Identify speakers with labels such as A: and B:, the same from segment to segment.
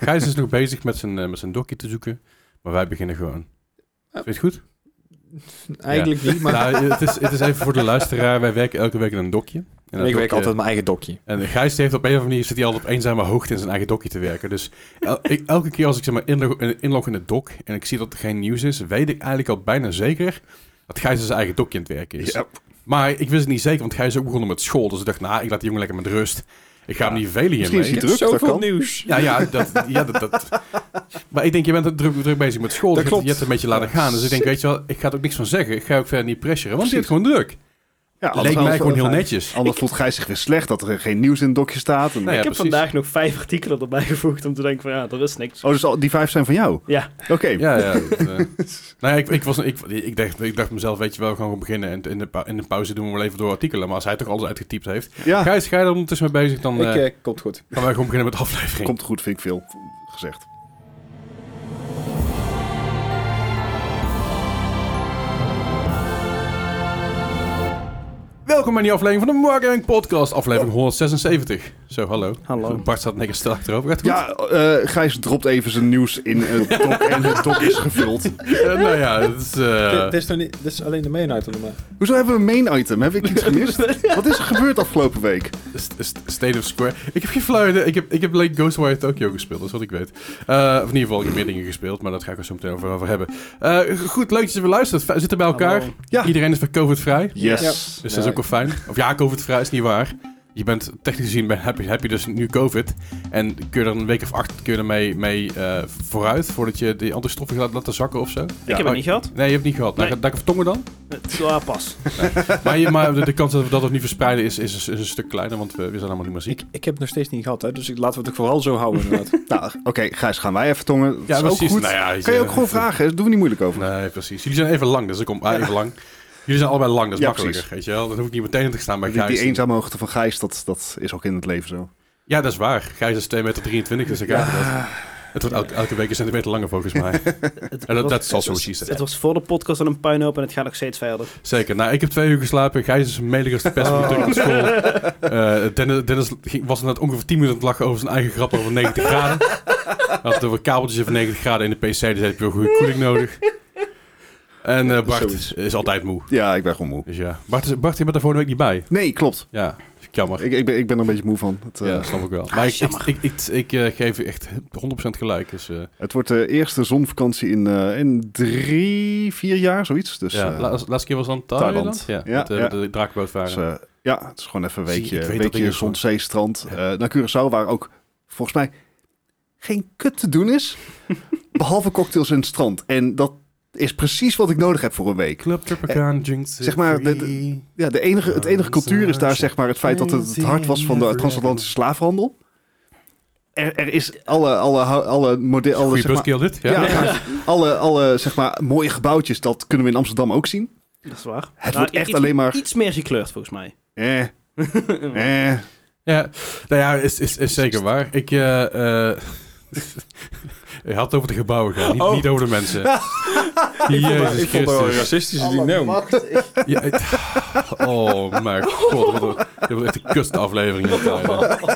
A: Gijs is nog bezig met zijn, eh, met zijn dokkie te zoeken, maar wij beginnen gewoon. Vind je het goed?
B: Eigenlijk niet, maar
A: Nou, het, is, het is even voor de luisteraar. Wij werken elke week in een dokje. En dat
B: ik werk
A: dokje-
B: altijd mijn eigen dokje.
A: En Gijs heeft op een of andere manier zit hij altijd op eenzame hoogte in zijn eigen dokje te werken. Dus el- ik- elke keer als ik zeg maar inlog, inlog in het dok en ik zie dat er geen nieuws is, weet ik eigenlijk al bijna zeker dat Gijs in zijn eigen dokje aan het werken is. Maar ik wist het niet zeker, want Gijs is ook begonnen met school. Dus ik dacht, nou, ik laat die jongen lekker met rust. Ik ga hem niet velen hiermee.
C: Misschien is hij
B: Ik heb
C: druk, dat
B: zoveel
C: kan.
B: nieuws.
A: Ja, ja, dat, ja dat, dat. Maar ik denk, je bent druk, druk bezig met school.
B: Dat
A: dus je hebt-
B: klopt.
A: Je hebt het een beetje laten
B: Ja,
A: gaan. Dus ik denk, weet je wel, ik ga er ook niks van zeggen. Ik ga ook verder niet presseren, want het is
C: Precies.
A: gewoon druk.
C: Ja,
A: Dat leek mij gewoon heel netjes.
C: Anders voelt Gijs zich weer slecht dat er geen nieuws in het dokje staat. En...
A: Nou ja,
D: ik heb
A: precies.
D: vandaag nog vijf artikelen erbij gevoegd om te denken van ja, er is niks.
C: Oh, dus al- die vijf zijn van jou?
D: Ja,
C: Oké.
A: Ja, ja. dat, eh. nou ja, ik, ik, was, ik, ik, dacht, ik dacht mezelf, weet je wel, gewoon beginnen. En in de, pau- in de pauze doen we wel even door artikelen. Maar als hij toch alles uitgetypt heeft.
C: Ja,
A: Gijs, ga je er ondertussen mee bezig? Dan eh,
B: Ik eh, komt goed.
A: gaan wij gewoon beginnen met de aflevering.
C: komt goed, vind ik veel gezegd.
A: Welkom bij die aflevering van de Wargaming Podcast. Aflevering 176. Zo, hallo.
D: Hallo.
A: Bart staat netjes stil achterover. Gaat het goed?
C: Ja, eh, Gijs dropt even zijn nieuws in het dok en het dok is gevuld.
A: Eh, nou ja, dat is... eh,
B: dit, dit is nog niet, dit is alleen de main item. Maar.
C: Hoezo hebben we een main item? Heb ik iets gemist? Wat is er gebeurd afgelopen week?
A: St- st- State of Square. Ik heb geen flauw idee. Ik heb, ik heb Lake Ghostwire Tokyo gespeeld, dat is wat ik weet. Eh, of in ieder geval, ik heb meer dingen gespeeld, maar dat ga ik er zo meteen over, over hebben. Eh, goed, leuk dat je weer luistert. Fijn- Zitten bij elkaar.
D: Hallo.
C: Ja.
A: Iedereen is weer COVID-vrij.
C: Yes.
B: Ja.
A: Dus
B: Ja.
A: dat is ook wel fijn. Of ja, COVID-vrij is niet waar. Je bent technisch gezien, ben- heb je, heb je dus nu COVID. En kun je er een week of acht kun je ermee mee, eh, vooruit, voordat je die antistoffen gaat laten zakken of zo?
D: ik heb
A: oh,
D: het niet gehad.
A: Nee, je hebt het niet gehad.
D: Nee.
A: Nou, ga ik vertongen dan?
D: Ja, pas.
A: maar, je- maar de, de kans dat we dat nog niet verspreiden is, is, is een stuk kleiner, want we, we zijn allemaal niet meer ziek.
B: Ik, ik heb het nog steeds niet gehad, hè, dus ik, laten we het ook vooral zo houden. Inderdaad.
C: Nou, oké, Gijs, gaan wij even tongen. Dat
A: Ja,
C: is
A: precies.
C: Ook goed.
A: Nou ja,
C: kan je ook gewoon vragen, daar doen we niet moeilijk over.
A: Nee, precies. Jullie zijn even lang, dus ik kom ah, even lang. Jullie zijn allebei lang, dat is
C: Ja,
A: makkelijker, weet je wel. Dan hoef ik niet meteen in te staan bij
C: die, die
A: Gijs.
C: eenzame hoogte van Gijs, dat, dat is ook in het leven zo.
A: Ja, dat is waar. Gijs is 2,23 meter, 23, dus ik heb dat. Het wordt elke, elke week een centimeter langer volgens mij.
D: Het,
A: En dat- dat
D: was,
A: is al zoals je
D: het
A: zegt.
D: was voor de podcast al een puinhoop en het gaat nog steeds verder.
A: Zeker. Nou, ik heb twee uur geslapen. Gijs is melig als de pest van
C: Oh.
A: druk op school. Eh, Dennis, Dennis ging- was net ongeveer 10 minuten aan het lachen over zijn eigen grap over 90 graden. Hij had het over kabeltjes over 90 graden in de PC. Dus hij heeft wel goede koeling nodig. En eh, Bart
C: Zoiets.
A: is altijd moe.
C: Ja, ik ben gewoon moe.
A: Dus ja. Bart, is- Bart, je bent er vorige week niet bij.
C: Nee, klopt.
A: Ja, jammer.
C: Ik, ik, ben, ik ben er een beetje moe van. Het, eh,
A: Ja, dat snap ik wel. Maar ik, ik, ik, ik, ik, eh, geef je echt 100% gelijk. Dus, eh,
C: Het wordt de eerste zonvakantie in, eh, in drie, vier jaar, zoiets. Dus,
A: ja,
C: eh,
A: la- laatste keer was dan
C: Thailand.
A: Thailand. Ja,
C: Ja,
A: met, eh,
C: ja.
A: met de draakboot varen.
C: dus, eh, ja, het is gewoon even een
A: Zie, ik
C: weekje,
A: weet dat
C: weekje
A: ding is
C: zon, zee, strand. Eh, naar Curaçao, waar ook volgens mij geen kut te doen is. behalve cocktails en het strand. En dat is precies wat ik nodig heb voor een week.
A: Club Tropicana Jinx.
C: Eh,
A: eh,
C: zeg maar, de- de- Ja, de enige, het enige cultuur is daar zeg maar het feit dat het het hart was van de transatlantische slaafhandel. Er, er is alle, alle, alle, model, alle,
A: Goeie
C: zeg maar,
A: buskill dit. Ja.
C: Ja, maar alle, alle zeg maar, mooie gebouwtjes, dat kunnen we in Amsterdam ook zien.
D: Dat is waar.
C: Het
D: Nou,
C: wordt echt
D: iets-
C: alleen maar...
D: Iets meer gekleurd volgens mij.
C: Eh, eh.
A: Ja, nou ja, is, is, is zeker waar. Ik, eh, eh, je had het over de gebouwen gehad, niet,
B: Oh.
A: niet over de mensen. Jezus Christus.
B: racistische
A: Ja, het- oh mijn god, wat een, dit wordt echt een kustaflevering. dit, eh.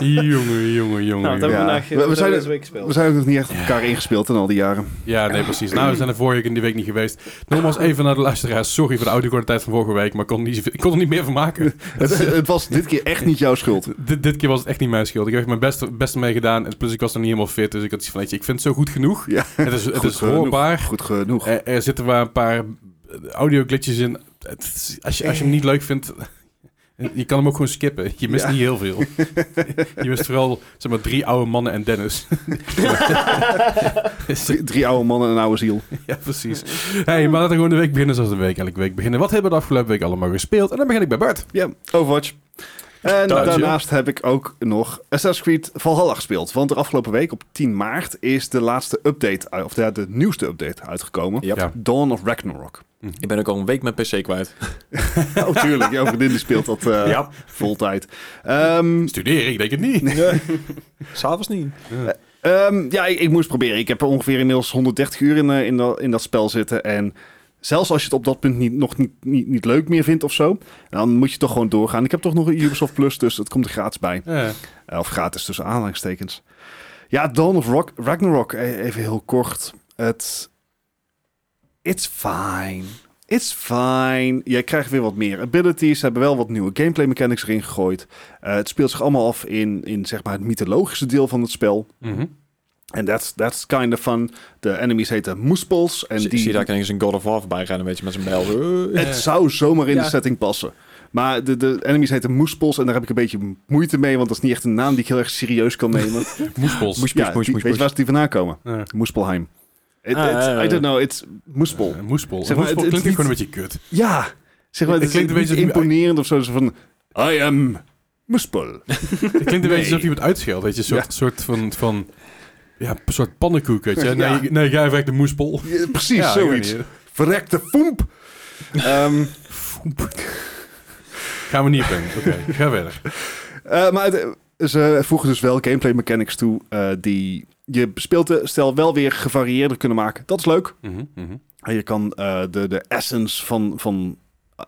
A: Jongen, jongen, jongen.
D: Nou, dat hebben we
C: Ja.
D: vandaag
C: We-
D: eh,
C: we zijn-
D: dat hebben we deze week
C: We
D: gespeeld.
C: zijn ook nog niet echt op elkaar ingespeeld in al die jaren.
A: Ja, nee, precies. Nou, we zijn er vorige week in die week niet geweest. Nogmaals even naar de luisteraars. Sorry voor de audio-kwaliteit van vorige week, maar ik kon, er niet, zoveel- ik kon er niet meer van maken.
C: Het, het was dit keer echt niet jouw schuld.
A: Dit- dit keer was het echt niet mijn schuld. Ik heb echt mijn best, best mee gedaan. En plus, ik was nog niet helemaal fit. Dus ik had iets van, weet je, ik vind het zo goed genoeg.
C: Ja.
A: Het is, het
C: Goed
A: is
C: genoeg.
A: hoorbaar.
C: Goed genoeg.
A: Er, er zitten maar een paar audio-glitches in. Het is- als, je, als je hem niet leuk vindt, je kan hem ook gewoon skippen. Je mist
C: Ja.
A: niet heel veel. je mist vooral, zeg maar, drie oude mannen en Dennis. Dus,
C: Drie, drie oude mannen en een oude ziel.
A: Ja, precies. Hey, maar laten we gewoon de week beginnen zoals de week elke week beginnen. Wat hebben we de afgelopen week allemaal gespeeld? En dan begin ik bij Bart.
C: Ja, Overwatch. En
A: Dank je.
C: daarnaast heb ik ook nog Assassin's Creed Valhalla gespeeld. Want de afgelopen week, op 10 maart, is de laatste update, eh, of de, de nieuwste update uitgekomen.
B: Ja.
A: Ja.
C: Dawn of Ragnarok.
B: Ik ben ook al een week mijn PC kwijt.
C: Oh, tuurlijk. Jouw vriendin die speelt dat eh
B: Ja.
C: vol tijd. Ehm,
A: Studeren, ik denk het niet.
B: S'avonds niet.
C: Ehm, ja, ik, ik moest proberen. Ik heb er ongeveer inmiddels 130 uur in, eh, in, dat, in dat spel zitten. En zelfs als je het op dat punt niet, nog niet, niet, niet leuk meer vindt of zo, dan moet je toch gewoon doorgaan. Ik heb toch nog een Ubisoft Plus, dus het komt er gratis bij.
A: Ja.
C: Eh, Of gratis tussen aanhalingstekens. Ja, Dawn of Rock, Ragnarok, e- even heel kort. Het... It's fine. It's fine. Je krijgt weer wat meer abilities. Ze hebben wel wat nieuwe gameplay mechanics erin gegooid. Eh, het speelt zich allemaal af in, in zeg maar het mythologische deel van het spel.
A: Mhm.
C: En that's, that's kind of fun. De enemies heten Moespels. En
B: En
C: die...
B: zie je daar kan ik eens een God of War voorbij gaan, een beetje met zijn bijl. Zo, eh.
C: Het zou zomaar in
B: Ja.
C: de setting passen. Maar de, de enemies heten Moespels en daar heb ik een beetje moeite mee, want dat is niet echt een naam die ik heel erg serieus kan nemen.
A: Moespels.
B: Moes,
C: ja,
B: moes, moes,
C: die-
B: moes,
C: weet je waar
B: moes.
C: ze die vandaan komen?
A: Eh,
C: Moespelheim. It,
B: Ah,
C: it's-
B: ja, ja,
C: I
B: ja.
C: don't know, it's Moespel.
A: eh, Moespel.
C: Zeg maar,
A: Moespel
C: het- het
A: klinkt
C: is
A: gewoon een beetje kut.
C: Ja, zeg maar,
A: Het klinkt
C: het klinkt
A: een beetje-
C: imponerend of zo. zo van, I am Moespel.
A: Het klinkt een
C: Nee.
A: beetje alsof iemand uitscheldt, weet je. Een soort,
C: Ja.
A: soort van... van ja, een soort pannenkoek, weet je. Nee,
C: Ja.
A: nee jij werkt de moespol.
C: Ja, precies,
A: Ja,
C: zoiets.
A: ik weet
C: Verrekte foemp. Ehm,
A: Gaan we niet op in. Oké, ga verder.
C: Eh, maar het- ze voegen dus wel gameplay mechanics toe eh, die je speelstijl wel weer gevarieerder kunnen maken. Dat is leuk.
A: Mhm, mhm.
C: En je kan eh, de, de essence van, van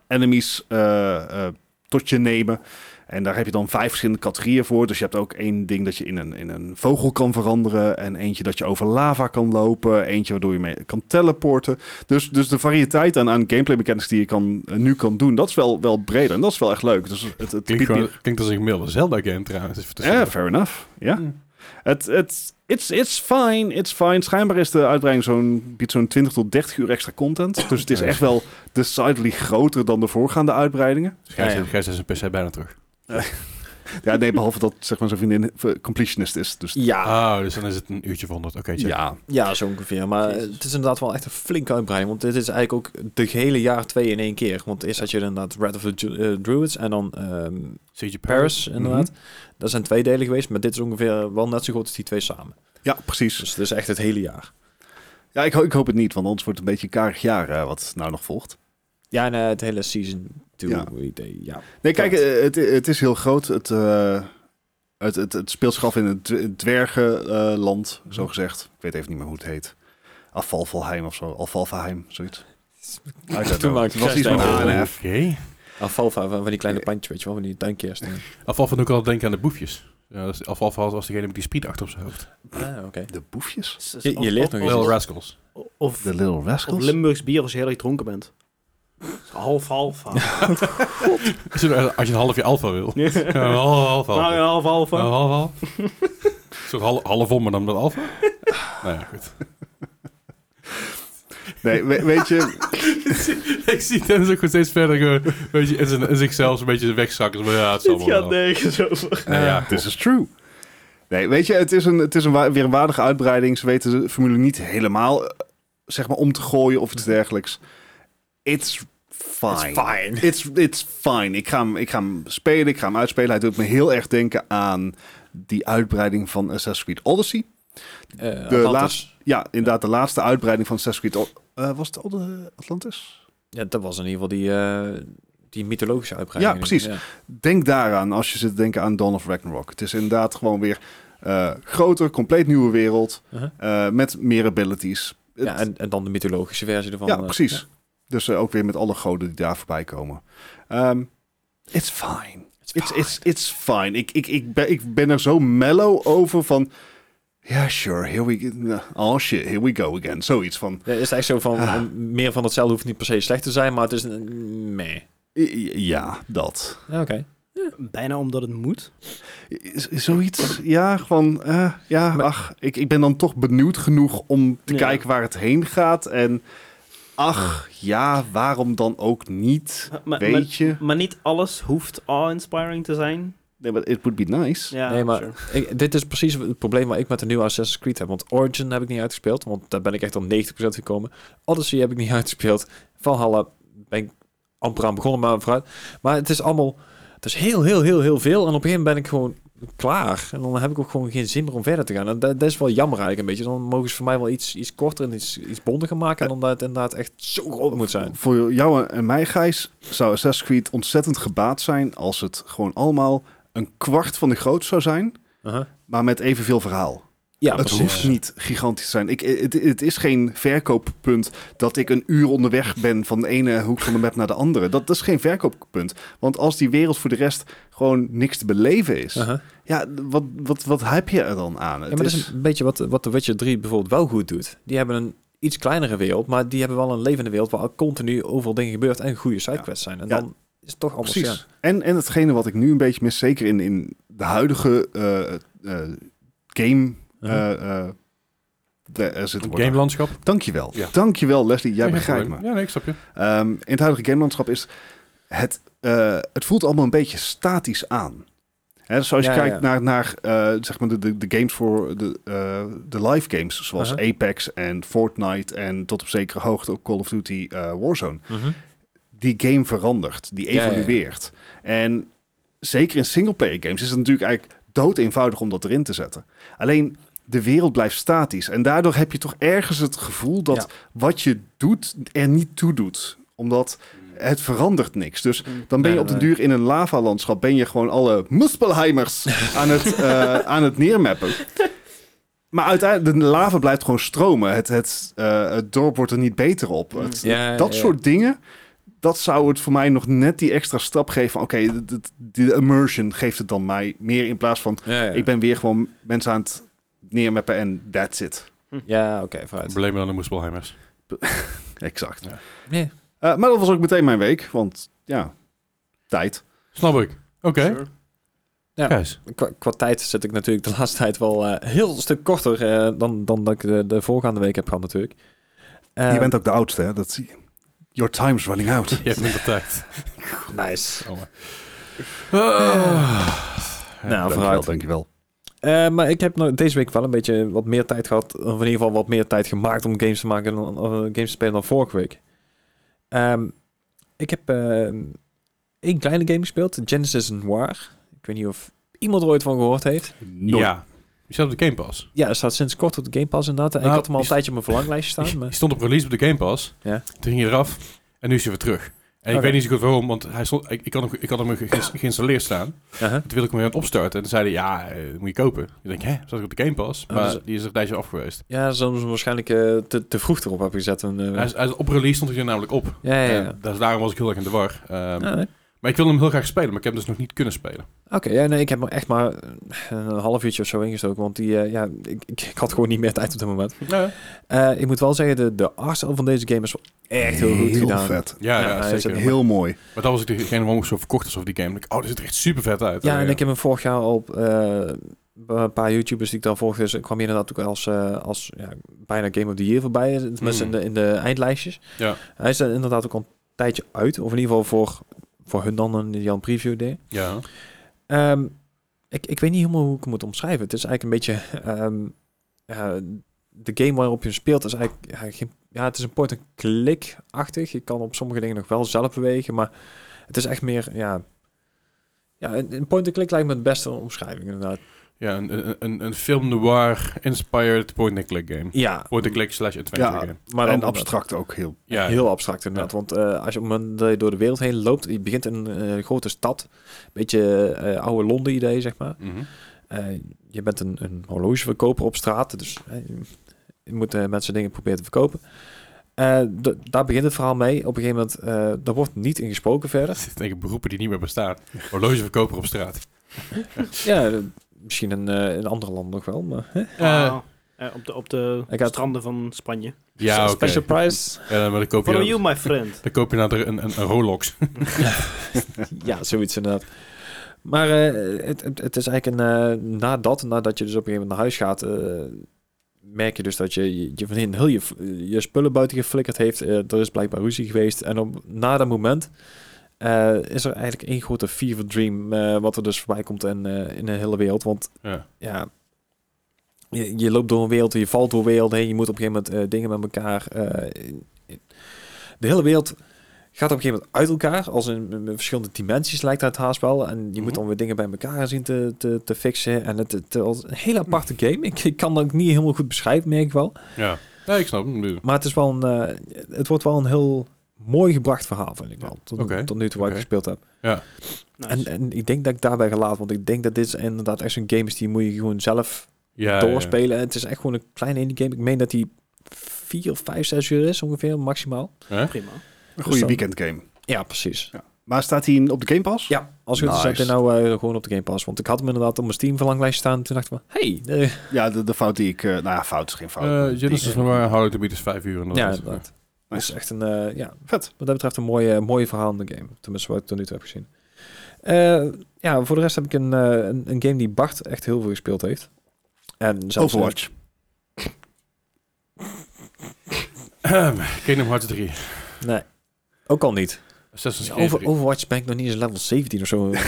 C: enemies eh, eh, tot je nemen. En daar heb je dan vijf verschillende categorieën voor. Dus je hebt ook één ding dat je in een, in een vogel kan veranderen. En eentje dat je over lava kan lopen. Eentje waardoor je mee kan teleporten. Dus, dus de variëteit aan, aan gameplay mechanics die je kan, eh, nu kan doen, dat is wel, wel breder. En dat is wel echt leuk. Dus het, het
A: Klinkt,
C: biedt
A: gewoon,
C: meer-
A: klinkt als een gemiddelde Zelda-game trouwens. Even
C: Ja,
A: tussendoor.
C: fair enough. Ja.
A: Hm.
C: Het, het, it's, it's fine, it's fine. Schijnbaar is de uitbreiding zo'n, biedt zo'n 20 tot 30 uur extra content. Dus het is echt wel decidedly groter dan de voorgaande uitbreidingen.
A: Dus Gijs
B: Ja, ja.
A: Gijs is zijn PC bijna terug.
C: Ja, nee, behalve dat zeg maar zijn vriendin eh, completionist is. Dus
B: Ja,
A: Oh, dus dan is het een uurtje van 100. Oké, check.
C: ja.
B: ja, zo ongeveer. Maar eh, het is inderdaad wel echt een flinke uitbreiding. Want dit is eigenlijk ook de hele jaar twee in één keer. Want eerst had je inderdaad Red of the Ju- eh, Druids en dan ehm,
A: Siege of
B: Paris,
C: Mhm.
B: inderdaad. Dat zijn twee delen geweest, maar dit is ongeveer wel net zo goed als die twee samen.
C: ja, precies.
B: Dus het is echt het hele jaar.
C: Ja, ik, ho- ik hoop het niet, want anders wordt het een beetje een karig jaar eh, wat nou nog volgt.
B: Ja, en eh, het hele season 2
C: Ja.
B: idee, ja.
C: Nee, kijk, eh, het, het is heel groot. Het, eh, het, het, het speelt zich af in het dw- dwergenland, zo gezegd. Ik weet even niet meer hoe het heet. Afvalvalheim of zo. Alfalfaheim, zoiets. I don't know.
B: Toen maakte
C: Het was
B: Gijs
C: iets met
B: daar-
C: een
A: Mhm. Oké.
C: en F.
B: Alfalfa Ah, eh, van van die
C: Eh.
B: kleine pandjes, weet je wel, van die tuinkers.
A: Afval ook al denken aan de boefjes. Ja, dus Afval was was degene met die speed achter op zijn hoofd.
B: Ah, oké.
C: De boefjes?
B: Je- je leert nog
A: Little
B: eens.
A: Rascals.
D: Of,
C: De Little
D: of
C: Rascals?
D: Limburgs bier als je heel erg dronken bent. Half, half. half.
A: Als je als je een halfje alfa wil.
D: Ja.
A: Ja, een half half.
D: Nou,
A: alpha.
D: ja, half, half.
A: Een half half. Een soort hal- half om, maar dan met alfa. nou ja, goed.
C: Nee, we- weet je... eh,
A: Ik zie Dennis ook gewoon steeds verder gewoon, weet je, in, zijn, in zichzelf een beetje wegzakken. Maar ja, het zal
D: Dit
A: wel.
D: gaat
A: wel.
D: nergens over.
A: Nou ja,
C: This is true. Nee, weet je, het is, een, het is een, wa- weer een waardige uitbreiding. Ze weten de formule niet helemaal, eh, zeg maar, om te gooien of iets dergelijks. It's fine.
B: It's fine.
C: It's, it's fine. Ik ga, hem, ik ga hem spelen, ik ga hem uitspelen. Hij doet me heel erg denken aan die uitbreiding van Assassin's Creed Odyssey.
B: Eh,
C: De
B: Atlantis.
C: laatste- Ja, inderdaad, de laatste uitbreiding van Assassin's Creed... O- eh, was het Od- Atlantis?
B: Ja, dat was in ieder geval die, eh, die mythologische uitbreiding.
C: Ja, precies.
B: Ja.
C: Denk daaraan als je zit te denken aan Dawn of Ragnarok. Het is inderdaad gewoon weer eh, groter, compleet nieuwe wereld
B: Uh-huh.
C: eh, met meer abilities. Het-
B: Ja, en, en dan de mythologische versie ervan.
C: ja,
B: eh,
C: precies.
B: ja.
C: Dus eh, ook weer met alle goden die daar voorbij komen. Ehm, it's fine. It's, it's, it's fine. Ik, ik, ik, ben, ik ben er zo mellow over van... Ja, sure, here we go. Oh shit, here we go again. Zoiets van...
B: Ja, is het echt zo van,
C: Ah.
B: eh, meer van hetzelfde hoeft niet per se slecht te zijn, maar het is een meh.
C: i- i- Ja, dat.
B: Ja, oké.
D: Bijna omdat het moet.
C: I- z- Zoiets, ja, gewoon, eh, ja,
B: Maar-
C: ach, ik, ik ben dan toch benieuwd genoeg om te
D: Ja.
C: kijken waar het heen gaat. En ach, ja, waarom dan ook niet?
D: Maar- Maar,
C: Weet je?
D: maar niet alles hoeft awe-inspiring te zijn.
C: Nee, maar it would be nice.
D: Ja,
B: nee, maar
D: sure.
B: ik- dit is precies het probleem waar ik met de nieuwe Assassin's Creed heb. Want Origin heb ik niet uitgespeeld, want daar ben ik echt op 90% gekomen. Odyssey heb ik niet uitgespeeld. Valhalla ben ik amper aan begonnen, maar vooruit. Maar het is allemaal... Het is heel, heel, heel, heel veel. En op een gegeven moment ben ik gewoon klaar. En dan heb ik ook gewoon geen zin meer om verder te gaan. En dat, dat is wel jammer eigenlijk een beetje. Dan mogen ze voor mij wel iets, iets korter en iets, iets bondiger maken... en dan dat het inderdaad echt zo groot moet zijn.
C: Voor jou en mij, Gijs, zou Assassin's Creed ontzettend gebaat zijn als het gewoon allemaal een kwart van de grootte zou zijn,
B: Uh-huh.
C: maar met evenveel verhaal.
B: Ja,
C: het hoeft niet gigantisch te zijn. Ik, het, het is geen verkooppunt dat ik een uur onderweg ben van de ene hoek van de map naar de andere. Dat, dat is geen verkooppunt. Want als die wereld voor de rest gewoon niks te beleven is,
B: Uh-huh.
C: ja, wat, wat, wat heb je er dan aan?
B: Ja,
C: Het
B: maar dat is een beetje wat, wat The Witcher 3 bijvoorbeeld wel goed doet. Die hebben een iets kleinere wereld, maar die hebben wel een levende wereld waar continu overal dingen gebeurt en goede sidequests zijn. En
C: Ja.
B: dan is het toch anders.
C: Precies.
B: Ja.
C: En, en hetgene wat ik nu een beetje mis, zeker in, in de huidige eh, eh, game. eh
B: Uh-huh.
C: eh, de- er zit een woord aan.
A: Gamelandschap.
C: Dankjewel.
A: Ja.
C: Dankjewel, Leslie. Jij
A: Ja, geen
C: begrijpt me.
A: probleem. Ja, nee, ik snap je.
C: Ehm, in het huidige gamelandschap is het, eh, het voelt allemaal een beetje statisch aan. Hè, dus als je
B: Ja,
C: kijkt
B: ja.
C: naar, naar eh, zeg maar de, de, de games voor de, eh, de live games, zoals
B: Uh-huh.
C: Apex en Fortnite en tot op zekere hoogte ook Call of Duty eh, Warzone.
B: Uh-huh.
C: Die game verandert, die
B: Ja, ja, ja.
C: evolueert. En zeker in singleplayer games is het natuurlijk eigenlijk dood eenvoudig om dat erin te zetten. Alleen de wereld blijft statisch. En daardoor heb je toch ergens het gevoel dat
B: Ja.
C: wat je doet er niet toe doet. Omdat het verandert niks. Dus dan ben
B: Mm. Nee,
C: je op de
B: nee.
C: duur in een lavalandschap. Ben je gewoon alle Muspelheimers aan, het, eh, aan het neermappen. Maar uiteindelijk, de lava blijft gewoon stromen. Het, het, eh, het dorp wordt er niet beter op. Het-
B: Ja, ja,
C: dat
B: ja.
C: soort dingen, dat zou het voor mij nog net die extra stap geven. van, Oké, de- de- de immersion geeft het dan mij meer in plaats van...
B: Ja, ja.
C: Ik ben weer gewoon mensen aan het neermappen en that's it.
B: ja oké, vooruit.
A: Probleem dan de Moespelheimers.
C: Exact.
A: Ja.
B: Nee.
C: Eh, maar dat was ook meteen mijn week, want ja, tijd.
A: Snap ik. Oké.
D: Sure.
B: Ja.
A: Gijs.
B: Qua, qua tijd zit ik natuurlijk de laatste tijd wel eh, heel stuk korter eh, dan, dan dat ik de, de voorgaande week heb gehad natuurlijk. Eh,
C: je bent ook de oudste, hè? Dat zie je. Your time's running out.
A: Je hebt minder tijd.
B: Nice.
C: Dank
A: Ah.
B: nou,
C: je
B: vooruit.
C: wel, dank je wel.
B: Eh, maar ik heb nou deze week wel een beetje wat meer tijd gehad. Of in ieder geval wat meer tijd gemaakt om games te maken dan of, eh, games te spelen dan vorige week. Ehm, ik heb ehm één kleine game gespeeld, Genesis Noir. Ik weet niet of iemand er ooit van gehoord heeft.
A: Ja. Je staat op de Game Pass.
B: Ja, er staat sinds kort op de Game Pass inderdaad. En
A: Nou,
B: ik had hem al een
A: die-
B: tijdje op mijn verlanglijstje staan.
A: Die
B: Maar...
A: stond op release op de Game Pass.
B: Ja.
A: Toen ging hij eraf. En nu is hij weer terug. En ik
B: Oké.
A: weet niet zo goed waarom, want hij stond, ik, ik, had hem, ik had hem ge- ge- geïnstalleerd staan.
B: Uh-huh.
A: Toen wilde ik hem weer aan het opstarten. En toen zeiden ja, eh, moet je kopen. Ik denk, hè, zat ik op de Game Pass?
B: Ah,
A: Maar
B: dus-
A: die is er een tijdje af geweest.
B: Ja, ze hebben hem waarschijnlijk eh, te, te vroeg erop hebben gezet. En, eh,
A: Hij is, hij is op release stond hij er namelijk op.
B: ja, ja, ja.
A: En dat is- daarom was ik heel erg in de war. Ehm,
B: Ah, nee.
A: Maar ik wilde hem heel graag spelen, maar ik heb hem dus nog niet kunnen spelen.
B: Oké, ja, nee, ik heb er echt maar eh, een half uurtje of zo ingestoken. Want die, eh, ja, ik, ik, ik had gewoon niet meer tijd op dat moment.
A: Ja,
B: Eh, ik moet wel zeggen, de, de arsenal van deze game is wel echt heel goed gedaan.
C: vet.
A: ja,
B: Ja, hij is
A: zeker.
B: ook
C: Heel mooi.
A: Maar dat was ik degene waarom ik zo verkocht was over die game. Ik, oh, dit ziet er echt super vet uit.
B: Ja,
A: Oh,
B: en ik heb hem vorig jaar op eh, een paar YouTubers die ik dan volgde, dus ik kwam hier inderdaad ook als, eh, als ja, bijna Game of the Year voorbij, eh, tenminste
A: Mm.
B: in, de, in de eindlijstjes.
A: Ja.
B: Hij is er inderdaad ook al een tijdje uit, of in ieder geval voor, voor hun dan een, die al een preview deed.
A: Ja.
B: Ehm, ik, ik weet niet helemaal hoe ik het moet omschrijven. Het is eigenlijk een beetje... ehm, eh, de game waarop je hem speelt is eigenlijk... Ja, geen- ja het is een point-and-click-achtig. Je kan op sommige dingen nog wel zelf bewegen, maar het is echt meer... Ja, ja een, een point-and-click lijkt me het beste omschrijving, inderdaad.
A: Ja, een, een- een, een film noir-inspired point-and-click game.
B: Ja,
A: Point-and-click slash adventure
C: Ja.
A: game.
B: maar dan
C: en abstract ook heel.
A: Ja,
B: Heel abstract inderdaad, want eh, als je op het moment dat je door de wereld heen loopt, je begint in een eh, grote stad, beetje eh, oude Londen-idee, zeg maar.
A: Mhm.
B: Eh, je bent een, een horlogeverkoper op straat, dus eh, je moet eh, mensen dingen proberen te verkopen. Eh, d- daar begint het verhaal mee. Op een gegeven moment, eh daar wordt niet in gesproken verder.
A: Dat is tegen beroepen die niet meer bestaan. Horlogeverkoper op straat.
B: Ja, eh, misschien in, eh, in andere landen nog wel, maar... hè?
A: Eh,
D: Eh, op de, op de
B: Ik had-
D: stranden van Spanje.
A: ja, oké.
B: Special prize.
A: Ja, maar dan koop je,
D: Follow
A: dan,
D: you, my friend.
A: dan koop je later een, een, een Rolex.
B: ja, zoiets inderdaad. Maar eh, het, het, het is eigenlijk een... eh, nadat, nadat je dus op een gegeven moment naar huis gaat... eh, merk je dus dat je, je, je vriendin heel je, je spullen buiten geflikkerd heeft. Eh, er is blijkbaar ruzie geweest. En op, na dat moment eh, is er eigenlijk één grote fever dream... eh, wat er dus voorbij komt in, eh, in de hele wereld. Want
A: Ja.
B: ja... Je, je loopt door een wereld, je valt door werelden heen. Je moet op een gegeven moment eh, dingen met elkaar... eh, in- in- de hele wereld gaat op een gegeven moment uit elkaar. Als in, in verschillende dimensies lijkt het haast wel. En je moet
A: Mhm.
B: dan weer dingen bij elkaar zien te, te, te fixen. En het, het was een hele aparte game. Ik, ik kan dat ook niet helemaal goed beschrijven, merk ik wel.
A: ja. Nee, ik snap hem.
B: Maar het, is wel een, eh, het wordt wel een heel mooi gebracht verhaal, vind ik wel. Tot,
A: Oké.
B: tot nu toe waar
A: Oké.
B: ik gespeeld heb.
D: Nice. Nou,
B: En, en ik denk dat ik daarbij gelaten. Want ik denk dat dit inderdaad echt zo'n game is die moet je gewoon zelf
A: Ja,
B: doorspelen. Het is echt gewoon een kleine indie game. Ik meen dat die 4, 5, 6 uur is ongeveer, maximaal.
A: eh,
D: Prima.
C: Een
B: Dus
C: goede
B: dan-
C: weekend game.
B: Ja, precies.
C: Maar staat hij in- op de Game Pass?
B: Ja, als ik het
C: Nice.
B: zou ik nou eh, gewoon op de Game Pass. Want ik had hem inderdaad op mijn Steam verlanglijst staan. Toen dacht ik van, hey, eh,
C: Ja, de, de fout die ik... eh, nou ja, fout is geen fout.
A: eh
C: Die-
A: Genesis is nog maar Hollow to Beat is vijf uur.
B: ja,
A: inderdaad.
B: inderdaad. Dat is
C: Nice.
B: echt een, eh, ja,
C: Vet.
B: wat dat betreft een mooie, mooie verhalende game. Tenminste, wat ik tot nu toe heb gezien. Eh, ja, voor de rest heb ik een, eh, een, een game die Bart echt heel veel gespeeld heeft. En zelfs
C: Overwatch.
A: Ehm, Kingdom Hearts 3.
B: nee, ook al niet.
A: Assassin's Creed
B: Over,
A: 3.
B: Overwatch ben ik nog niet eens level 17 of zo. Eh,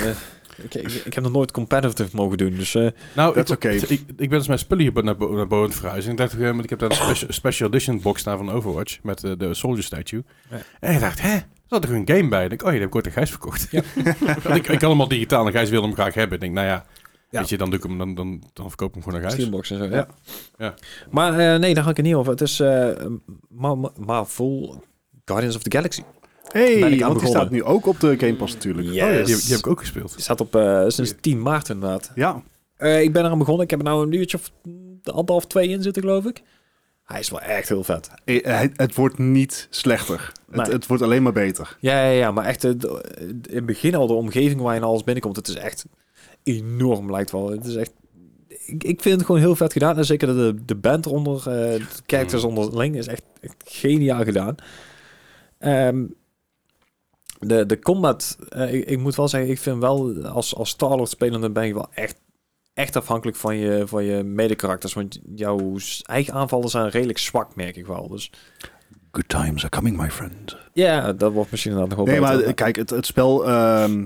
B: ik, ik, ik heb nog nooit competitive mogen doen, dus... eh,
A: Nou,
C: Dat
A: ik-
C: is oké.
A: Ik, ik ben dus mijn spullen hier bo- naar, bo- naar boven aan het verhuizen. En ik dacht op een gegeven moment, ik heb daar een special, special edition box staan van Overwatch. Met eh, de Soldier Statue.
B: Ja.
A: En ik dacht, hè? Er zat toch een game bij? Ik denk, oh, die heb ik ooit aan Gijs verkocht. Want ik, ik had hem al digitaal en Gijs wilde hem graag hebben. Ik denk, nou ja,
B: Ja.
A: weet je, dan, doe ik hem, dan, dan, dan verkoop ik hem gewoon aan Gijs.
B: Steambox en zo, ja.
C: Ja.
A: Ja.
B: Maar eh, nee, daar ga ik het niet over. Het is eh Ma- Ma- Marvel Guardians of the Galaxy. Ben
C: Hey,
B: ik aan
C: want die
B: begonnen.
C: staat nu ook op de Game Pass natuurlijk.
B: Yes.
A: Oh ja, die, heb- die heb ik ook gespeeld.
B: Die staat op eh, sinds 10 maart inderdaad.
C: Ja,
B: Eh, ik ben eraan begonnen. Ik heb er nou een uurtje of mm, anderhalf, twee in zitten, geloof ik. Hij is wel echt heel vet.
C: Eh, het, het wordt niet slechter. Het,
B: Nee.
C: het wordt alleen maar beter.
B: Ja, ja, ja maar echt eh, d- eh, in het begin al de omgeving waarin alles binnenkomt. Het is echt enorm, lijkt wel. Het is echt... Ik, ik vind het gewoon heel vet gedaan. En zeker de, de band eronder, eh de characters onderling, is echt, echt geniaal gedaan. Ehm, de, de combat, eh, ik, ik moet wel zeggen, ik vind wel als, als Star-Lord spelende ben je wel echt, echt afhankelijk van je, van je medekarakters. Want jouw s- eigen aanvallen zijn redelijk zwak, merk ik wel. Dus
C: Good times are coming, my friend.
B: ja, dat wordt misschien inderdaad nog wel
C: Nee, maar
B: beter.
C: eh, kijk, het, het spel... ehm,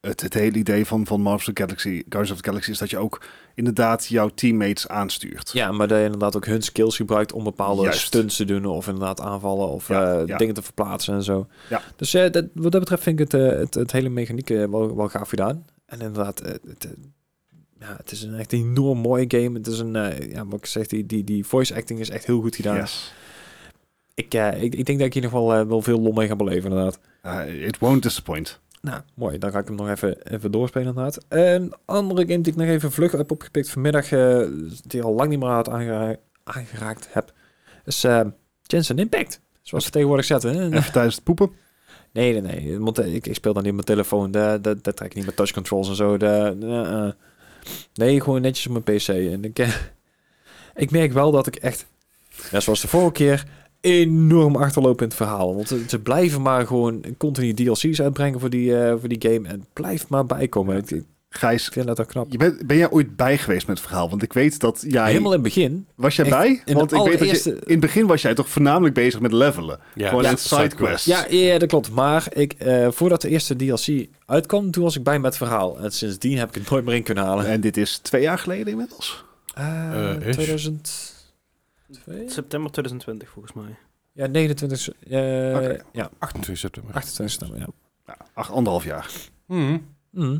C: het, het hele idee van, van Marvel's Galaxy, Guardians of the Galaxy is dat je ook inderdaad jouw teammates aanstuurt.
B: Ja, maar dat je inderdaad ook hun skills gebruikt om bepaalde
C: Juist.
B: stunts te doen. Of inderdaad aanvallen of
C: Ja,
B: eh,
C: ja.
B: dingen te verplaatsen en zo.
C: Ja.
B: Dus eh, dat, wat dat betreft vind ik het, eh, het, het hele mechaniek eh, wel, wel gaaf gedaan. En inderdaad, eh, het, eh, ja, het is een echt enorm mooie game. Het is een, eh, ja, wat ik zeg, die, die, die voice acting is echt heel goed gedaan.
C: Yes.
B: Ik, eh, ik, ik denk dat ik hier nog wel, eh, wel veel lol mee ga beleven inderdaad.
C: Eh, it won't disappoint.
B: Nou, mooi. Dan ga ik hem nog even, even doorspelen inderdaad. Een andere game die ik nog even vlug heb opgepikt vanmiddag, eh, die al lang niet meer had aangera- aangeraakt heb, is eh Jensen Impact. Zoals ze tegenwoordig zetten. hè?
C: Even tijdens het poepen.
B: Nee, nee, nee. Want eh, ik, ik speel dan niet op mijn telefoon. Dat, dat, dat trek ik niet met touch controls en zo. Dat, eh, eh. Nee, gewoon netjes op mijn PC. En ik, eh, ik merk wel dat ik echt, net zoals de vorige keer, enorm achterloop in het verhaal. Want ze, ze blijven maar gewoon continu DLC's uitbrengen voor die, eh, voor die game. En het blijft maar bijkomen. Ik, ik
C: Gijs,
B: vind dat ook knap.
C: je bent, ben jij ooit bij geweest met het verhaal? Want ik weet dat jij...
B: Helemaal in het begin.
C: Was jij
B: Echt,
C: bij?
B: de
C: Want ik weet dat je,
B: allereerste-
C: in het begin was jij toch voornamelijk bezig met levelen.
A: Ja,
C: Gewoon
A: ja,
C: in sidequests.
B: Ja, ja, dat klopt. Maar ik, eh, voordat de eerste DLC uitkwam, toen was ik bij met het verhaal. En sindsdien heb ik het nooit meer in kunnen halen.
C: En dit is twee jaar geleden inmiddels.
B: Eh,
A: Eh, is.
B: 2002?
D: September 2020 volgens mij.
B: Ja, 29. eh,
C: Oké.
B: Ja,
A: 28 september.
B: 28 september, ja.
C: Nou, acht, anderhalf jaar.
A: Mhm.
B: Mhm.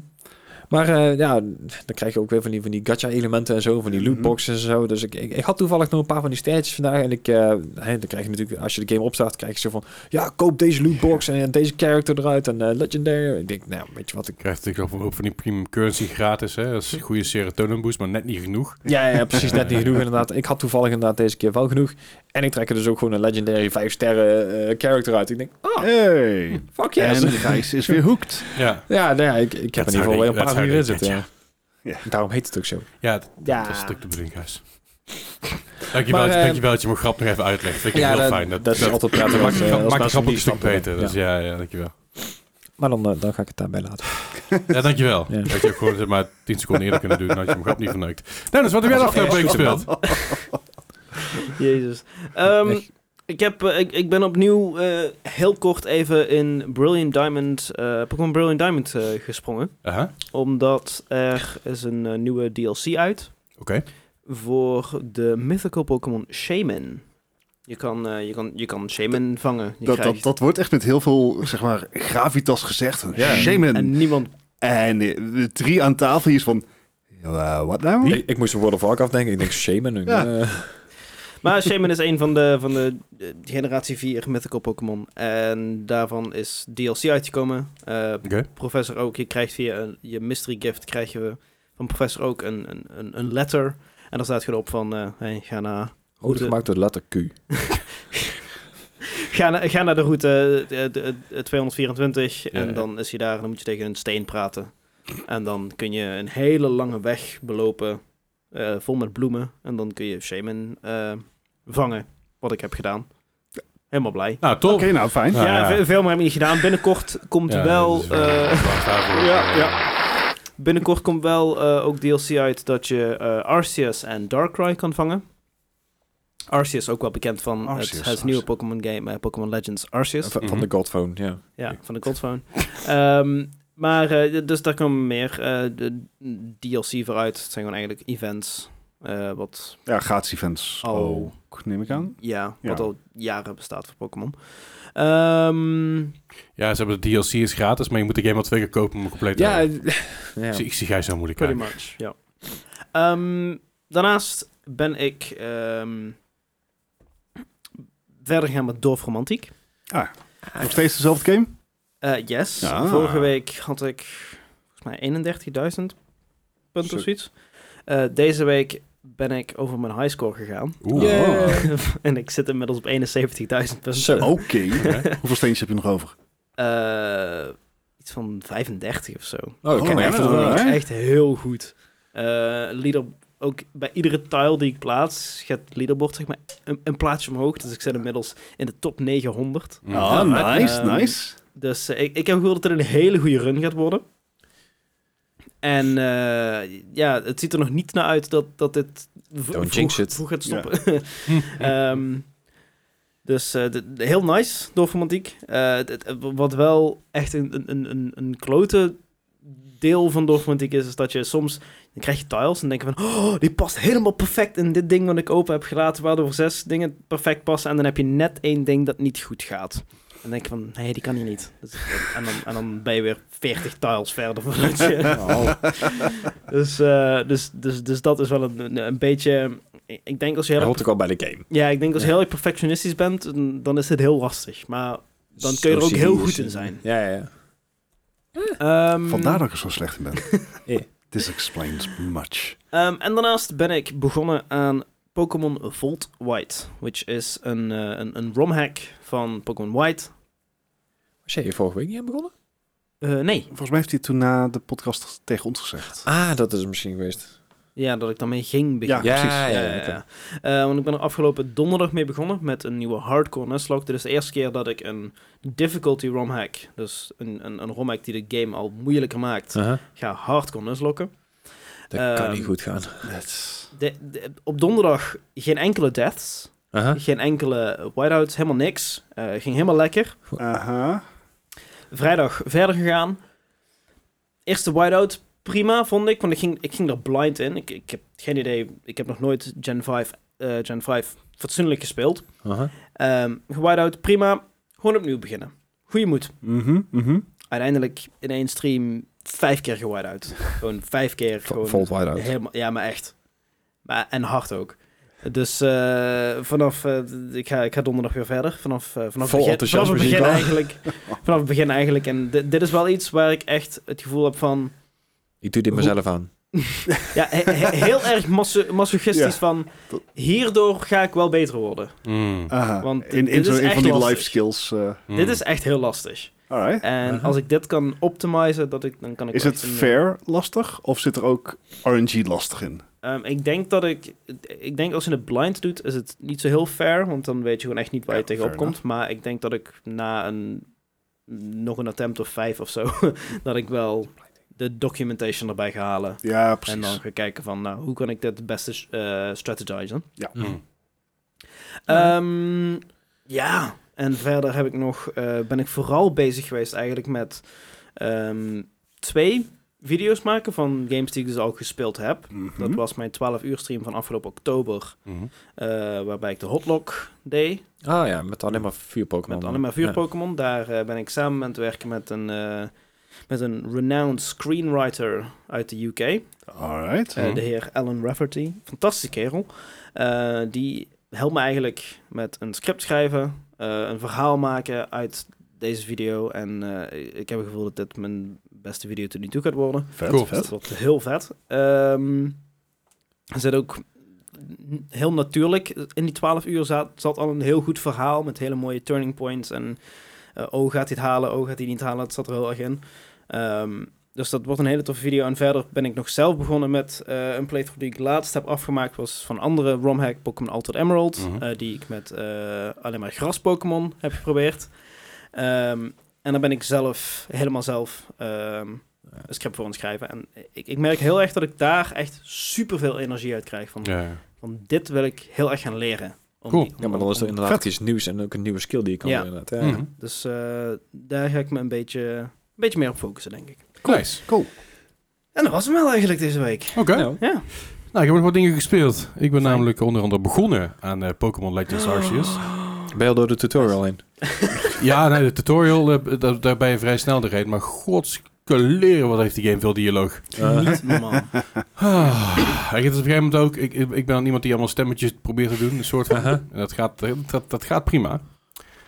B: Maar eh, ja, dan krijg je ook weer van die, van die gacha-elementen en zo, van die lootboxen en zo. Dus ik, ik, ik had toevallig nog een paar van die stages vandaag. En ik, eh, hè, dan krijg je natuurlijk, als je de game opstart, krijg je zo van... Ja, koop deze lootbox en deze character eruit en eh, legendary. Ik denk, nou, weet je wat, ik
A: Je krijgt natuurlijk ook van die premium currency gratis. Hè? Dat is een goede serotonin boost, maar net niet genoeg.
B: Ja, ja, precies. Net niet genoeg inderdaad. Ik had toevallig inderdaad deze keer wel genoeg. En ik trek er dus ook gewoon een legendary 5 sterren eh, character uit. Ik denk, oh,
C: Hey.
B: fuck yes.
C: En Gijs is weer hooked.
A: Ja,
B: Ja, nou ja, ik, ik heb
A: That's
B: in ieder geval
A: how
B: weer
A: they-
B: een
A: that's
B: paar
A: how
B: uur
A: they
B: in zitten.
A: get
B: Ja. Daarom heet het ook zo.
A: ja, dat,
D: Ja.
A: dat is natuurlijk de bedoeling, Gijs. Dankjewel,
B: Maar, eh,
A: dankjewel dat je mijn grap nog even uitlegt. Vind ik heel fijn.
B: dat, is altijd prettig.
A: maakt
B: als,
A: de
B: eh,
A: grap-
B: als
A: maakt de grap
B: mensen
A: ook
B: die
A: een stuk
B: stappen
A: beter.
B: hebben.
A: Dus
B: Ja.
A: ja, ja dankjewel.
B: Maar dan, eh, dan ga ik het daarbij laten.
A: Ja, dankjewel.
B: Ja.
A: Dat je ook gewoon zeg maar 10 seconden eerder kunnen doen, dan had je mijn grap niet verneukt. Dennis, wat heb jij de
B: Dat was
A: afgelopen week
B: echt zo,
A: gespeeld?
D: Jezus. Ehm,
B: Echt.
D: ik, heb, eh, ik, ik ben opnieuw eh, heel kort even in Brilliant Diamond, eh Pokémon Brilliant Diamond eh, gesprongen.
A: Aha,
D: Omdat er is een eh, nieuwe DLC uit
A: oké.
D: voor de mythical Pokémon Shaman. Je kan, eh, je kan, je kan Shaman vangen. Je
C: Dat, dat,
D: krijgt-
C: dat wordt echt met heel veel zeg maar, gravitas gezegd.
B: Ja.
C: Shaman. En,
D: En niemand...
C: eh, de drie aan tafel hier is van... eh, Wat nou?
B: Ik, ik moest een World of Warcraft denken. Ik denk, shaman. Ik,
C: Ja.
B: eh,
D: Maar Shaman is een van de, van de eh, generatie 4 mythical Pokémon. En daarvan is DLC uitgekomen. Eh,
A: Oké.
D: Professor Oak, je krijgt via een- je mystery gift krijg je van Professor Oak een, een, een, een letter. En daar staat gewoon op van, eh, hey, ga, naar
B: Goed
D: route,
B: gemaakt door de letter Q.
D: ga, naar- ga naar de route eh, de- de- de 224
A: Ja.
D: en dan is hij daar en dan moet je tegen een steen praten. En dan kun je een hele lange weg belopen, eh, vol met bloemen. En dan kun je shaman eh, vangen, wat ik heb gedaan. Helemaal blij.
A: Nou, top.
C: Oké, nou fijn.
A: Ja,
D: Ja,
A: ja.
D: ve- veel meer heb ik niet gedaan. Binnenkort komt
A: Ja,
D: wel...
A: dat is wel-
D: eh,
A: daarvoor.
D: ja, ja. Binnenkort komt wel eh, ook DLC uit dat je eh, Arceus en Darkrai kan vangen. Arceus ook wel bekend van
C: Arceus,
D: het, het
C: Arceus.
D: nieuwe Pokémon game, eh, Pokémon Legends Arceus.
B: Van, van de Godphone, ja.
D: Ja, van de Godphone. Ehm, maar eh, dus daar komen meer eh, de DLC vooruit. Het zijn gewoon eigenlijk events. eh, wat
C: Ja, gratis events
D: al
C: ook, neem ik aan.
D: Ja, wat
C: Ja.
D: al jaren bestaat voor Pokémon. Ehm,
A: Ja, ze hebben de DLC is gratis, maar je moet de game al twee keer kopen om hem compleet te
B: Ja, eh,
A: halen.
B: ja.
A: Ik zie- Ik zie jij zo moeilijk
D: Pretty
A: kijken.
D: much, ja. Ehm, daarnaast ben ik ehm, verder gaan met Dorf Romantiek.
C: Nog steeds dezelfde game?
D: Eh, yes,
C: Ja.
D: vorige week had ik volgens mij 31.000 punten
C: Zo.
D: of zoiets. Eh, deze week ben ik over mijn highscore gegaan.
A: Oeh.
B: Yeah.
D: en ik zit inmiddels op 71.000 punten.
B: Zo.
C: Oké.
A: Oké.
C: Hoeveel steentjes heb je nog over?
D: Eh, iets van 35 of zo.
B: Oh, dat
C: Oh,
B: ken ik
C: ja,
B: echt
C: dat
B: wel.
C: wel.
D: Echt,
C: hè?
D: echt heel goed. Eh leader, ook bij iedere tile die ik plaats, gaat het leaderboard zeg maar een, een plaatsje omhoog. Dus ik zit inmiddels in de top 900.
A: Mm.
C: Ah, nice,
D: Ehm,
C: nice.
D: Dus eh, ik, ik heb gevoeld dat het een hele goede run gaat worden. En eh, ja, het ziet er nog niet naar uit dat, dat dit v-
B: Don't
D: vroeg,
B: jinx it.
D: vroeg gaat stoppen. Ehm, dus eh, de- de- heel nice door Romantiek. Eh, het- het- wat wel echt een, een- een, een, een klote deel van Dorfmantiek is, is dat je soms... Dan krijg je tiles en denk je van... Oh, die past helemaal perfect in dit ding wat ik open heb gelaten... waardoor zes dingen perfect passen. En dan heb je net één ding dat niet goed gaat. En dan denk je van... Nee, die kan hier niet. Dus, en, dan, en dan ben je weer 40 tiles verder voordat je... Dus, eh, dus, dus, dus dat is wel een, een- een beetje... ik- Ik denk als je
B: Dat
D: heel
B: hoort ook al bij de game.
D: ja, ik denk als je
B: Ja.
D: heel erg perfectionistisch bent, dan- dan is het heel lastig. Maar Dan kun je er ook heel
B: serieus.
D: goed in zijn.
B: Ja, ja, ja.
D: ehm,
C: Vandaar dat ik er zo slecht in ben.
B: Eh.
C: This explains much.
D: ehm, en daarnaast ben ik begonnen aan Pokémon Volt White, which is een, eh, een, een romhack van Pokémon White.
B: Was jij hier vorige week niet aan begonnen?
D: Eh, nee,
C: Volgens mij heeft hij het toen na de podcast tegen ons gezegd.
B: Ah, dat is het misschien geweest.
D: ja, dat ik daarmee ging beginnen.
C: Ja,
B: Ja,
C: precies.
B: ja,
D: Ja,
B: Ah, ja.
D: ja,
B: oké.
D: ja. Eh, want ik ben er afgelopen donderdag mee begonnen met een nieuwe hardcore nestlock. Dit is de eerste keer dat ik een difficulty romhack, dus een, een, een romhack die de game al moeilijker maakt,
B: Aha.
D: ga hardcore nestlocken.
B: Uh-huh. Dat kan
D: Ehm,
B: niet goed gaan.
D: De, de- op donderdag geen enkele deaths.
B: Aha.
D: Geen enkele whiteouts, helemaal niks. Eh, ging helemaal lekker.
C: Aha.
D: Vrijdag verder gegaan. Eerste whiteout, prima vond ik, want ik ging, ik ging er blind in. Ik, ik heb geen idee, ik heb nog nooit Gen 5, eh, Gen 5 fatsoenlijk gespeeld.
B: Aha.
D: Ehm whiteout, prima. Gewoon opnieuw beginnen. Goeie moed.
C: Mhm, mhm.
D: Uiteindelijk in één stream vijf keer gewhiteout. Gewoon vijf keer.
B: Vo-
D: gewoon-
B: Volt wide out.
D: Helemaal, ja, maar echt. Maar, en hard ook. Dus eh, vanaf, eh, ik, ga, ik ga donderdag weer verder. Vanaf, eh, vanaf,
B: Vol
D: begin, vanaf
B: enthousiasme
D: het
B: zie ik
D: begin
B: al.
D: eigenlijk. Vanaf het begin eigenlijk. En di- dit is wel iets waar ik echt het gevoel heb van...
B: Ik doe dit mezelf aan.
D: Ja, he- he- heel erg maso- masochistisch
C: Ja.
D: van... Hierdoor ga ik wel beter worden.
A: Mm.
C: Aha.
D: Want
C: in
D: dit
C: in, zo,
D: is
C: in
D: echt
C: van die
D: lastig.
C: life skills. eh
A: Mm.
B: Hmm.
D: Dit is echt heel lastig.
C: alright.
D: En
B: Mhm.
D: als ik dit kan optimizen, dat ik, dan kan ik...
C: Is
D: wel
C: het
D: echt een-
C: fair lastig of zit er ook RNG lastig in?
D: Ehm, ik denk dat ik... Ik denk als je het blind doet, is het niet zo heel fair. Want dan weet je gewoon echt niet waar
C: Ja,
D: je tegenop
C: fair
D: komt. Maar ik denk dat ik na een... Nog een attempt of vijf of zo... dat ik wel de documentation erbij ga halen.
C: Ja,
D: En dan
C: precies.
D: ga kijken van... Nou, hoe kan ik dit het beste eh strategizen?
A: Mm.
B: Ja.
D: Ehm, ja. En verder heb ik nog... eh, ben ik vooral bezig geweest eigenlijk met... ehm, twee video's maken van games die ik dus al gespeeld heb.
C: Mhm.
D: Dat was mijn 12 uur stream van afgelopen oktober.
A: Mhm.
D: eh, waarbij ik de hotlock deed.
B: Ah ja, met alleen maar vier Pokémon.
D: Met alleen maar
B: Ja.
D: vuur Pokémon. Daar eh, ben ik samen aan het werken met een, eh, met een renowned screenwriter uit de UK. eh,
C: Alright.
A: Mhm.
D: De heer Alan Rafferty. Fantastische kerel. Eh, die helpt me eigenlijk met een script schrijven. eh, een verhaal maken uit deze video. En eh, ik heb het gevoel dat dit mijn beste video tot nu toe gaat worden.
C: Vet,
A: Cool.
D: Dus dat
C: vet.
D: wordt heel vet. Ehm, er zit ook n- heel natuurlijk. In die 12 uur zat, zat al een heel goed verhaal met hele mooie turning points. En eh, oh, gaat hij het halen, oh, gaat hij niet halen. Het zat er heel erg in. Ehm, dus dat wordt een hele toffe video. En verder ben ik nog zelf begonnen met eh, een playthrough die ik laatst heb afgemaakt. was van andere ROM-hack Pokémon Altered Emerald.
A: Mhm.
D: eh, die ik met eh, alleen maar gras-Pokémon heb geprobeerd. Ehm, en dan ben ik zelf, helemaal zelf, ehm, een script voor aan het schrijven. En ik, ik merk heel erg dat ik daar echt superveel energie uit krijg. Van,
A: Ja.
D: van dit wil ik heel erg gaan leren. Om
A: Cool.
B: Ja, maar dan is er inderdaad iets nieuws en ook een nieuwe skill die je kan
D: Ja.
B: doen. Inderdaad. Ja.
A: Mhm.
D: Dus eh, daar ga ik me een beetje, een beetje meer op focussen, denk ik.
A: Nice.
C: Cool.
D: En dat was hem wel eigenlijk deze week.
A: Oké.
B: Ja.
D: Ja.
A: Nou, ik heb nog wat dingen gespeeld. Ik ben
D: Fijn. Oh.
A: namelijk onder andere begonnen aan eh, Pokémon Legends Arceus.
B: Ben je al door de tutorial heen?
A: Ja, nee, de tutorial, eh, da- daar ben je vrij snel doorheen. Maar godskeleren, wat heeft die game veel dialoog.
B: Eh,
D: Niet normaal.
A: Ah, ik, het is op een gegeven moment ook, ik, ik ik ben dan iemand die allemaal stemmetjes probeert te doen. Een soort van,
B: Aha.
A: en dat, gaat, dat, dat gaat prima.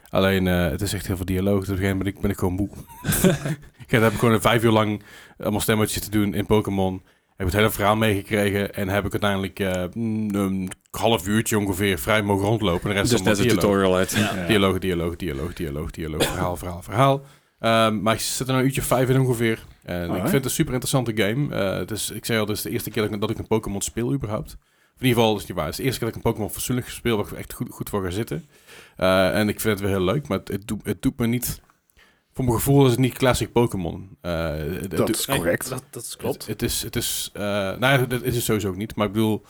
A: Alleen, eh, het is echt heel veel dialoog. Dus op een gegeven moment ben ik, ben ik gewoon moe. ik heb ik gewoon vijf uur lang allemaal stemmetjes te doen in Pokémon. Heb het hele verhaal meegekregen. En heb ik uiteindelijk eh, mm, een half uurtje ongeveer vrij mogen rondlopen. En de rest
B: Dus
A: allemaal
B: net een
A: dialoog.
B: tutorial uit.
C: Ja.
A: Dialoog, dialoog, dialoog, dialoog, dialoog, verhaal, verhaal, verhaal. Ehm, maar ik zit er nou een uurtje vijf in ongeveer. En ik
C: Alright.
A: vind het een super interessante game. Eh, dus ik zei al, dit is de eerste keer dat ik, dat ik een Pokémon speel überhaupt. Of in ieder geval, dat is niet waar. Het is de eerste keer dat ik een Pokémon fatsoenlijk speel waar ik echt goed, goed voor ga zitten. Eh, en ik vind het weer heel leuk, maar het, het, doet, het doet me niet... Voor mijn gevoel is het niet classic Pokémon. Eh, het- het
C: Dat
A: doet-
C: is correct.
D: Dat, dat is klopt.
A: het, het is, het is eh, nou ja, dat is het sowieso ook niet. Maar ik bedoel,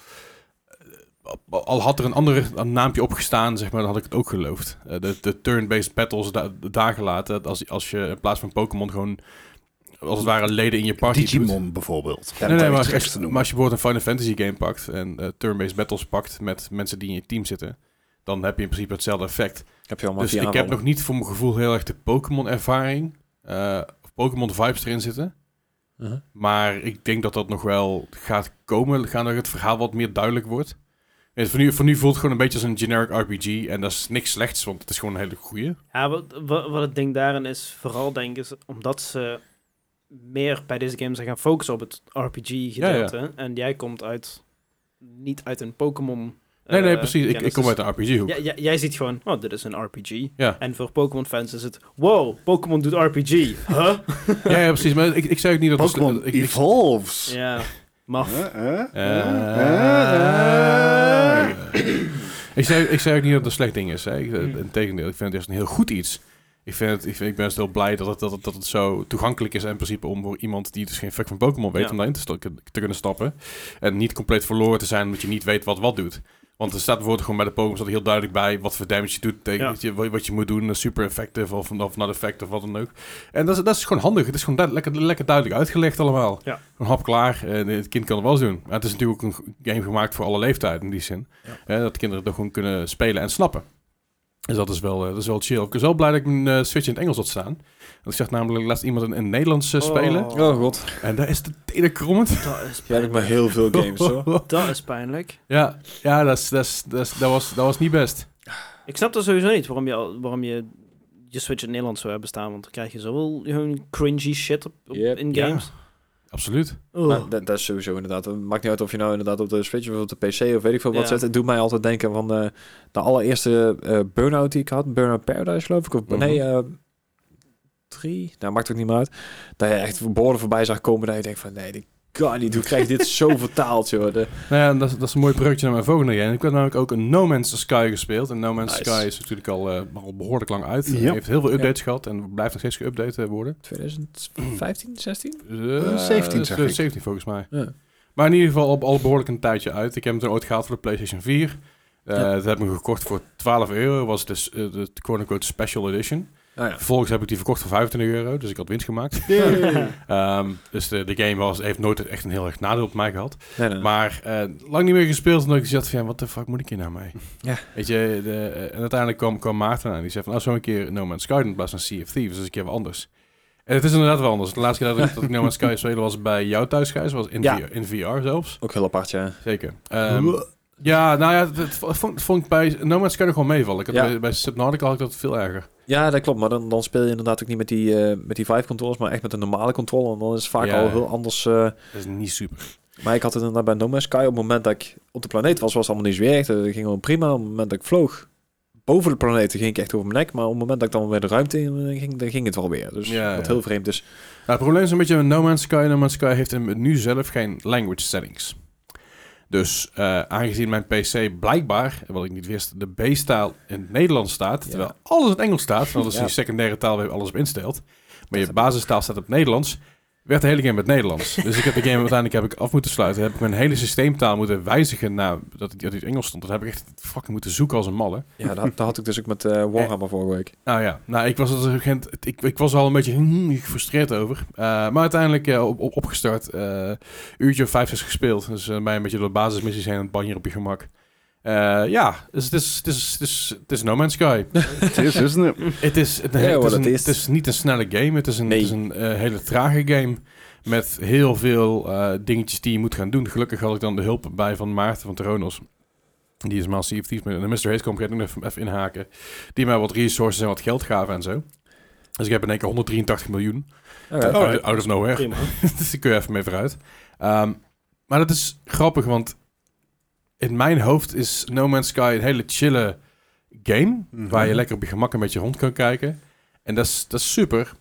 A: eh, al had er een ander naampje opgestaan, zeg maar, dan had ik het ook geloofd. Eh, de de turn-based battles da daar gelaten, dat als, als je in plaats van Pokémon gewoon, als het ware, leden in je party doet.
C: Digimon bijvoorbeeld.
A: Nee, nee, maar,
C: maar,
A: als, als- maar als je bijvoorbeeld een Final Fantasy game pakt en eh, turn-based battles pakt met mensen die in je team zitten, dan heb je in principe hetzelfde effect.
B: Heb je allemaal
A: Dus
B: via
A: ik heb nog niet voor mijn gevoel heel erg de Pokémon-ervaring, eh, of Pokémon-vibes erin zitten.
D: Uh-huh.
A: Maar ik denk dat dat nog wel gaat komen. Gaan dat het verhaal wat meer duidelijk wordt. En voor, nu, voor nu voelt het gewoon een beetje als een generic RPG. En dat is niks slechts, want het is gewoon een hele goeie.
D: Ja, wat, wat, wat het ding daarin is, vooral denk ik, is omdat ze meer bij deze game zijn gaan focussen op het RPG-gedeelte. En jij komt uit, niet uit een Pokémon.
A: Nee, nee,
D: eh,
A: precies. Ik, ik
D: kennis.
A: kom uit een RPG-hoek.
D: Ja, ja, jij ziet gewoon, oh, dit is een RPG.
A: Ja.
D: En voor Pokémon-fans is het, wow, Pokémon doet RPG. Huh?
A: Ja, ja, precies. Maar ik, ik zei ook niet dat... het-
C: Pokémon
A: ik, ik-
C: Evolves.
D: ja, maf.
C: Huh? Huh?
A: Eh,
C: Huh? Huh?
A: ik, zei, ik zei ook niet dat het een slecht ding is. Hè. Ik, Integendeel, ik vind het juist een heel goed iets. Ik, vind het, ik, vind, ik ben dus heel blij dat het, dat, het, dat het zo toegankelijk is in principe om voor iemand die dus geen fuck van Pokémon weet,
D: Ja.
A: om daarin te, sta- te kunnen stappen. En niet compleet verloren te zijn omdat je niet weet wat wat doet. Want er staat bijvoorbeeld gewoon bij de Pokémon staat er heel duidelijk bij wat voor damage je doet, tegen,
D: Ja.
A: wat, je, wat je moet doen, super effective of, of not effective of wat dan ook. En dat is, dat is gewoon handig. Het is gewoon duid- lekker, lekker duidelijk uitgelegd allemaal.
D: Ja.
A: Een hap klaar. En het kind kan er wel eens doen. Maar het is natuurlijk ook een game gemaakt voor alle leeftijd in die zin.
B: Ja.
A: Hè, dat kinderen het gewoon kunnen spelen en snappen. Dus dat is wel, eh, dat is wel chill. Ik was wel blij dat ik mijn eh, Switch in het Engels had staan. Want ik zag namelijk laatst iemand in, in het Nederlands eh, spelen.
B: Oh god,
A: En daar is de tenen krommend.
D: Dat is
B: jij hebt maar
D: pijnlijk.
B: heel veel games
A: Oh.
B: hoor.
D: Dat is pijnlijk.
A: ja, ja dat, is, dat, is, dat, is- dat was, dat was niet best.
D: Ik snap dat sowieso niet, waarom je, al- waarom je je Switch in het Nederlands zou hebben staan. Want dan krijg je zoveel gewoon cringy shit op, op-
B: Yep.
D: in
A: Ja.
D: games.
A: Absoluut.
D: Oh.
B: Maar dat, dat is sowieso inderdaad. Het maakt niet uit of je nou inderdaad op de Switch of op de PC of weet ik veel wat
D: Ja.
B: zet. Het doet mij altijd denken van eh, de allereerste eh Burnout die ik had. Burnout Paradise geloof ik. Of
A: Mhm.
B: nee, eh, drie. Nou, maakt ook niet meer uit. Dat je echt borden voorbij zag komen dat je denkt van nee, dit kan niet. Hoe krijg je dit zo vertaald joh. De,
A: Nou ja, en dat, is- dat is een mooi bruggetje naar mijn volgende game. Ik heb namelijk ook een No Man's Sky gespeeld. En No Man's
B: Nice.
A: Sky is natuurlijk al, eh, al behoorlijk lang uit.
C: Ja.
A: Heeft heel veel updates gehad en blijft nog steeds geüpdate eh, worden.
B: 2015, 16?
A: Eh,
C: 17 zeg ik.
A: 17 volgens mij.
B: Ja.
A: Maar in ieder geval op al behoorlijk een tijdje uit. Ik heb hem toen ooit gehaald voor de PlayStation 4. Eh
B: Ja.
A: Dat heb ik gekocht voor 12 euro. Was dus eh, de quote-unquote special edition.
B: Ah, ja.
A: Vervolgens heb ik die verkocht voor 25 euro. Dus ik had winst gemaakt. Ehm, dus de, de game was, heeft nooit echt een heel erg nadeel op mij gehad.
B: Nee, nee.
A: Maar eh, lang niet meer gespeeld. Omdat ik zat van, ja, wat de fuck moet ik hier nou mee?
B: Ja.
A: Weet je, de, eh, en uiteindelijk kwam, kwam Maarten aan. Die zei van, nou, zo een keer No Man's Sky in plaats van Sea of Thieves. Dus een keer wat anders. En het is inderdaad wel anders. De laatste keer dat ik, dat ik No Man's Sky spelen was bij jou thuis, Gijs. Was in,
B: Ja.
A: VR, in VR zelfs.
B: ook heel apart ja.
A: Zeker. Ehm, ja, nou ja, het het vond, het vond ik bij No Man's Sky nog wel meevallen. Ik had
B: Ja.
A: bij, bij Subnautica had ik dat veel erger.
B: Ja, dat klopt. Maar dan, dan speel je inderdaad ook niet met die, eh met die vive controllers, maar echt met een normale controller. En dan is het vaak
A: Ja.
B: al heel anders. eh,
A: Dat is niet super.
B: Maar ik had het inderdaad bij No Man's Sky. Op het moment dat ik op de planeet was, was het allemaal niet zo erg. Dat ging allemaal prima. Op het moment dat ik vloog boven de planeet, ging ik echt over mijn nek. Maar op het moment dat ik dan weer de ruimte in eh, ging, dan ging het wel weer. Dus
A: Ja,
B: wat
A: ja.
B: heel vreemd Dus is.
A: Nou, het probleem is een beetje met No Man's Sky. No Man's Sky heeft hem nu zelf geen language settings. Dus eh, aangezien mijn PC blijkbaar, wat ik niet wist, de B-taal in het Nederlands staat,
B: Ja.
A: terwijl alles in het Engels staat, want dat is
B: Ja.
A: die secundaire taal waar je alles op instelt, maar
B: heb
A: je
B: ik.
A: basistaal staat op Nederlands, werd de hele game met Nederlands. dus ik heb de game uiteindelijk heb ik af moeten sluiten, heb ik mijn hele systeemtaal moeten wijzigen naar dat het dat het Engels stond. Dat heb ik echt fucking moeten zoeken als een malle.
B: Ja, dat, dat had ik dus ook met eh, Warhammer vorige week.
A: Nou ja, nou, ik, was er, geen- ik, ik was er al een beetje hmm, gefrustreerd over. Eh, maar uiteindelijk eh, op, op, opgestart. eh uurtje of vijf is gespeeld. Dus eh, mij een beetje door de basismissies heen aan het banjer op je gemak. Eh, ja, dus het is, het, is, het, is, het is No Man's Sky.
C: Het is, isn't it?
A: het, is, het,
B: Ja,
A: het
B: hoor,
A: is
B: dat
A: een,
B: is.
A: het is niet een snelle game. Het is een,
B: Nee.
A: het is een eh, hele trage game. Met heel veel eh, dingetjes die je moet gaan doen. Gelukkig had ik dan de hulp bij van Maarten van Teronos. Die is Master of Thieves. En de Mr. Hayes kwam ik nog even, even inhaken. Die mij wat resources en wat geld gaven en zo. Dus ik heb in één keer 183 miljoen.
B: Oké.
A: out, out of nowhere.
D: Prima.
A: dus daar kun je even mee vooruit. Ehm, maar dat is grappig, want in mijn hoofd is No Man's Sky een hele chille game.
C: Mhm.
A: Waar je lekker op je gemak een beetje rond kan kijken. En dat is, dat is super.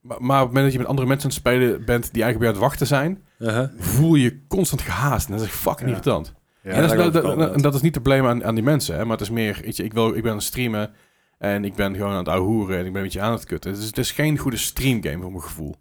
A: Maar, maar op het moment dat je met andere mensen aan het spelen bent die eigenlijk weer aan het wachten zijn,
B: Uh-huh.
A: voel je je constant gehaast. En dat is echt fucking
C: Ja.
A: irritant.
C: Ja,
A: en, dat is, dat,
B: daar kan ik
A: dat-
B: wel
A: en dat is niet te blamen aan, aan die mensen, hè, maar het is meer, weet je, ik, wil, ik ben aan het streamen en ik ben gewoon aan het ouwehoeren en ik ben een beetje aan het kutten. Het is, het is geen goede streamgame voor mijn gevoel.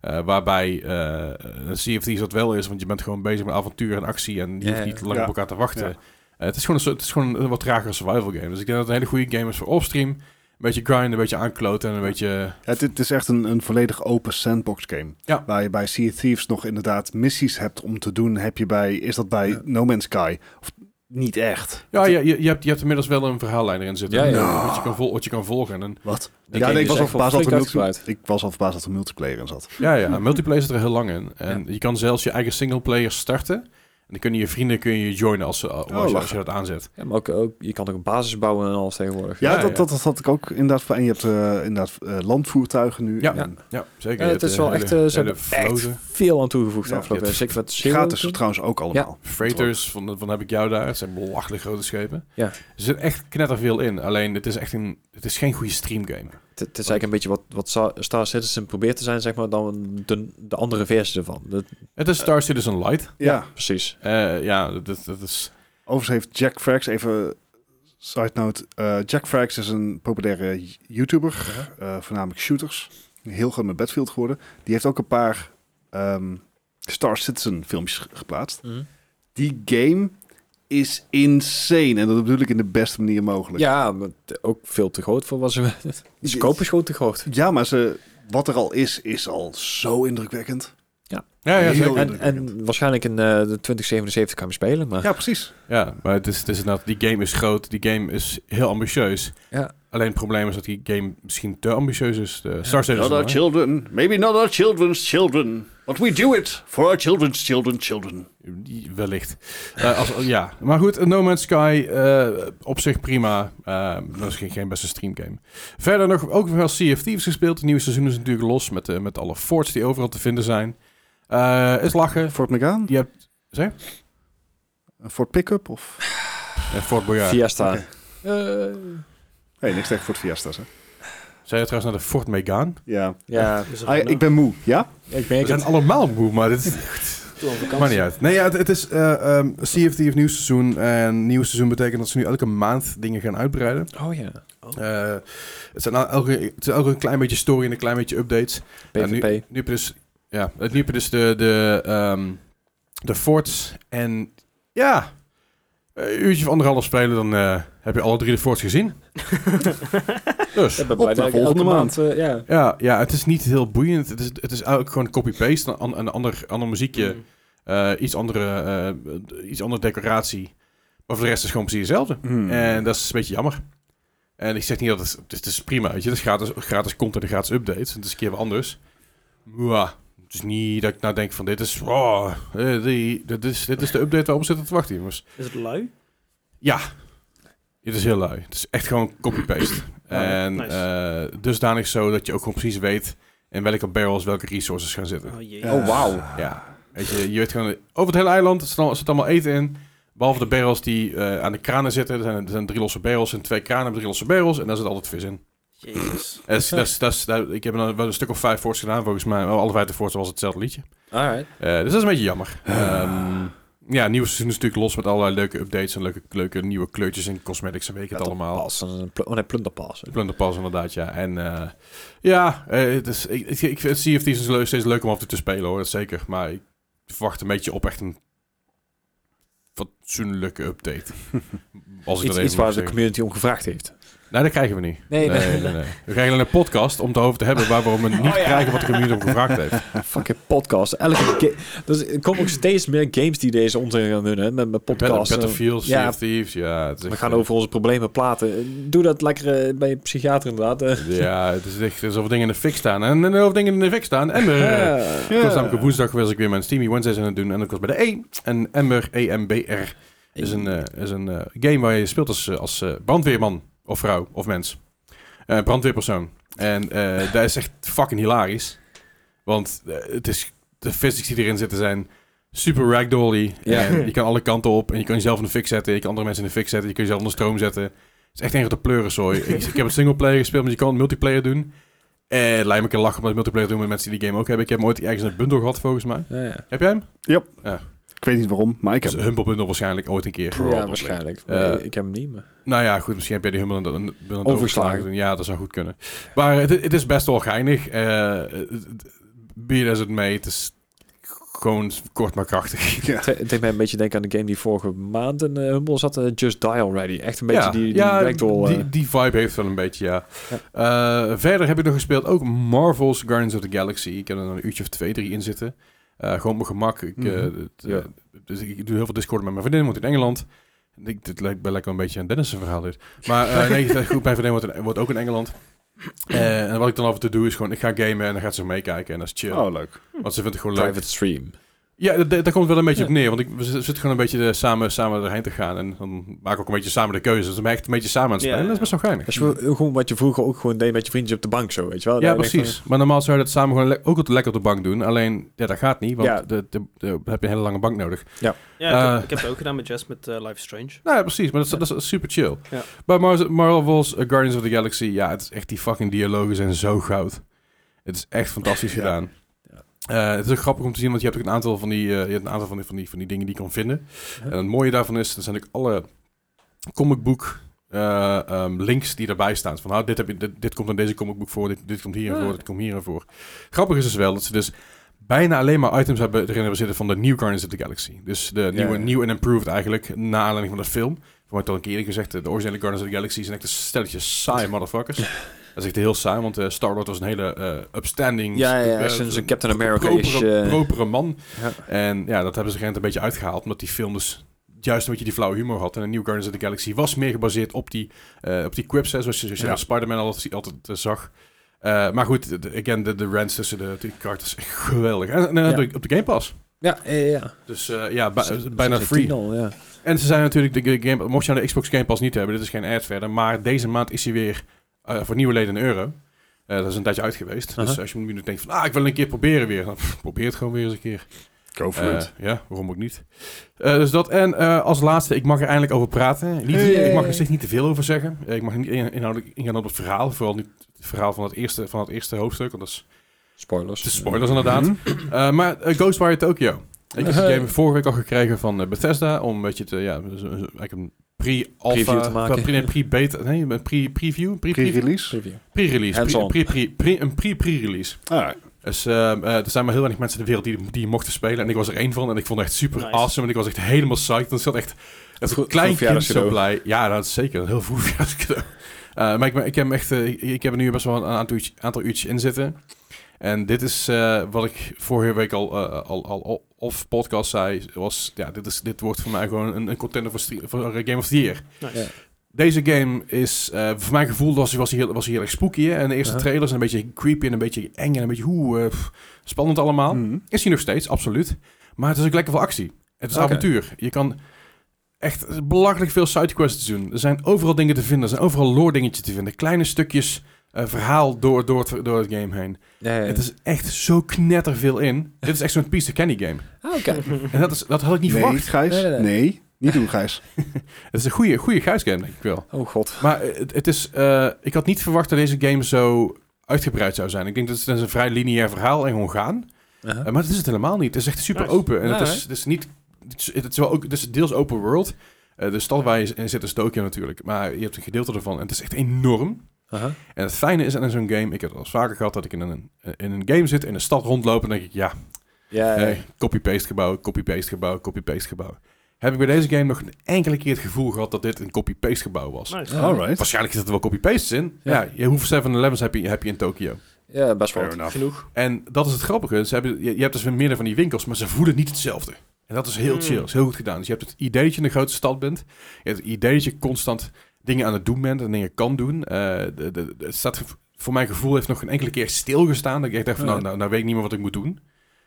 A: Eh, waarbij eh een Sea of Thieves dat wel is, want je bent gewoon bezig met avontuur en actie en je
B: Ja,
A: hoeft niet
B: ja.
A: lang
C: Ja.
A: op elkaar te wachten.
C: Ja.
A: Eh, het, is gewoon een, soort- het is gewoon een wat trager survival game. Dus ik denk dat het een hele goede game is voor offstream. Een beetje grinden, een beetje aankloten en een beetje...
C: Het, het is echt een, een volledig open sandbox game.
A: Ja.
C: Waar je bij Sea of Thieves nog inderdaad missies hebt om te doen. Heb je bij, is dat bij
B: Ja.
C: No Man's Sky? Of, niet echt.
A: Ja, je, je, je, hebt, je hebt inmiddels wel een verhaallijn erin zitten.
B: Ja, ja.
A: eh, Wat, je kan vol- wat je kan volgen. En
C: Wat?
B: Die
C: ja,
B: game
C: nee, ik,
B: is
C: was al
B: echt wel
C: verbaasd dat er
B: flink
C: multi-
B: uitgebreid.
C: ik was al verbaasd dat er multiplayer in zat.
A: Ja, ja. Multiplayer zit er heel lang in. En je kan zelfs je eigen singleplayer starten. En dan kunnen je vrienden kun je joinen als, ze, als,
B: Oh,
A: je- als je,
C: lachen.
A: dat aanzet.
B: Ja, maar ook, ook, je kan ook een basis bouwen en alles tegenwoordig.
C: Ja,
A: Ja,
C: dat,
A: ja.
C: Dat, dat had ik ook inderdaad. voor- En je hebt eh, inderdaad eh, landvoertuigen nu.
A: Ja.
C: En
A: Ja, zeker.
B: Ja, het is wel echt, eh, ze hebben echt
A: floten.
B: veel aan toegevoegd
C: Ja.
B: afgelopen
A: Ja,
B: jaar. Zeker met Zero
C: Gratis
B: toen.
C: trouwens ook allemaal.
A: Freighters, van, van heb ik jou daar. Het zijn belachelijk grote schepen.
B: Ja.
A: Er zit echt knetterveel in. Alleen, het is echt een, het is geen goede streamgame.
B: Het, het is eigenlijk een beetje wat, wat Sa- Star Citizen probeert te zijn, zeg maar, dan de, de andere versie ervan. Dat,
A: Het
B: Eh.
A: is Star Citizen Light.
C: Ja.
B: precies.
A: Eh, ja, dat, dat, dat is...
C: Overigens heeft Jack Frags, even side note. eh, Jack Frags is een populaire YouTuber, eh, voornamelijk shooters. Heel goed met Battlefield geworden. Die heeft ook een paar ehm, Star Citizen filmpjes ge- geplaatst. Die game is insane. En dat bedoel ik in de beste manier mogelijk.
B: Ja, maar t- ook veel te groot voor wat ze... De scope is gewoon te groot.
C: Ja, maar ze, wat er al is, is al zo indrukwekkend.
A: Ja, ja,
C: Heel
A: zeker.
B: En, en waarschijnlijk in eh, de 2077 kan je spelen, maar...
C: Ja, precies.
A: Ja, maar het is, het is inderdaad, die game is groot, die game is heel ambitieus.
B: Ja.
A: Alleen het probleem is dat die game misschien te ambitieus is. De Star Citizen.
C: Not
A: hoor.
C: our children. Maybe not our children's children. But we do it for our children's children's children.
A: Wellicht. Eh, als, ja, maar goed, eh, No Man's Sky eh, op zich prima. Eh, dat is geen, geen beste streamgame. Verder nog ook wel Sea of Thieves gespeeld. Het nieuwe seizoen is natuurlijk los met, eh, met alle forts die overal te vinden zijn. Eh is lachen.
C: Fort Megaan?
A: Je hebt... Zeg?
C: Een Fort Pickup? Of...
A: Eh, Fort Boyard.
B: Fiesta.
C: Oké.
B: Eh,
C: Nee, niks tegen Fort Fiesta's, hè?
A: Zijn je trouwens naar de Fort Megaan?
C: Ja.
B: ja,
D: Dus
C: Ah, ik ben moe, ja?
B: ik
A: We
B: merk
A: zijn
B: het.
A: allemaal moe, maar dit is...
D: Toen op vakantie.
A: Maar niet uit. Nee, ja, het, het is eh ehm Sea of Thieves nieuw seizoen. En nieuw seizoen betekent dat ze nu elke maand dingen gaan uitbreiden.
B: Oh ja,
A: Eh, het, zijn al- elke, het zijn elke een klein beetje story en een klein beetje updates. Ja, Nu
B: PvP.
A: heb je dus, ja, het- nu heb je dus de, de, ehm, de forts en ja, een uurtje of anderhalf spelen, dan eh, heb je alle drie de forts gezien. dus.
B: Ik ben
C: Op
B: blij
C: naar
B: dat ik
C: volgende
B: elke
C: maand.
B: eh, ja.
A: Ja, ja, het is niet heel boeiend. Het is, het is eigenlijk gewoon copy-paste. Een, een ander, ander muziekje,
D: Mm.
A: eh, iets, andere, eh, iets andere decoratie. Maar voor de rest is het gewoon precies hetzelfde.
C: Hmm.
D: Hmm.
A: En dat is een beetje jammer. En ik zeg niet dat het... Het is, het is prima, weet je. Het is gratis, gratis content en gratis updates. Het is een keer wat anders. Maar het is niet dat ik nou denk van... Dit is... Oh, eh, die, dit, is dit is de update waarop we zitten te wachten, jongens.
D: Is het lui?
A: Dit is heel lui. Het is echt gewoon copy-paste.
D: Ja,
A: en
D: nice.
A: eh, dusdanig zo dat je ook gewoon precies weet... in welke barrels welke resources gaan zitten.
D: Oh jee.
C: Ja. Oh, wauw.
A: Ja. Weet je, je weet gewoon, over het hele eiland zit al- zit allemaal eten in. Behalve de barrels die eh, aan de kranen zitten. Er zijn, er zijn drie losse barrels en twee kranen met drie losse barrels. En daar zit altijd vis in.
D: Jezus.
A: Eh, Dat is- dat is- dat is- dat- ik heb er wel een stuk of vijf voorts gedaan, volgens mij. Wel, Alle vijf de voorts was hetzelfde liedje.
B: Alright.
A: Eh, dus dat is een beetje jammer. Ehm, ja, het nieuwe seizoen is natuurlijk los met allerlei leuke updates en leuke, leuke nieuwe kleurtjes en cosmetics en weet ik het allemaal.
B: Pas, een pl- oh nee, plunderpas.
A: De Plunderpas inderdaad, ja. En eh, ja, eh, het is, ik, ik, ik vind Sea of Thieves is leuk- steeds leuk om af en toe te spelen hoor, dat zeker. Maar ik verwacht een beetje op echt een fatsoenlijke update. Als ik dat
B: Iets,
A: even
B: iets
A: mag
B: waar de
A: zeggen.
B: community om gevraagd heeft.
A: Nee, dat krijgen we niet.
B: Nee, Oh nee.
A: We krijgen alleen een podcast om het over te hebben waar we om het niet krijgen wat de community om gevraagd heeft.
B: Fucking podcast. Elke ga- dus er komen ook steeds meer games die deze onzin gaan winnen. Met, met podcasts.
A: Battlefield, Sea
B: eh, ja.
A: of Thieves, ja. het is
B: We
A: echt,
B: gaan
A: eh,
B: over onze problemen praten. Doe dat lekker eh, bij je psychiater inderdaad. eh.
A: Ja, het is echt alsof dingen in de fik staan. En en alsof dingen in de fik staan. Emmer. eh,
B: Ja.
A: Ik was namelijk op woensdag was ik weer mijn Steamy Wednesdays aan het doen. En ik was bij de E. En Emmer, EMBR, is een, eh, is een eh, game waar je speelt als, eh, als eh, brandweerman of vrouw of mens. Eh, brandweerpersoon. En eh dat is echt fucking hilarisch. Want eh, het is, de physics die erin zitten zijn super ragdolly.
B: Ja.
A: En je kan alle kanten op. En je kan jezelf in de fik zetten. Je kan andere mensen in de fik zetten. Je kan jezelf onder stroom zetten. Het is echt een grote pleurenzooi. ik, ik heb een singleplayer gespeeld, maar je kan het multiplayer doen. Eh, het lijkt me een keer lachen om dat multiplayer te doen met mensen die die game ook hebben. Ik heb hem ooit ergens in een bundel gehad, volgens mij.
B: Ja, ja.
A: Heb jij hem?
C: Ik weet niet waarom, maar ik
A: Ik
C: heb...
A: heb een Humble Bundle waarschijnlijk ooit een keer.
B: Ja, waarschijnlijk.
A: Eh,
B: Nee, ik heb hem niet, maar...
A: Nou ja, goed, misschien heb jij die Humble Bundle een- bundle
B: Overgeslagen.
A: doen. Ja, dat zou goed kunnen. Maar het, het is best wel geinig. Eh, het- het- Be it as it may, het is gewoon kort maar krachtig.
C: Ja.
B: Het deed mij een beetje denken aan de game die vorige maand in eh, Humble zat. eh, Just Die Already. Echt een beetje die, die ragdoll, eh.
A: die, die vibe heeft wel een beetje, ja. Eh, verder heb ik nog gespeeld ook Marvel's Guardians of the Galaxy. Ik heb er een uurtje of twee, drie in zitten. Eh, gewoon op mijn gemak. Ik, eh,
C: Mhm.
A: het,
B: Ja.
A: eh, dus ik doe heel veel Discord met mijn vriendin, want in Engeland. Ik, dit lijkt bij lekker een beetje aan Dennis' verhaal dit. Maar eh, nee, het is goed, mijn vriendin wordt, in- wordt ook in Engeland. Eh, en wat ik dan af en toe doe is gewoon, ik ga gamen en dan gaat ze meekijken en dat is chill.
C: Oh, leuk.
A: Want ze vindt het gewoon leuk.
B: Private Stream.
A: Ja, d- d- daar komt het wel een beetje
B: Ja.
A: op neer. Want ik, we z- zitten gewoon een beetje eh, samen, samen erheen te gaan. En dan maken we ook een beetje samen de keuzes. Dus we zijn echt een beetje samen aan het
D: Ja.
A: spelen. En dat is best wel geinig.
B: Als je, gewoon wat je vroeger ook gewoon deed met je vriendjes op de bank zo, weet je wel?
A: Ja,
B: Dat je
A: precies. Maar normaal zou je dat samen gewoon le- ook lekker op de bank doen. Alleen, ja, dat gaat niet, want
B: Ja.
A: de, de, de- heb je een hele lange bank nodig.
D: Ja, ik,
A: Eh.
D: heb, ik heb het ook gedaan met Jess met eh, Life is Strange.
A: Nou ja, precies. Maar dat is, dat is super chill.
D: Ja.
A: Bij Mar- Marvel's eh, Guardians of the Galaxy, ja, het is echt die fucking dialogen zijn zo goud. Het is echt fantastisch
C: Ja.
A: gedaan. Eh, het is ook grappig om te zien, want je hebt ook een aantal van die, eh, je hebt een aantal van die, van die, van die dingen die je kan vinden. En het mooie daarvan is, er zijn ook alle comicboek eh, ehm, links die erbij staan. Van, nou, dit, heb je, dit, dit komt in deze comicboek voor, dit, dit komt hierin
B: Ah.
A: voor, dit komt hierin voor. Grappig is dus wel dat ze dus bijna alleen maar items hebben, erin hebben zitten van de New Guardians of the Galaxy. Dus de nieuwe,
B: ja.
A: nieuw en improved eigenlijk, na aanleiding van de film. Voor mij toch een keer eerder gezegd, de originele Guardians of the Galaxy zijn echt een stelletje saai motherfuckers. Dat is echt heel saai, want eh, Star-Lord was een hele eh, upstanding...
B: Ja, ja,
A: eh,
B: ja, zo'n- zo'n Captain America is,
A: propere,
B: eh,
A: propere man.
B: Ja.
A: En ja, dat hebben ze rent een beetje uitgehaald, omdat die film dus juist een beetje die flauwe humor had. En de New Guardians of the Galaxy was meer gebaseerd op die, eh, op die quips, hè, zoals je, zoals je
C: Ja.
A: bij Spider-Man altijd, altijd eh, zag. Eh, maar goed, de- de- again, de, de rants tussen de, de karakters, echt geweldig. En, en, en op de Game Pass.
B: Ja, ja, ja, ja.
A: Dus eh, ja, ba-
B: Zo- zo-
A: bijna
B: zo'n
A: free.
B: tien al, ja.
A: En ze zijn natuurlijk, de Game, Pass- mocht je aan de Xbox Game Pass niet hebben, dit is geen ad verder, maar deze maand is hij weer eh, voor nieuwe leden een euro. Eh, dat is een tijdje uit geweest. Dus
B: Aha.
A: als je nu nog denkt van, ah, ik wil een keer proberen weer. Dan pff, probeer het gewoon weer eens een keer.
C: Go for it.
A: Eh, ja, waarom ook niet. Eh, dus dat. En eh, als laatste, ik mag er eindelijk over praten. Niet, Ik mag er steeds niet te veel over zeggen. Eh, ik mag niet in- inhoudelijk ingaan op het verhaal. Vooral niet het verhaal van het eerste, van het eerste hoofdstuk. Want dat is
B: Spoilers.
A: de spoilers
B: Mhm.
A: inderdaad.
C: Hmm.
A: Eh, maar eh, Ghostwire Tokyo. Ik heb die game vorige week al gekregen van eh, Bethesda. Om een beetje te, ja, dus, eh, eigenlijk een pre-alpha...
B: Preview te maken.
A: pre- nee, Pre-beta... Nee, een pre-preview? Pre-preview?
C: Pre-release?
B: Preview.
A: Pre-release.
B: Hands-on.
A: pre- pre- pre- Een pre-pre-release.
C: Ah,
A: Dus ehm, eh, er zijn maar heel weinig mensen in de wereld die, die mochten spelen. En ik was er één van. En ik vond het echt super
D: Nice.
A: awesome. En ik was echt helemaal psyched. En ik zat echt als een
B: Goed-
A: klein
B: goed
A: kind zo blij.
B: verjaardagscadeau.
A: Ja, dat is zeker. Een heel vroeg verjaardagscadeau. Eh, maar ik, ben- ik heb hem echt, eh, ik- ik heb er nu best wel een aantal uurtjes, aantal uurtjes in zitten. En dit is eh, wat ik vorige week al, eh, al, al, al of podcast zei. Was, ja, dit, is, dit wordt voor mij gewoon een, een contender voor, stre- voor eh, Game of the Year.
D: Nice.
B: Ja.
A: Deze game is, eh, voor mijn gevoel, was, was, hij heel, was hij heel erg spooky. Hè? En de eerste
B: Ja.
A: trailers zijn een beetje creepy en een beetje eng en een beetje hoe eh, pff, spannend allemaal.
B: Mm.
C: Mhm.
A: Is hij nog steeds, absoluut. Maar het is ook lekker veel actie. Het is
B: Oké.
A: avontuur. Je kan echt belachelijk veel sidequests doen. Er zijn overal dingen te vinden. Er zijn overal lore dingetjes te vinden. Kleine stukjes eh, verhaal door, door, het, door het game heen.
B: Ja, ja, ja.
A: Het is echt zo knetterveel in. Dit is echt zo'n piece of candy game.
B: Ah, oké.
A: En dat, is, dat had ik niet
C: nee,
A: verwacht.
C: Gijs.
B: Nee,
C: Nee,
B: nee, nee.
C: niet doen, Gijs.
A: Het is een goede, goede game, denk ik wel.
B: Oh god.
A: Maar eh, het, het is, eh, ik had niet verwacht dat deze game zo uitgebreid zou zijn. Ik denk dat het dat is een vrij lineair verhaal en gewoon gaan.
B: Aha.
A: Eh, maar dat is het helemaal niet. Het is echt super
D: Nice.
A: open. En
B: Ja,
A: het, is,
B: hè?
A: het is niet. Het is, het is wel ook, het is deels open world. Eh, de stad waar je in zit is Tokio natuurlijk. Maar je hebt een gedeelte ervan. En het is echt enorm.
B: Aha.
A: En het fijne is aan zo'n game. Ik heb het al eens vaker gehad dat ik in een, in een game zit. In een stad rondloop. En dan denk ik, ja,
B: Ja, ja.
A: eh, copy-paste gebouw, copy-paste gebouw, copy-paste gebouw. Heb ik bij deze game nog een enkele keer het gevoel gehad dat dit een copy-paste gebouw was.
D: Nice.
B: Ja.
C: Alright.
A: Waarschijnlijk zitten er wel copy-pastes in.
B: Ja.
A: Ja, je hoeft 7-Elevens heb je, heb je in Tokio.
B: ja, best wel.
C: Fair enough.
D: Genoeg.
A: En dat is het grappige. Ze hebben, je, je hebt dus weer meerdere van die winkels, maar ze voelen niet hetzelfde. En dat is heel
D: Mm.
A: chill. Dat is heel goed gedaan. Dus je hebt het idee dat je in een grote stad bent. Je hebt het idee dat je constant dingen aan het doen bent en dingen kan doen. Eh, de, de, de- het staat, voor mijn gevoel heeft nog een enkele keer stilgestaan. Dat ik echt dacht van,
B: Ja.
A: nou, nou, nou weet ik niet meer wat ik moet doen.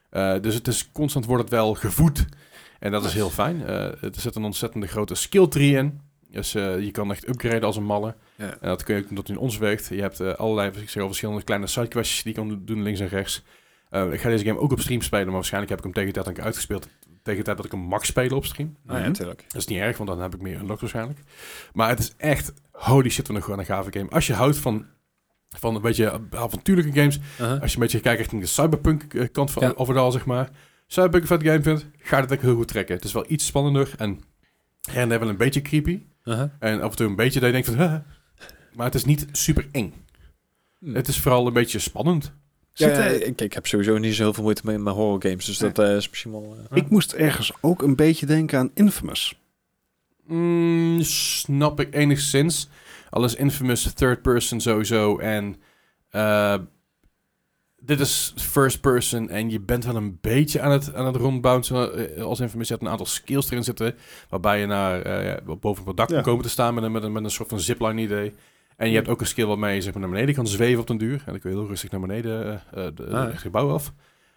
A: Eh, dus het is, constant wordt het wel gevoed. En dat is heel fijn. Eh, er zit een ontzettende grote skill tree in. Dus eh, je kan echt upgraden als een malle.
B: Ja.
A: En dat kun je ook doen tot in ons werkt. Je hebt eh, allerlei ik zeg al, verschillende kleine sidequests die je kan doen links en rechts. Eh, ik ga deze game ook op stream spelen, maar waarschijnlijk heb ik hem tegen de tijd dat ik uitgespeeld tegen de tijd dat ik hem mag spelen op stream.
B: Ah, ja,
C: Mhm.
B: natuurlijk.
A: Dat is niet erg, want dan heb ik meer unlocked waarschijnlijk. Maar het is echt, holy shit, wat een gewoon een gave game. Als je houdt van, van een beetje avontuurlijke games,
B: Aha.
A: als je een beetje kijkt richting de cyberpunk eh, kant van
B: Ja.
A: overal, zeg maar. Cyberpunk een vet game vindt, ga dit ook heel goed trekken. Het is wel iets spannender en her en der wel een beetje creepy.
B: Aha.
A: En af en toe een beetje dat je denkt van... "Huh." Maar het is niet super eng.
B: Hm.
A: Het is vooral een beetje spannend.
B: Ja,
C: Zit,
B: ja,
C: eh,
B: ik, ik heb sowieso niet zo heel veel moeite mee met horror games, dus dat eh, is misschien wel... eh,
C: Ik moest ergens ook een beetje denken aan Infamous.
A: Mm, snap ik enigszins. Alles infamous third person sowieso. En eh, dit is first person. En je bent wel een beetje aan het, aan het rondbouncen. eh, Als infamous je hebt een aantal skills erin zitten. Waarbij je naar, eh, ja, boven op het dak
C: Ja.
A: kan komen te staan met een, met, een, met een soort van zipline idee. En je hebt ook een skill waarmee je zeg maar, naar beneden kan zweven op den duur. En dan kun je heel rustig naar beneden eh, eh, de-
B: Ah.
A: het gebouw af.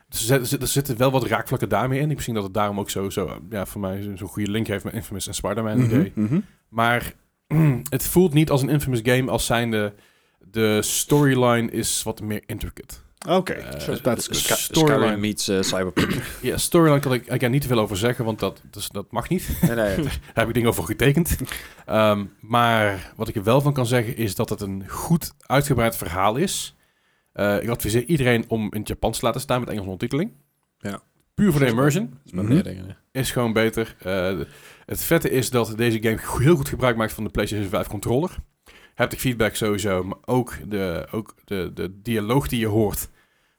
A: Dus er, zit- er zitten wel wat raakvlakken daarmee in. Ik zie dat het daarom ook zo, zo ja, voor mij zo'n goede link heeft met Infamous en Spider-Man idee.
C: Mhm, mhm.
A: Maar het voelt niet als een infamous game als zijnde... De storyline is wat meer intricate.
C: Oké,
A: Eh,
C: so that's
A: dus-
C: good.
B: Sky-
A: storyline.
B: Skyrim meets eh, Cyberpunk.
A: Ja, storyline kan ik eigenlijk niet te veel over zeggen, want dat, dus, dat mag niet.
B: nee, nee.
A: Daar heb ik dingen over getekend. Ehm, maar wat ik er wel van kan zeggen is dat het een goed uitgebreid verhaal is. Eh, ik adviseer iedereen om in het Japans te laten staan met Engelse ondertiteling.
B: Ja.
A: Puur voor de immersion.
B: Dat is maar
C: Mhm.
B: meer dingen, hè.
A: is gewoon beter. Eh, het vette is dat deze game go- heel goed gebruik maakt van de PlayStation 5 controller. Haptic feedback sowieso, maar ook de, ook de, de dialoog die je hoort.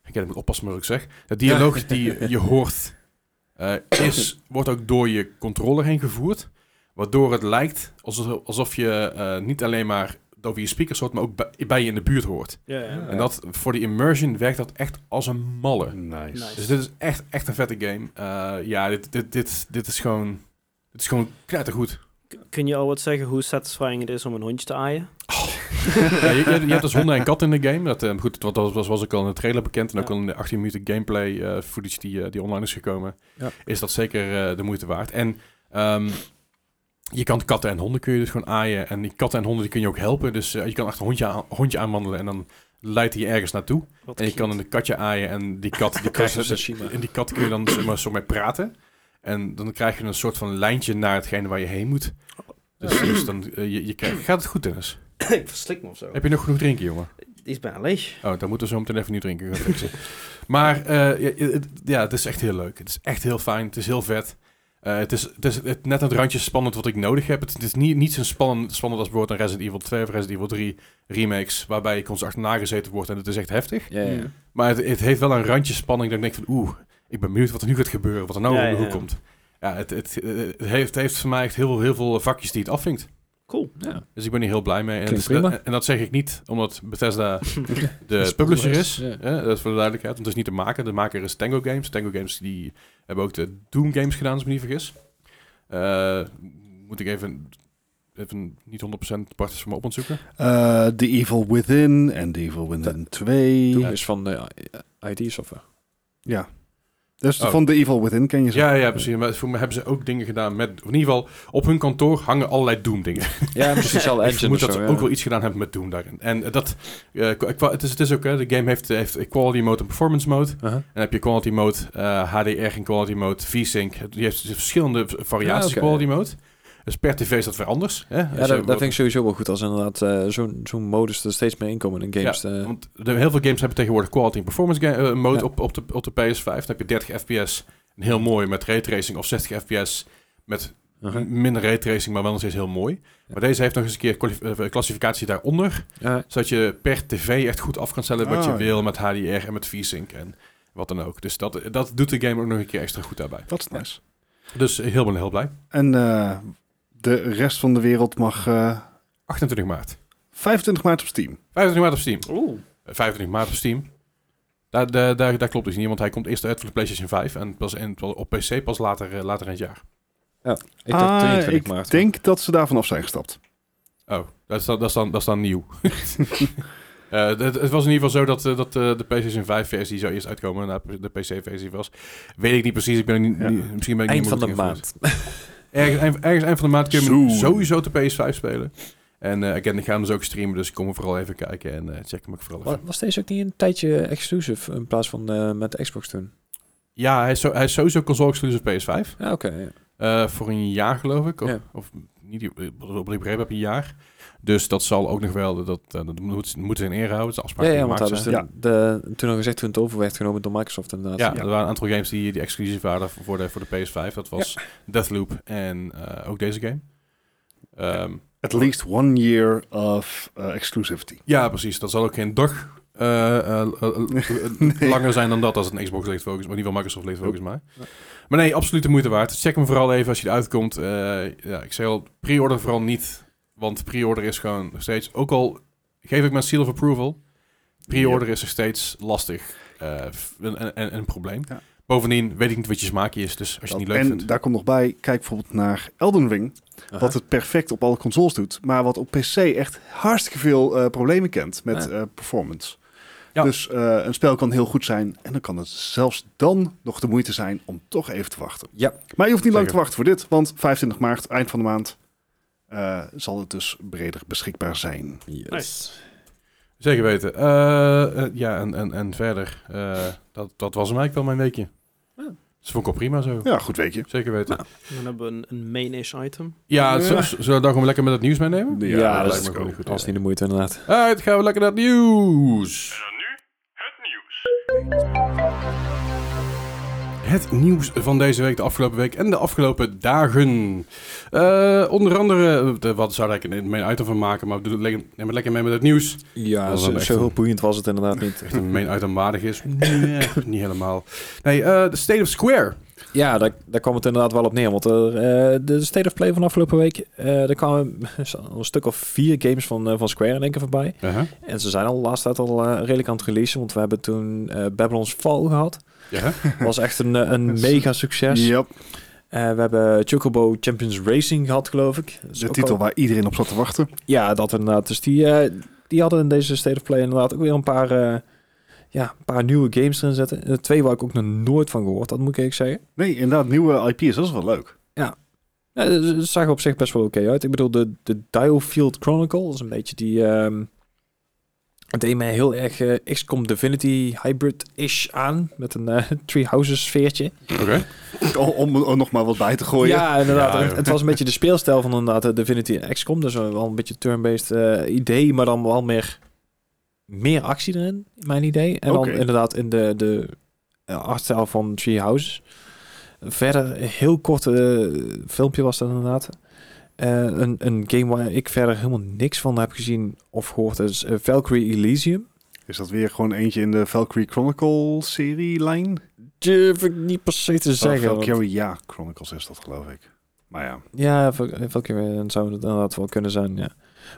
A: Ik heb moet oppassen met wat ik zeg. De dialoog die je, je hoort eh, is, wordt ook door je controller heen gevoerd. Waardoor het lijkt alsof, alsof je eh, niet alleen maar over je speakers hoort, maar ook bij, bij je in de buurt hoort.
D: Ja, ja.
A: En dat, voor die immersion werkt dat echt als een malle.
C: Nice.
D: Nice.
A: Dus dit is echt, echt een vette game. Eh, ja, dit, dit, dit, dit is gewoon... Dit is gewoon knettergoed.
D: K- Kun je al wat zeggen hoe satisfying het is om een hondje te aaien?
A: ja, je, je, je hebt dus honden en katten in de game. Dat, eh, goed, dat was, was, was ook al in de trailer bekend. En ook
D: Ja.
A: al in de 18 minuten gameplay eh, footage die, eh, die online is gekomen.
B: Ja.
A: Is dat zeker eh, de moeite waard. En ehm, je kan katten en honden kun je dus gewoon aaien. En die katten en honden die kun je ook helpen. Dus eh, je kan achter een hondje, aan, hondje aanwandelen en dan leidt hij je ergens naartoe.
D: Wat
A: En je
D: cute.
A: kan een katje aaien en die kat... Die
B: Krijg
A: kat
B: je Tsushima.
A: in die kat kun je dan zeg maar, zo mee praten. En dan krijg je een soort van lijntje naar hetgene waar je heen moet.
B: Oh.
A: Dus, dus dan, eh, je, je krijgt, gaat het goed, Dennis?
D: Ik verslik me of zo.
A: Heb je nog genoeg drinken, jongen?
D: Die is bijna leeg.
A: Oh, dan moeten we zo meteen even nu drinken. gaan fixen. maar eh, ja, het, ja, het is echt heel leuk. Het is echt heel fijn. Het is heel vet. Eh, het is, het is het, net het randje spannend wat ik nodig heb. Het, het is niet, niet zo spannend, spannend als bijvoorbeeld een Resident Evil 2 of Resident Evil 3 remakes... waarbij je constant achterna gezeten wordt en het is echt heftig.
B: Ja, ja.
D: Mm.
A: Maar het, het heeft wel een randje spanning dat ik denk van... oeh, ik ben benieuwd wat er nu gaat gebeuren, wat er nou
D: Ja,
A: om de
D: ja,
A: hoek
D: ja.
A: komt. Ja, het, het, eh, het heeft, het heeft voor mij echt heel, veel- heel veel vakjes die het afvinkt.
D: Cool.
B: Ja.
A: Dus ik ben hier heel blij mee. En,
B: Klinkt
A: dat-
B: prima.
A: en dat zeg ik niet omdat Bethesda de
B: Sponsor
A: publisher
B: is,
A: is.
B: ja.
A: Hè, dat is voor de duidelijkheid. Want het is niet de maker. De maker is Tango Games. Tango Games die hebben ook de Doom Games gedaan, als ik me niet vergis. Eh, moet ik even, even niet 100% partners voor me op ontzoeken.
C: Eh, The Evil Within en The Evil Within 2.
B: eh, Doom is van de ID-software.
C: Ja. Dat is
A: Oh.
C: Dus van The Evil Within, ken je ze?
A: Ja, ja, precies. Maar voor me hebben ze ook dingen gedaan met... In ieder geval, op hun kantoor hangen allerlei Doom-dingen.
B: Ja, misschien zal
A: Ik
B: engine
A: vermoed
B: of
A: dat
B: zo,
A: ze
B: ja.
A: ook wel iets gedaan hebben met Doom daarin. En eh, dat... eh, qua- qua- het, is, het is ook... hè, de game heeft, heeft quality mode en performance mode. En
B: Uh-huh.
A: dan heb je quality mode, eh, HDR en quality mode, VSync. Je hebt verschillende variaties
B: Ja, Ah, oké,
A: quality mode. Dus per tv is dat weer anders. Hè? Als je
B: Ja, dat, dat
A: bijvoorbeeld-
B: vind ik sowieso wel goed als inderdaad eh, zo'n zo'n modus er steeds meer inkomen in games.
A: Ja,
B: eh.
A: want de, heel veel games hebben tegenwoordig quality en performance ga- eh, mode
B: Ja.
A: op, op, de, op de PS5. Dan heb je 30 fps, een heel mooi met raytracing, of 60 fps met
B: Uh-huh.
A: minder raytracing, maar wel nog steeds heel mooi. Maar deze heeft nog eens een keer kwalif- eh, klassificatie daaronder,
B: Ja,
A: zodat je per tv echt goed af kan stellen wat je
C: Ah, ja.
A: wil met HDR en met VSync en wat dan ook. Dus dat, dat doet de game ook nog een keer extra goed daarbij.
C: Dat is nice.
A: Dus heel ben heel blij.
C: En eh, de rest van de wereld mag eh,
A: 28 maart.
C: 25 maart op Steam.
A: 25 maart op Steam.
D: Oeh.
A: Eh, 25 maart op Steam. Daar, daar, daar, daar klopt dus niet, want hij komt eerst uit voor de PlayStation 5 en pas en op PC pas later, eh, later in het jaar.
B: ik dacht
C: Ah,
B: 23
C: ik
B: maart.
C: denk dat ze daarvan af zijn gestapt.
A: Oh, dat is dan, dat is dan, dat is dan nieuw. Eh, het, het was in ieder geval zo dat, eh, dat eh, de PlayStation 5 versie zou eerst uitkomen en daarna de PC versie was. Weet ik niet precies, ik ben er niet,
C: Ja.
A: niet- misschien ben ik
B: Eind
A: niet
B: van
A: meer
B: de
A: goed
B: maand.
A: geïnformeerd. Ergens, eind- ergens eind van de maand kun je hem
C: Soon.
A: sowieso op de PS5 spelen. En eh again, ik ga hem dus ook streamen, dus kom er vooral even kijken en eh, check hem ook vooral even.
B: Wa- Was deze ook niet een tijdje exclusive in plaats van eh, met de Xbox toen?
A: Ja, hij is, zo, hij is sowieso console exclusive PS5.
B: Ja, oké. ja.
A: Eh, voor een jaar geloof ik. Of,
B: Ja.
A: of niet, eh, op ik begrepen heb een jaar. Dus dat zal ook nog wel, dat, eh, dat moet, moeten ze in ere houden. Dat is de afspraak
B: Ja,
A: die
B: ja, want
A: gemaakt
B: dat is
A: zijn.
B: de, de- toen al gezegd toen het over werd genomen door Microsoft inderdaad.
A: Ja, er waren een aantal games die, die exclusief waren voor de, voor de PS5. Dat was Deathloop en eh, ook deze game. Ehm,
C: At least one year of eh, exclusivity.
A: ja, precies. Dat zal ook geen dag eh, eh, eh, eh,
C: Nee.
A: langer zijn dan dat als het een Xbox ligt focus, maar in ieder geval Microsoft ligt focus maar.
B: Ja.
A: Maar nee, absoluut de moeite waard. Check hem vooral even als je eruit komt. Eh, ja, ik zei al, pre-order vooral niet, want pre-order is gewoon nog steeds, ook al geef ik mijn seal of approval, pre-order is nog steeds lastig eh, f- en, en, en een probleem.
C: Ja.
A: Bovendien weet ik niet wat je smaakje is, dus als je het niet leuk
C: en
A: vindt.
C: daar komt nog bij, kijk bijvoorbeeld naar Elden Ring.
B: Aha.
C: Wat het perfect op alle consoles doet. Maar wat op PC echt hartstikke veel eh, problemen kent met
B: Ja.
C: eh, performance.
A: Ja.
C: Dus eh, een spel kan heel goed zijn. En dan kan het zelfs dan nog de moeite zijn om toch even te wachten.
B: Ja.
C: Maar je hoeft niet lang
A: Zeker.
C: te wachten voor dit. Want 25 maart, eind van de maand, eh, zal het dus breder beschikbaar zijn.
B: Yes.
D: Nice.
A: Zeker weten. Eh, eh, ja, en, en, en verder, eh, dat, dat was hem eigenlijk wel mijn weekje.
B: Ja.
A: Dus vond ik al prima zo.
C: Ja, goed weekje.
A: Zeker weten.
B: Nou.
D: Dan hebben we een, een main-ish item.
A: Ja,
C: Ja.
A: z- z- zullen we daar gewoon lekker met het nieuws meenemen?
C: Ja,
B: Ja,
A: dat
B: dat
A: lijkt
B: is
A: me gewoon een goed
B: Als
A: idee.
B: niet de moeite inderdaad.
A: Uit, gaan we lekker naar het nieuws. Het nieuws van deze week, de afgelopen week en de afgelopen dagen. Eh, onder andere, eh, de- wat zou ik in mijn item van maken, maar doe het lekker, neem het lekker mee met het nieuws.
B: Ja,
A: Dat is
B: zo,
A: wel echt
B: zo
A: een-
B: boeiend was het inderdaad niet.
A: Echt een main item waardig is. Nee, niet helemaal. Nee, eh, de State of Square.
B: Ja, daar, daar kwam het inderdaad wel op neer. Want er, eh, de State of Play van afgelopen week, eh er kwamen een stuk of vier games van, eh, van Square in één keer voorbij. En ze zijn al laatst tijd al eh, redelijk aan het releasen, want we hebben toen eh, Babylon's Fall gehad.
A: Ja, hè?
B: was echt een, eh, een mega succes.
C: Yep,
B: Eh, we hebben Chocobo Champions Racing gehad, geloof ik.
A: Dus
B: Dat is
C: de
B: ook
C: titel
B: al-
C: waar iedereen op zat te wachten.
B: Ja, dat inderdaad. Dus die, eh, die hadden in deze State of Play inderdaad ook weer een paar, eh, ja, een paar nieuwe games erin zetten. Eh, twee waar ik ook nog nooit van gehoord had, moet ik eerlijk zeggen.
C: Nee, inderdaad, nieuwe IP's, dat is wel leuk.
B: Ja, het het zag er op zich best wel oké uit. Ik bedoel, de, de Diofield Chronicle dat is een beetje die... ehm het deed mij heel erg eh, XCOM Divinity Hybrid-ish aan. Met een eh, Three Houses sfeertje.
A: Oké.
C: Om, om er nog maar wat bij te gooien.
B: Ja, inderdaad.
A: Ja,
B: het,
A: joh.
B: het was een beetje de speelstijl van inderdaad eh, Divinity en XCOM. Dus wel een beetje turn-based eh, idee, maar dan wel meer, meer actie erin, mijn idee. En
C: Oké.
B: dan inderdaad in de, de eh, artstijl van Tree Houses. Verder, een heel kort eh, filmpje was dat inderdaad. Eh, een, een game waar ik verder helemaal niks van heb gezien of gehoord. Dat is eh, Valkyrie Elysium.
C: Is dat weer gewoon eentje in de Valkyrie Chronicle-serie-lijn?
B: Durf ik niet per se te
C: Oh,
B: zeggen. want-
C: Valkyrie, ja, Chronicles is dat geloof ik. Maar ja,
B: Ja, Val- Valkyrie dan zou het inderdaad wel kunnen zijn, ja.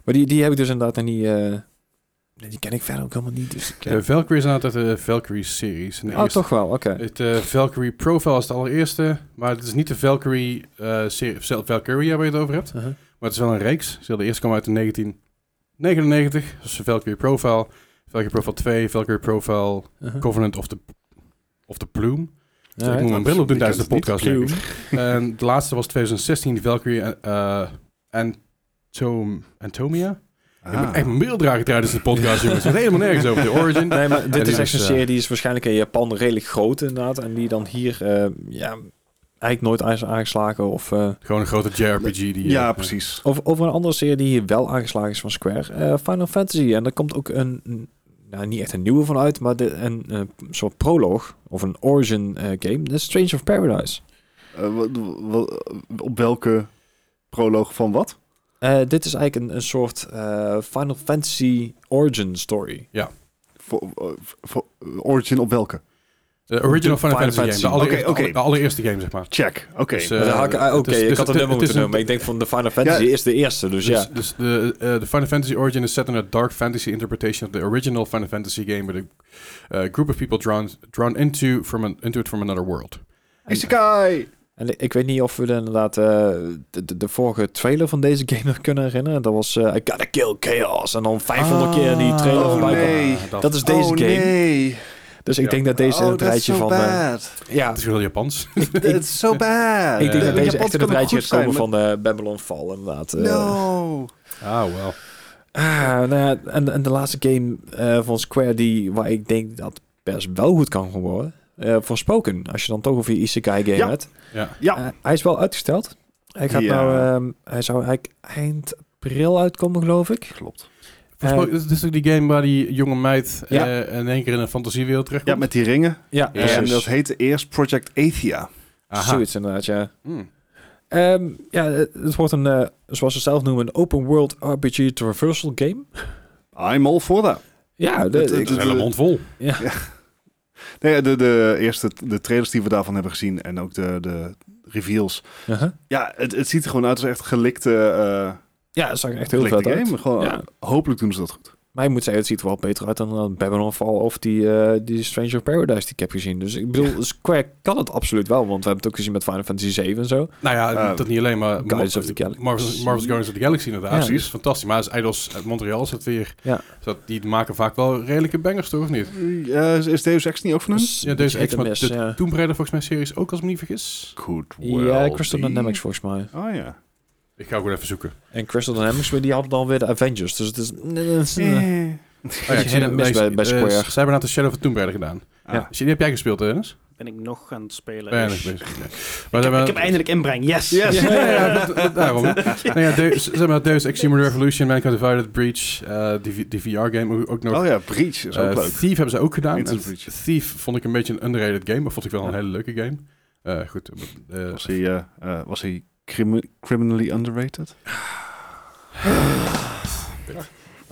B: Maar die, die heb ik dus inderdaad nog niet... eh, nee, die ken ik verder ook helemaal niet, dus ik... eh,
A: De Valkyrie is uit de Valkyrie-series.
B: oh, toch wel, oké.
A: Het eh, Valkyrie Profile is de allereerste, maar het is niet de Valkyrie, eh serie, zelf Valkyria waar je het over hebt.
B: Uh-huh.
A: Maar het is wel een reeks. Ze de eerste kwam uit in 1999, dus Valkyrie Profile, Valkyrie Profile 2, Valkyrie Profile
B: Uh-huh.
A: Covenant of the, of the Plume. ik moet mijn bril op doen
C: Ik
A: tijdens de
C: ken het
A: podcast.
C: niet.
A: denk ik. En de laatste was 2016, Valkyrie en eh, Antom- Antomia.
C: Ah.
A: Ik moet echt mijn bril dragen tijdens de podcast, jongens. Het gaat helemaal nergens over de origin.
B: Nee, maar dit
A: die
B: is echt een
A: is, eh,
B: serie die is waarschijnlijk in Japan redelijk groot inderdaad. En die dan hier eh, ja, eigenlijk nooit aanges- aangeslagen. Of, eh,
A: Gewoon een grote JRPG. Die, eh,
C: Ja,
A: eh,
C: precies.
B: over, over een andere serie die hier wel aangeslagen is van Square. eh, Final Fantasy. En daar komt ook een, een- nou niet echt een nieuwe van uit, maar de, een eh, soort proloog of een origin eh, game. The Strange of Paradise.
C: Eh, wa- wa- op welke proloog van wat?
B: Eh, dit is eigenlijk een, een soort eh, Final Fantasy origin story.
C: Voor, eh, voor- origin op welke?
A: De original Final,
B: Final
A: Fantasy,
B: Fantasy.
A: game. De allereerste,
C: Oké, oké.
A: alle- de allereerste game, zeg maar.
C: Check. Oké.
A: Dus, eh,
B: Maar dan haak ik- ah, Oké,
A: het is-
B: ik
A: dus
B: had
A: het-
B: een nummer
A: het is
B: moeten noemen.
A: een-
B: Ik denk van de Final Fantasy is de eerste, dus,
A: Dus,
B: ja.
A: dus de, eh, de Final Fantasy Origin is set in a dark fantasy interpretation of the original Final Fantasy game, with a eh, group of people drawn, drawn into, from an, into it from another world.
C: Isekai!
B: En ik weet niet of we de, inderdaad eh, de, de, de vorige trailer van deze game nog kunnen herinneren. Dat was eh I Gotta Kill Chaos. En dan 500 keer
A: Ah,
B: die trailer
C: oh
B: voorbij kwam. Ah,
C: nee.
A: dat,
B: Dat is deze
C: oh,
B: game.
C: nee.
B: Dus ik
A: Ja.
B: denk dat deze in
C: oh,
B: het
C: that's
B: rijtje
C: so
B: van... eh,
C: bad.
B: ja,
A: is heel Japans.
C: It's so bad.
B: ik denk
A: eh,
B: dat deze echt in het rijtje
C: rijtje
B: gaat komen van eh, Babylon Fall inderdaad. eh.
C: No.
A: Ah, wel.
B: Ah, nou ja, en, en de laatste game eh, van Square die, waar ik denk dat best wel goed kan gaan worden. eh Voorspoken, als je dan toch over je isekai game
C: Ja.
B: hebt.
A: Ja.
C: Ja.
B: Eh, hij is wel uitgesteld. Hij, gaat
C: Ja.
B: nou, ehm, hij zou eigenlijk eind april uitkomen, geloof ik.
C: Klopt.
A: Volgens mij is dit ook die game waar die jonge meid eh,
B: Eh. Ja.
A: in één keer in een fantasiewereld
C: Ja,
A: terugkomt.
C: met die ringen.
B: Ja,
A: Ja,
C: En
B: precies.
C: dat heette eerst Project Athia.
A: Aha.
B: Zoiets inderdaad, ja.
A: Hm.
B: Ehm, ja, het het wordt een, eh, zoals ze zelf noemen, een open world RPG traversal game.
C: I'm all for that.
B: Ja, de-
C: Het- het-
B: ik-
A: Dat is een hele mond vol.
B: ja.
C: Nee, de, de eerste de trailers die we daarvan hebben gezien en ook de, de reveals.
B: Uh-huh.
C: Ja, het, het ziet er gewoon uit als echt gelikte, eh
B: ja, dat zag er echt heel
C: gelikte
B: vet uit.
C: game. Gewoon, eh,
B: Ja.
C: Hopelijk doen ze dat goed.
B: Maar ik moet zeggen, het ziet er wel beter uit dan eh, Babylon Fall of die, eh, die Stranger of Paradise die ik heb gezien. Dus ik bedoel, Square kan het absoluut wel, want we hebben het ook gezien met Final Fantasy 7 en zo.
A: Nou ja,
C: Eh,
A: dat niet alleen, maar
B: Guardians
A: Mar-
B: of the Galaxy.
A: Marvel's, Marvel's Guardians of the Galaxy inderdaad.
B: Ja. dus-
A: precies. fantastisch. Maar is Idols uit Montreal is dat weer...
B: Ja.
A: is dat- die maken vaak wel redelijke bangers, toch? Of niet?
C: Eh, is- is Deus Ex niet ook van hun?
B: Dus
A: Ja, deze
B: beetje
A: X, maar
B: hit
A: de
B: en miss, ja.
A: Tomb Raider volgens mij series ook, als ik me niet vergis.
C: Good
B: Ja, Crystal
C: be.
B: Dynamics volgens mij.
C: Oh ja.
A: Ik ga gewoon even zoeken.
B: En Crystal Dynamics, maar die hadden dan weer de Avengers. Dus het is...
A: Oh
C: Eh.
B: Beetje hit and miss bij- bij Square.
A: Zij hebben nou de Shadow of Tomb Raider gedaan.
C: Ah.
A: Ja. Die heb jij gespeeld, hè, Dennis?
D: Ben ik nog aan het spelen.
A: Weinig
D: Dus-
A: bezig. Nee. Maar ze
D: Ik, heb,
A: hebben-
D: ik heb eindelijk inbreng, yes!
C: Yes.
A: Ja, ja, ja, dat- dat- daarom. hè. Nou ja, Deus, zeg maar, Deus Ex Human Revolution, Mankind Divided, Breach, eh, die, die VR-game ook nog.
C: Oh ja, Breach is ook
A: Eh,
C: leuk.
A: Thief hebben ze ook gedaan.
C: Into
A: En
C: the Breach.
A: Thief vond ik een beetje een underrated game, maar vond ik wel een
C: Ja.
A: hele leuke game. Eh, goed, eh, eh,
C: Was hij, eh, eh, was hij crimi- criminally underrated?
A: ja.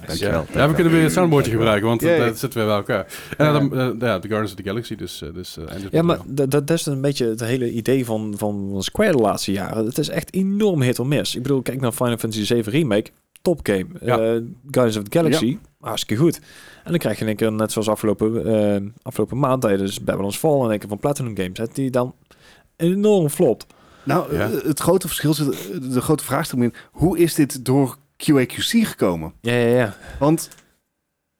C: Dankjewel.
A: ja, we kunnen weer het soundboardje gebruiken, want
C: Ja, ja.
A: dat zitten we bij elkaar. En dan, eh, ja, The Guardians of the Galaxy, dus... eh, dus eh, en dit
B: Ja, maar
A: materiaal.
B: dat, dat is een beetje het hele idee van, van van Square de laatste jaren. Het is echt enorm hit of miss. Ik bedoel, kijk naar Final Fantasy 7 Remake. Top game.
A: Ja.
B: Eh, Guardians of the Galaxy. Hartstikke goed. En dan krijg je in één keer, net zoals afgelopen, eh, afgelopen maand tijdens Babylon's Fall, in één keer van Platinum Games, hè, die dan enorm flopt.
C: Nou,
A: Ja.
C: eh, het grote verschil zit, eh, de grote vraagstuk in, hoe is dit door QAQC gekomen?
B: Ja, ja, ja.
C: Want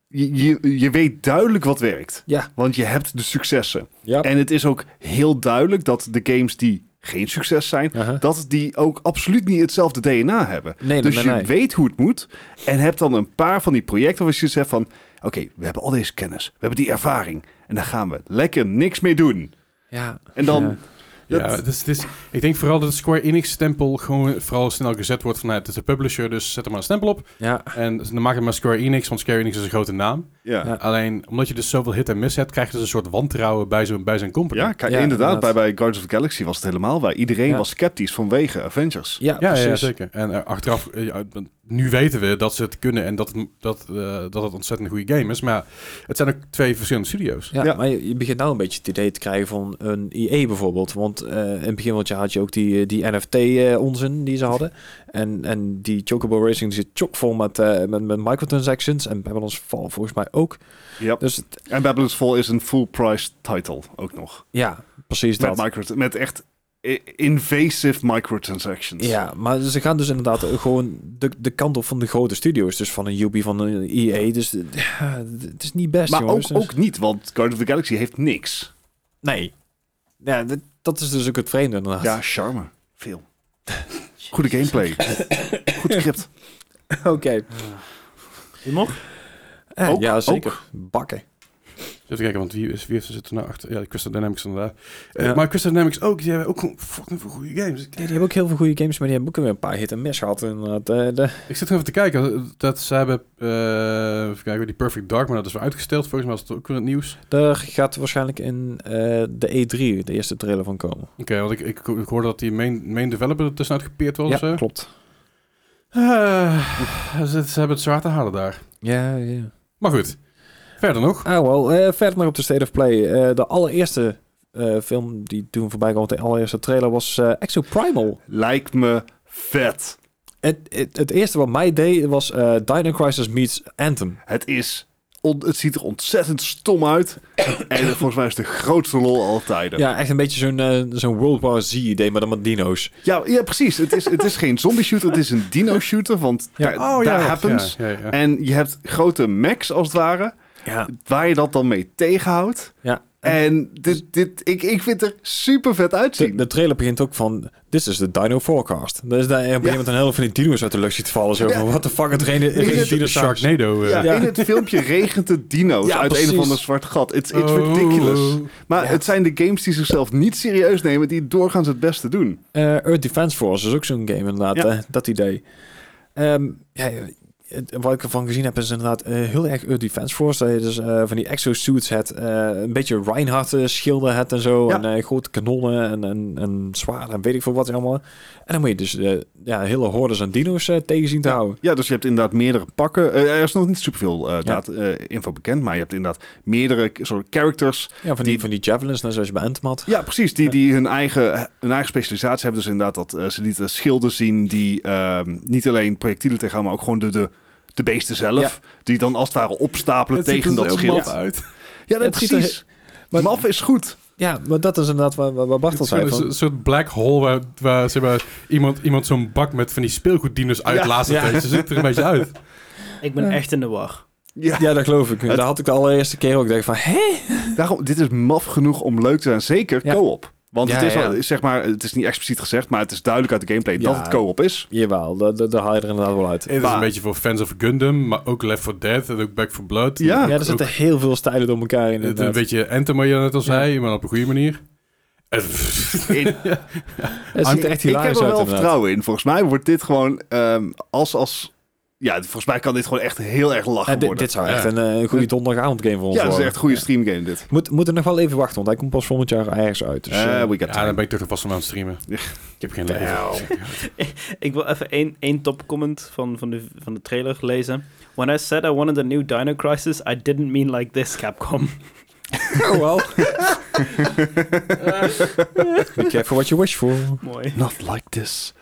C: je, je, je weet duidelijk wat werkt.
B: Ja.
C: Want je hebt de successen.
B: Ja.
C: En het is ook heel duidelijk dat de games die geen succes zijn,
B: Aha.
C: dat die ook absoluut niet hetzelfde DNA hebben.
B: Nee,
C: Dus
B: nee,
C: je
B: nee. nee.
C: weet hoe het moet en hebt dan een paar van die projecten waar je zoiets hebt van... Oké, we hebben al deze kennis, we hebben die ervaring en daar gaan we lekker niks mee doen.
B: Ja.
C: En dan...
B: Ja.
A: Ja,
C: dat-
A: het is, het is- ik denk vooral dat het Square Enix-stempel gewoon vooral snel gezet wordt vanuit de publisher, dus zet er maar een stempel op.
B: Ja.
A: En dan maak het maar Square Enix, want Square Enix is een grote naam.
C: ja.
B: Ja.
A: Alleen, omdat je dus zoveel hit en miss hebt, krijg je dus een soort wantrouwen bij zo'n bij zo'n company.
C: Ja, kijk,
B: Ja,
C: inderdaad,
B: inderdaad.
C: bij, bij Guardians of the Galaxy was het helemaal waar. Iedereen
B: Ja.
C: was sceptisch vanwege Avengers.
B: Ja,
A: Ja, ja,
B: precies.
A: zeker. En eh, achteraf, eh, ja, want nu weten we dat ze het kunnen en dat, het- dat, eh, dat het ontzettend een goede game is. Maar ja, het zijn ook twee verschillende studio's.
B: Ja,
C: Ja.
B: maar je, je begint nou een beetje het idee te krijgen van een IE bijvoorbeeld. Want eh, in het begin van het jaar had je ook die, eh, die NFT-onzin die ze hadden. En, en die Chocobo Racing die zit chockvol met, eh, met, met microtransactions. En Babylon's Fall volgens mij ook.
C: Ja.
B: Dus het-
C: En Babylon's Fall is een full-price title ook nog.
B: ja, precies
C: Met,
B: dat.
C: micro, met echt i- invasive microtransactions.
B: Ja, maar ze gaan dus inderdaad gewoon de, de kant op van de grote studio's. Dus van een UB, van een EA. Dus eh, ja, het is niet best,
C: maar ook,
B: jongens. Dus-
C: ook niet, want Guardians of the Galaxy heeft niks.
B: Nee. Ja, dit- dat is dus ook het vreemde inderdaad.
C: Ja, charme. Veel. Goede gameplay. Goed script.
B: oké.
D: Humor?
B: Eh,
C: Ook,
B: ja, zeker. Bakken.
A: Even kijken, want wie, is, wie heeft, zit er nou achter? Ja, Crystal Dynamics inderdaad. Eh,
B: Ja.
A: Maar Crystal Dynamics ook, die hebben ook gewoon fucking veel goede games.
B: Ja, die hebben ook heel veel goede games, maar die hebben ook weer een paar hit en miss gehad. Inderdaad. Eh, de,
A: Ik zit even te kijken. Dat ze hebben. eh even kijken, die Perfect Dark, maar dat is weer uitgesteld. Volgens mij was het ook weer in het nieuws.
B: daar gaat waarschijnlijk in eh, de E3 de eerste trailer van komen.
A: Oké, want ik, ik, ik hoorde dat die main, main developer er tussenuit gepeerd was. of zo.
B: ja, klopt.
A: Eh, ze, ze hebben het zwaar te halen daar.
B: Ja, ja.
A: Maar goed, verder nog.
B: Ah, wel. eh, verder nog op de State of Play. Eh, de allereerste eh, film die toen voorbij kwam, de allereerste trailer, was eh, Exo Primal.
C: Lijkt me vet.
B: Het, het, het eerste wat mij deed was eh Dino Crisis meets Anthem.
C: Het is... on- het ziet er ontzettend stom uit. En volgens mij is het de grootste lol aller tijden.
B: Ja, echt een beetje zo'n eh, zo'n World War Z idee, maar dan met dino's.
C: Ja, ja, precies. Het is, het is geen zombie shooter, het is een dino shooter, want
B: Ja.
C: daar, daar Oh happens.
A: Ja, ja, ja.
C: En je hebt grote mechs als het ware,
B: Ja.
C: waar je dat dan mee tegenhoudt.
B: Ja.
C: En dit, dit, ik, ik vind het er super vet
B: De,
C: uitzien.
B: de trailer begint ook van, this is the dino forecast. Dus daar op een gegeven moment een hele van die dino's uit de lucht ziet vallen. Zo
C: Ja.
B: van, what the fuck, het reden
C: Nee,
B: is
C: dit-
B: een dinosaurus.
A: Sharknado. eh.
C: Ja,
B: Ja.
C: In het filmpje regent het dino's
B: Ja,
C: uit
B: precies.
C: een of ander zwart gat. It's, it's
A: Oh.
C: ridiculous. Maar
B: Ja.
C: het zijn de games die zichzelf niet serieus nemen, die doorgaans het beste doen.
B: Eh, Earth Defense Force is ook zo'n game inderdaad,
C: Ja.
B: eh, dat idee. Ehm, ja, het- wat ik ervan gezien heb is inderdaad eh, heel erg Earth Defense Force. Dat je dus eh, van die exosuits hebt, eh, een beetje Reinhardt eh, schilden hebt en zo.
C: Ja.
B: En eh, grote kanonnen en, en, en zwaarden en weet ik veel wat allemaal. En dan moet je dus eh, ja, hele hordes aan dino's eh, tegen zien te houden.
C: Ja, dus je hebt inderdaad meerdere pakken. Eh, er is nog niet superveel eh daad- eh, info bekend, maar je hebt inderdaad meerdere k- soort characters
B: Ja, van die, van die javelins, net zoals je bij Anthem had.
C: Ja, precies. Die, die hun, eigen, hun eigen specialisatie hebben. Dus inderdaad dat eh, ze niet de schilden zien die ehm, niet alleen projectielen tegenhouden, maar ook gewoon de, de, de beesten zelf. Die dan als het ware opstapelen
A: Het ziet
C: tegen
A: er
C: dat
A: zo
C: schild.
A: mat uit.
C: Ja, dat
B: Het ziet er-
C: precies.
B: maar-
C: Maf is goed.
B: Ja, maar dat is inderdaad waar, waar waar Bart al
A: Het
B: zei.
A: is
B: Van,
A: een soort black hole waar, waar, zeg maar, iemand, iemand zo'n bak met van die speelgoeddino's uitlaat.
B: Ja.
A: Ze ziet er een beetje uit.
D: Ik ben
B: Ja.
D: echt in de war.
C: Ja,
B: ja, dat geloof ik. Daar had ik de allereerste keer ook. Ik dacht van, hé?
C: daarom, dit is maf genoeg om leuk te zijn. Zeker
B: Ja.
C: co-op. Want
B: Ja,
C: het, is
B: ja.
C: wel, zeg maar, het is niet expliciet gezegd, maar het is duidelijk uit de gameplay
B: Ja.
C: dat het co-op is.
B: Jawel, daar daar- daar haal je er inderdaad wel uit.
A: Het is
C: Maar-
A: een beetje voor fans of Gundam, maar ook Left 4 Dead en ook Back 4 Blood.
C: Ja.
A: En
B: Ja,
A: ook-
B: er zitten heel veel stijlen door elkaar in.
A: ook
B: inderdaad.
A: Een beetje Anthem, wat je net al zei, maar op een goede manier. En-
C: In-
B: Het ziet er echt
C: ik heb
B: hilarisch
C: er
B: uit.
C: wel
B: inderdaad.
C: vertrouwen in. Volgens mij wordt dit gewoon ehm, als, als... Ja, volgens mij kan dit gewoon echt heel erg
B: Eh,
C: lachen
B: dit,
C: worden.
B: dit zou
A: Ja.
B: echt een, eh, een goede donderdagavond game voor ons
C: ja, dat is
B: worden.
C: echt een goede streamgame dit.
B: Moet, moet er nog wel even wachten, want hij komt pas volgend jaar ergens uit. Dus, eh,
C: Eh, we got
A: Ja, dan
C: time.
A: ben ik toch nog vast aan het streamen.
C: Ja.
A: Ik heb geen leven.
D: Ik wil even één, één topcomment van, van, de, van de trailer lezen. When I said I wanted a new Dino Crisis, I didn't mean like this, Capcom.
B: oh wel. Be careful what you wish for.
D: Mooi.
C: Not like this.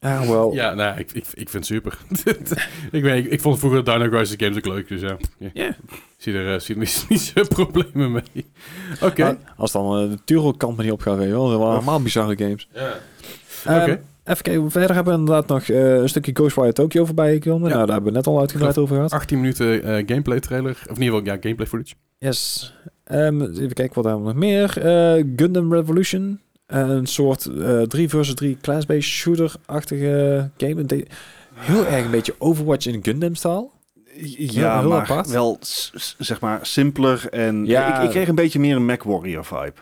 B: Ah, wel.
A: Ja, nou, ik, ik, ik vind het super. ik, weet, ik, ik vond vroeger Dino Crisis games ook leuk, dus ja. Ja.
B: Ja.
A: Zie er, eh, zie er niet, niet zoveel problemen mee. Oké.
B: Maar Als dan eh, de Turok Company op gaat, weet je wel. Dat waren allemaal bizarre games.
A: Ja.
B: Ehm,
A: Oké.
B: Even kijken, verder hebben we inderdaad nog eh, een stukje Ghostwire Tokyo voorbij gekomen.
A: Ja.
B: Nou, daar hebben we net al uitgebreid over gehad.
A: 18 minuten eh, gameplay trailer. Of in ieder geval, ja, gameplay footage.
B: Yes. Ehm, even kijken wat hebben we nog meer. Eh, Gundam Revolution. een soort eh 3 versus 3 class-based shooter-achtige game. De- heel erg een beetje Overwatch in Gundam-staal.
C: Ja,
B: heel
C: maar
B: apart.
C: wel s- s- zeg maar simpeler en
B: Ja.
C: ik, ik kreeg een beetje meer een MacWarrior vibe.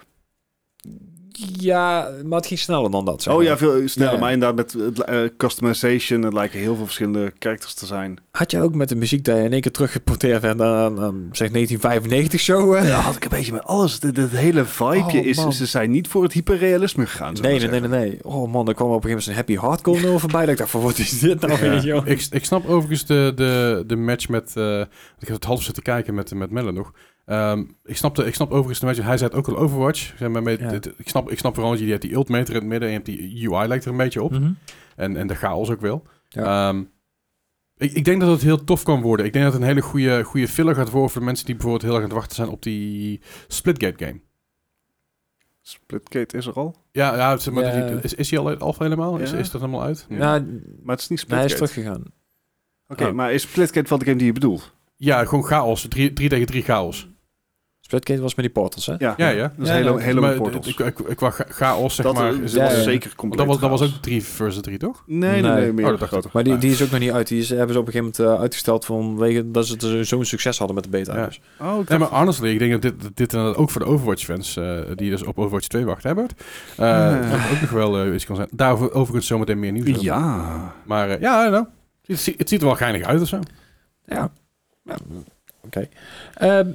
B: Ja, maar het ging sneller dan dat. zeg
C: oh
B: maar.
C: ja, veel sneller,
B: Ja.
C: maar inderdaad met het, eh, customization, het lijken heel veel verschillende characters te zijn.
B: Had je ook met de muziek dat je in één keer teruggeporteerd werd aan, aan, zeg 1995 zo? eh?
C: Ja, had ik een beetje met alles. Dit, dit hele vibeje
B: Oh,
C: is,
B: man.
C: ze zijn niet voor het hyperrealisme gegaan. zou
B: Nee,
C: ik
B: nee,
C: maar
B: nee, nee, nee. Oh man, er kwam op een gegeven moment een happy hardcore nul voorbij. Dat ik dacht van, wat is dit nou weer, joh?
A: Ik, ik snap overigens de, de, de match met... eh, want ik heb het half zitten kijken met, met Melle nog. Ehm, ik, snap de, ik snap overigens de match. Hij zei het ook al Overwatch. Zeg maar, met,
B: Ja.
A: dit- ik, snap, ik snap vooral dat je die hebt die ultimate in het midden en je hebt die UI lijkt er een beetje op.
B: Mhm.
A: En, en de chaos ook wel.
B: Ja.
A: Ehm, ik, ik denk dat het heel tof kan worden. Ik denk dat het een hele goede, goede filler gaat worden voor mensen die bijvoorbeeld heel erg aan het wachten zijn op die Splitgate game.
C: zeggen. Splitgate is er al,
A: Ja, ja, zeg maar,
B: Ja.
A: Is, is die al uit Alpha helemaal? Is,
C: Ja.
A: is dat helemaal uit?
B: Ja,
C: maar het is niet
B: hij is
C: Splitgate.
B: teruggegaan. Ah.
C: Oké,
A: Oh.
C: maar is Splitgate wel de game die je bedoelt?
A: Ja, gewoon chaos. 3 tegen 3 chaos.
B: Stratgate was met die portals, hè?
C: Ja,
A: Ja, ja.
C: Dat is
D: Ja,
C: hele,
D: ja.
C: hele
A: maar
C: portals.
A: d- d- Qua qua cha- chaos, zeg
C: dat
A: maar.
C: eh,
A: Is
B: ja,
A: het,
C: was
B: ja.
C: zeker
A: Want
C: compleet
A: dat was, dat was
C: chaos.
A: ook 3 versus 3, toch?
C: Nee, nee,
B: Nee.
C: nee. meer
A: Oh, dat dacht ik.
C: groter.
B: Maar die,
C: Ah.
B: die is ook nog niet uit. Die is, hebben ze op een gegeven moment eh, uitgesteld vanwege dat ze het zo- zo'n succes hadden met de beta.
A: Ja.
B: Dus.
C: Oh, ik
A: Nee,
C: dacht-
A: maar honestly, ik denk dat dit, dat dit inderdaad ook voor de Overwatch-fans, eh, die dus op Overwatch 2 wachten, hebben, eh,
C: Ja.
A: dat het ook nog wel eh, iets kan zijn. Daarover overigens zometeen meer nieuws. over.
C: Ja.
A: Maar eh, ja, I don't know. Het, zie- het ziet er wel geinig uit of zo.
B: Ja. Ja, Oké. Ehm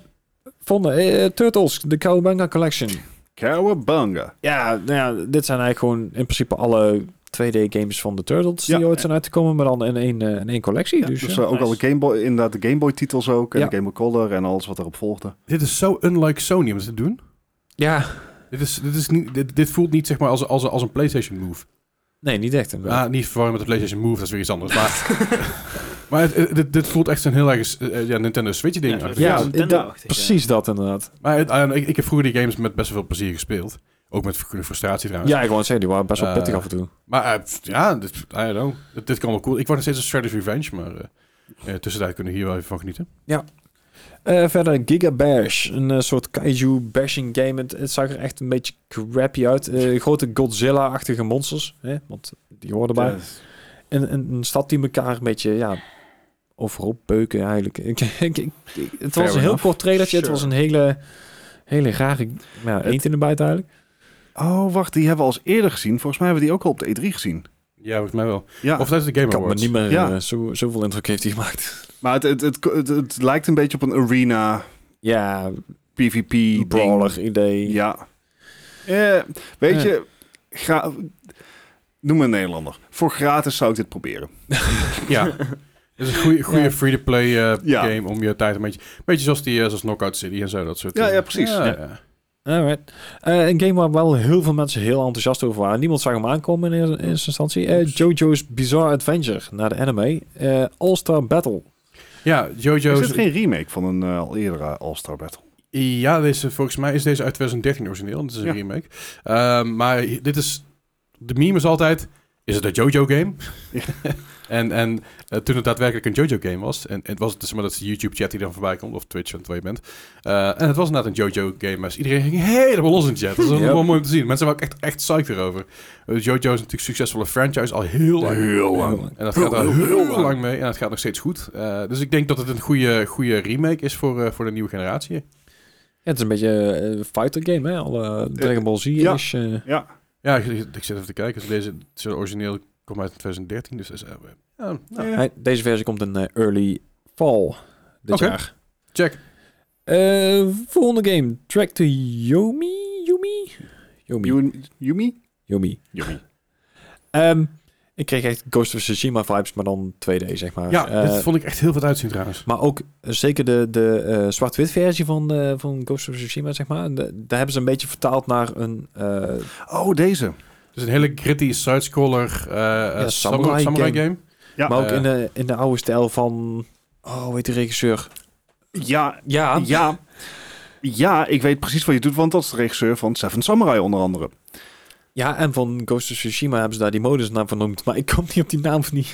B: Volgende, eh, Turtles, de Cowabunga Collection.
C: Cowabunga.
B: Ja, nou ja, dit zijn eigenlijk gewoon in principe alle 2D-games van de Turtles die
C: Ja.
B: ooit zijn uitgekomen, maar dan in één, eh, in één collectie.
C: Ja,
B: dus,
C: dus
B: ja.
C: eh, ook
D: nice.
C: al de Game Boy, inderdaad de Game Boy titels ook. En
B: Ja.
C: de Game Boy Color en alles wat erop volgde.
A: Dit is zo unlike Sony om dit te doen.
B: ja,
A: Dit, is, dit, is niet, dit, dit voelt niet zeg maar als, als, als een PlayStation Move.
B: nee, niet echt. inderdaad.
A: Ah, niet verwarren met de PlayStation Move, dat is weer iets anders. Maar, maar het- het- dit, dit voelt echt zo'n heel erg eh, eh, ja, Nintendo Switch-ding.
D: Ja,
A: aan.
B: ja,
D: Ja, Nintendo-achtig,
B: dat- precies dat inderdaad.
A: Maar het- eh, ik, ik heb vroeger die games met best wel veel plezier gespeeld. Ook met genoeg frustratie trouwens.
B: Ja, ik wou het zeggen, die waren best wel
A: Eh,
B: pittig af en toe.
A: Maar eh, pff, ja, dit, I don't know. Dit, dit kan wel cool. Ik word nog steeds een Stratus Revenge, maar eh, eh, tussentijd kunnen we hier wel even van genieten.
B: Eh, verder Giga Bash, een eh, soort kaiju bashing game. Het, het zag er echt een beetje crappy uit. Eh, grote Godzilla-achtige monsters, hè? want die hoorden bij. Een, een, een stad die elkaar een beetje, ja, overop beuken eigenlijk. Ik, ik, ik- het was een heel
C: enough.
B: kort trailertje. Het
C: Sure.
B: was een hele, hele rare ja,
C: Het-
B: eend in de bijt eigenlijk.
C: Oh, wacht. Die hebben we als eerder gezien. Volgens mij hebben we die ook al op de E3 gezien.
A: Ja, volgens mij wel.
C: Ja.
A: Of tijdens de Game
B: Ik kan me
A: Awards.
B: niet meer
C: Ja.
B: eh, zo, zoveel indruk heeft hij gemaakt.
C: Maar het, het, het, het, het lijkt een beetje op een arena
B: Ja,
C: PvP ding.
B: brawler idee.
C: Ja. Eh, weet
B: Ja.
C: je, gra- noem me een Nederlander. Voor gratis zou ik dit proberen.
A: Ja. Het is een goede, goede
B: Ja.
A: free-to-play eh,
C: Ja.
A: game om je tijd een beetje... Een beetje zoals, die, eh, zoals Knockout City en zo, dat soort
C: Ja,
A: eh,
C: ja, precies.
A: Ja,
C: Ja.
A: ja.
B: Alright. Eh, een game waar wel heel veel mensen heel enthousiast over waren. Niemand zag hem aankomen in eerste in eerste instantie. Eh, Jojo's Bizarre Adventure, naar de anime. Eh, All-Star Battle.
A: Ja,
C: Is
A: JoJo's...
C: dit geen remake van een eh, al eerdere All-Star Battle?
A: Ja, deze, volgens mij is deze uit 2013 origineel. en Dit is een
C: Ja.
A: remake. Ehm, maar hi- dit is... De meme is altijd... Is het een JoJo-game?
C: Ja.
A: en en eh, toen het daadwerkelijk een JoJo-game was... En, en het was het dus maar dat YouTube-chat die dan voorbij komt... Of Twitch, en waar je bent. Eh, en het was inderdaad een JoJo-game. Maar iedereen ging helemaal los in de chat. Dat is
B: Yep.
A: wel mooi om te zien. Mensen waren ook echt, echt psyched erover. Eh, JoJo is natuurlijk een succesvolle franchise al heel lang. En dat gaat al heel lang mee. En dat gaat nog steeds goed. Eh, dus ik denk dat het een goede, goede remake is voor, eh, voor de nieuwe generatie.
B: Ja, het is een beetje een fighter game, hè? Alle Dragon Ball eh. Z-ish.
C: ja.
B: Ja.
C: Ja,
A: Ja, ik, ik- ik zit even te kijken. Dus deze het is origineel komt uit 2013, dus dat is, eh, ja, nou,
C: Eh,
B: Hey, deze versie komt in eh, early fall dit
A: Oké.
B: jaar.
A: check.
B: Eh, volgende game, Track to Yomi? Yomi? Yomi.
C: Yun- Yumi?
B: Yomi.
C: Yumi.
B: Ehm, ik kreeg echt Ghost of Tsushima vibes, maar dan 2D, zeg maar.
A: Ja,
B: Eh,
A: dit vond ik echt heel wat uitzien trouwens.
B: Maar ook eh, zeker de, de eh, zwart-wit versie van, eh, van Ghost of Tsushima, zeg maar. De- daar hebben ze een beetje vertaald naar een eh,
C: Oh, deze.
A: Het is een hele gritty side-scroller eh eh, samurai,
B: samurai
A: samurai game.
B: game.
C: Ja,
B: maar ook
A: eh.
B: in, de, in de oude stijl van... Oh, hoe heet die regisseur?
C: ja,
B: Ja.
C: ja. Ja, ik weet precies wat je doet, want dat is de regisseur van Seven Samurai onder andere.
B: Ja, en van Ghost of Tsushima hebben ze daar die modusnaam van noemd. Maar ik kom niet op die naam van die...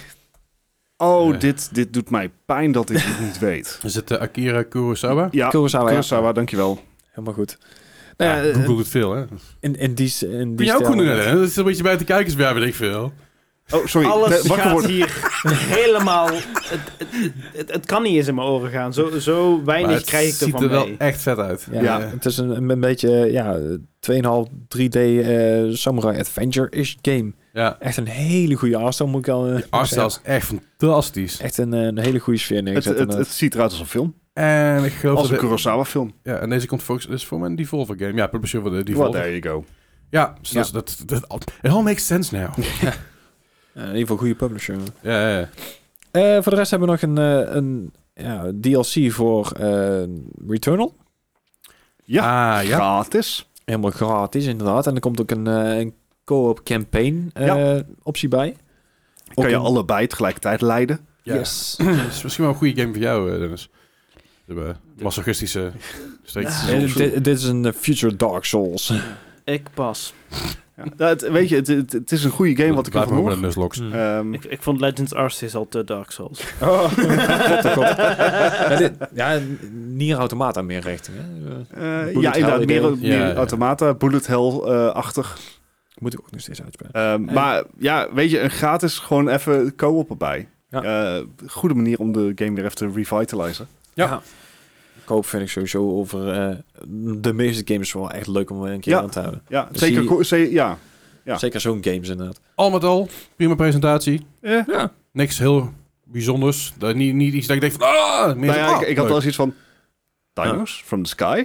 C: Oh,
A: Ja.
C: dit, dit doet mij pijn dat ik dit niet weet.
A: Is het eh, Akira Kurosawa?
C: Ja,
B: Kurosawa. ja.
C: Kurosawa, dankjewel.
B: Helemaal goed. Nou
A: Ja,
B: ja, eh,
A: Google doet veel, hè?
B: in, in die, s- in
A: Kun
B: die
A: jij ook
B: stijl. eh,
A: goed doen, hè? Dat is een beetje bij de kijkers bij, weet ik veel.
C: Oh, sorry.
D: Alles
C: Eh, wakker
D: gaat
C: worden.
D: hier helemaal... Het, het, het, het kan niet eens in mijn oren gaan. Zo, zo
A: Maar
D: weinig
A: het
D: krijg ik
A: ziet
D: ervan
A: er wel
D: mee.
A: echt vet uit.
B: Ja,
C: Ja.
B: het is een, een beetje ja, 2,5 3D eh, samurai adventure-ish game.
A: Ja.
B: Echt een hele goede artstijl, moet ik al eh,
A: Die artstyle
B: zeggen.
A: is echt fantastisch.
B: Echt een, eh, een hele goede sfeer
C: Het,
B: neergezet.
C: het,
B: inderdaad.
C: het ziet eruit als een film.
A: En ik geloof
C: Als een
A: dat... de-
C: Kurosawa film.
A: ja, en deze komt volgens... Dit is voor mij een Devolver game. Ja, publisher van de
C: Well,
A: Devolver.
C: there you go.
A: ja, dus
B: Ja.
A: Dat, dat, dat... It all makes sense now.
B: Ja, eh, in ieder geval een goede publisher.
A: ja, ja, ja.
B: Eh, voor de rest hebben we nog een, eh, een ja, DLC voor eh, Returnal.
C: Ja,
A: Ah, ja.
C: gratis.
B: Helemaal gratis, inderdaad. En er komt ook een, eh, een co-op campaign eh, optie bij. Ook
C: Kan je
B: een-
C: allebei tegelijkertijd leiden.
A: Ja.
B: Yes.
A: Dat is misschien wel een goede game voor jou, eh, Dennis. eh, We hebben masochistische streek.
B: Eh, dit, dit is een eh, future Dark Souls.
D: Ik pas.
C: Ja. Nou, het- weet je, het, het, het is een goede game wat ik
A: Blijf
C: ervan
A: maar
C: hoor.
A: met Nuzlocke.
C: Ehm,
D: Ik, ik vond Legends Arceus al te Dark Souls.
B: Oh, god, oh, god. Ja, dit, ja, Nier Automata meer richting. Hè? Eh,
C: eh,
B: Bullet
C: ja,
B: Hell
C: inderdaad, meer,
B: idee.
C: meer
A: Ja, ja.
C: automata, bullet eh, hell-achtig.
B: Moet ik ook nog steeds uitspelen.
C: Ehm, Maar ja, weet je, een gratis gewoon even co-op erbij.
B: Ja.
C: Eh, goede manier om de game weer even te revitalizen.
A: Ja.
B: Koop vind ik sowieso over eh, de meeste games wel echt leuk om een keer
C: Ja.
B: aan te houden.
C: Ja,
B: Dus
C: zeker.
B: die-
C: ko- ze- ja. Ja.
B: Zeker zo'n games inderdaad.
A: Al met al, prima presentatie.
C: Eh,
B: Ja.
A: Niks heel bijzonders. Dat, niet, niet iets dat ik denk van... Ah, meer
C: nou
A: zo,
C: ja,
A: ah,
C: ik, ik had
A: leuk.
C: wel eens iets van... Dinos from the sky?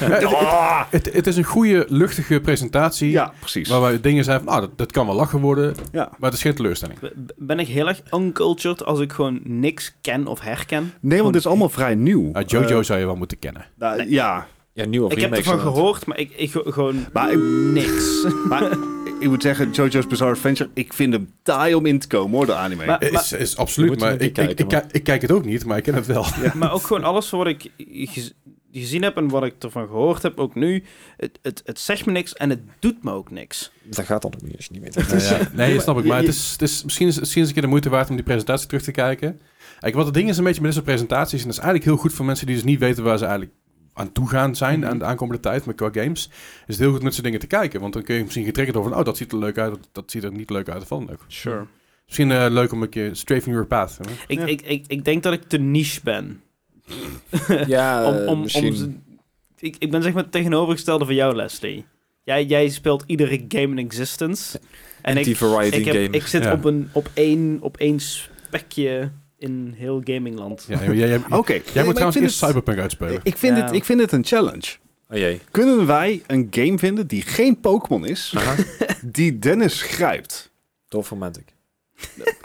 A: Ja, het, het is een goede, luchtige presentatie.
C: Ja, precies.
A: Waarbij dingen zijn van, ah, dat, dat kan wel lachen worden.
C: Ja.
A: Maar het is geen teleurstelling.
D: B- Ben ik heel erg uncultured als ik gewoon niks ken of herken?
C: Nee, want dit is allemaal vrij nieuw.
A: Ah, Jojo
C: Eh,
A: zou je wel moeten kennen.
C: nou, ja,
B: Ja, nieuwe
D: Ik heb
B: remakes
D: ervan
B: inderdaad.
D: gehoord, maar ik, ik ge- gewoon
C: Maar ik-
D: niks.
C: maar ik moet zeggen, Jojo's Bizarre Adventure, ik vind hem taai om in te komen hoor, de anime.
D: Maar-
A: is, is absoluut,
B: moet je
A: maar
B: met die
A: ik, ik,
B: kijken,
A: ik, ik kijk het ook niet, maar ik ken het wel.
D: Maar ook gewoon alles wat ik gez- gezien heb en wat ik ervan gehoord heb, ook nu. Het, het, het zegt me niks en het doet me ook niks.
B: Dat gaat dan ook niet als je niet weet.
A: Nou ja, nee, snap ik.
C: je-
A: Maar
C: je-
A: het is, het is, misschien, is, misschien is het een keer de moeite waard om die presentatie terug te kijken. Kijk, wat het ding is een beetje met dit soort presentaties, en dat is eigenlijk heel goed voor mensen die dus niet weten waar ze eigenlijk aan toe gaan zijn
D: Mhm.
A: aan de aankomende tijd met qua games, is het heel goed met zo'n dingen te kijken. Want dan kun je misschien getriggerd over, van, oh, dat ziet er leuk uit, dat, dat ziet er niet leuk uit, van ook.
D: Sure.
A: Misschien eh, leuk om een keer straight from your path. hè?
D: Ik,
C: Ja.
D: ik, ik, ik denk dat ik te niche ben.
B: Ja,
D: om, om,
B: Eh, misschien.
D: om ze- ik, ik ben zeg maar het tegenovergestelde van jou, Leslie. Jij, jij speelt iedere game in existence. En ik,
B: die variety
D: ik, heb-
B: game.
D: ik zit
A: Ja.
D: op, een, op, één, op één spekje in heel gamingland.
A: Ja, jij, jij, jij
C: Oké. Oh, Nee, maar
A: moet
C: ik
A: trouwens
C: vind
A: eerst
C: het-
A: Cyberpunk uitspelen.
C: Ik vind,
D: Ja.
C: het, ik vind het een challenge.
B: Oh jee.
C: Kunnen wij een game vinden die geen Pokémon is,
B: Aha.
C: die Dennis grijpt?
B: Tof romantic.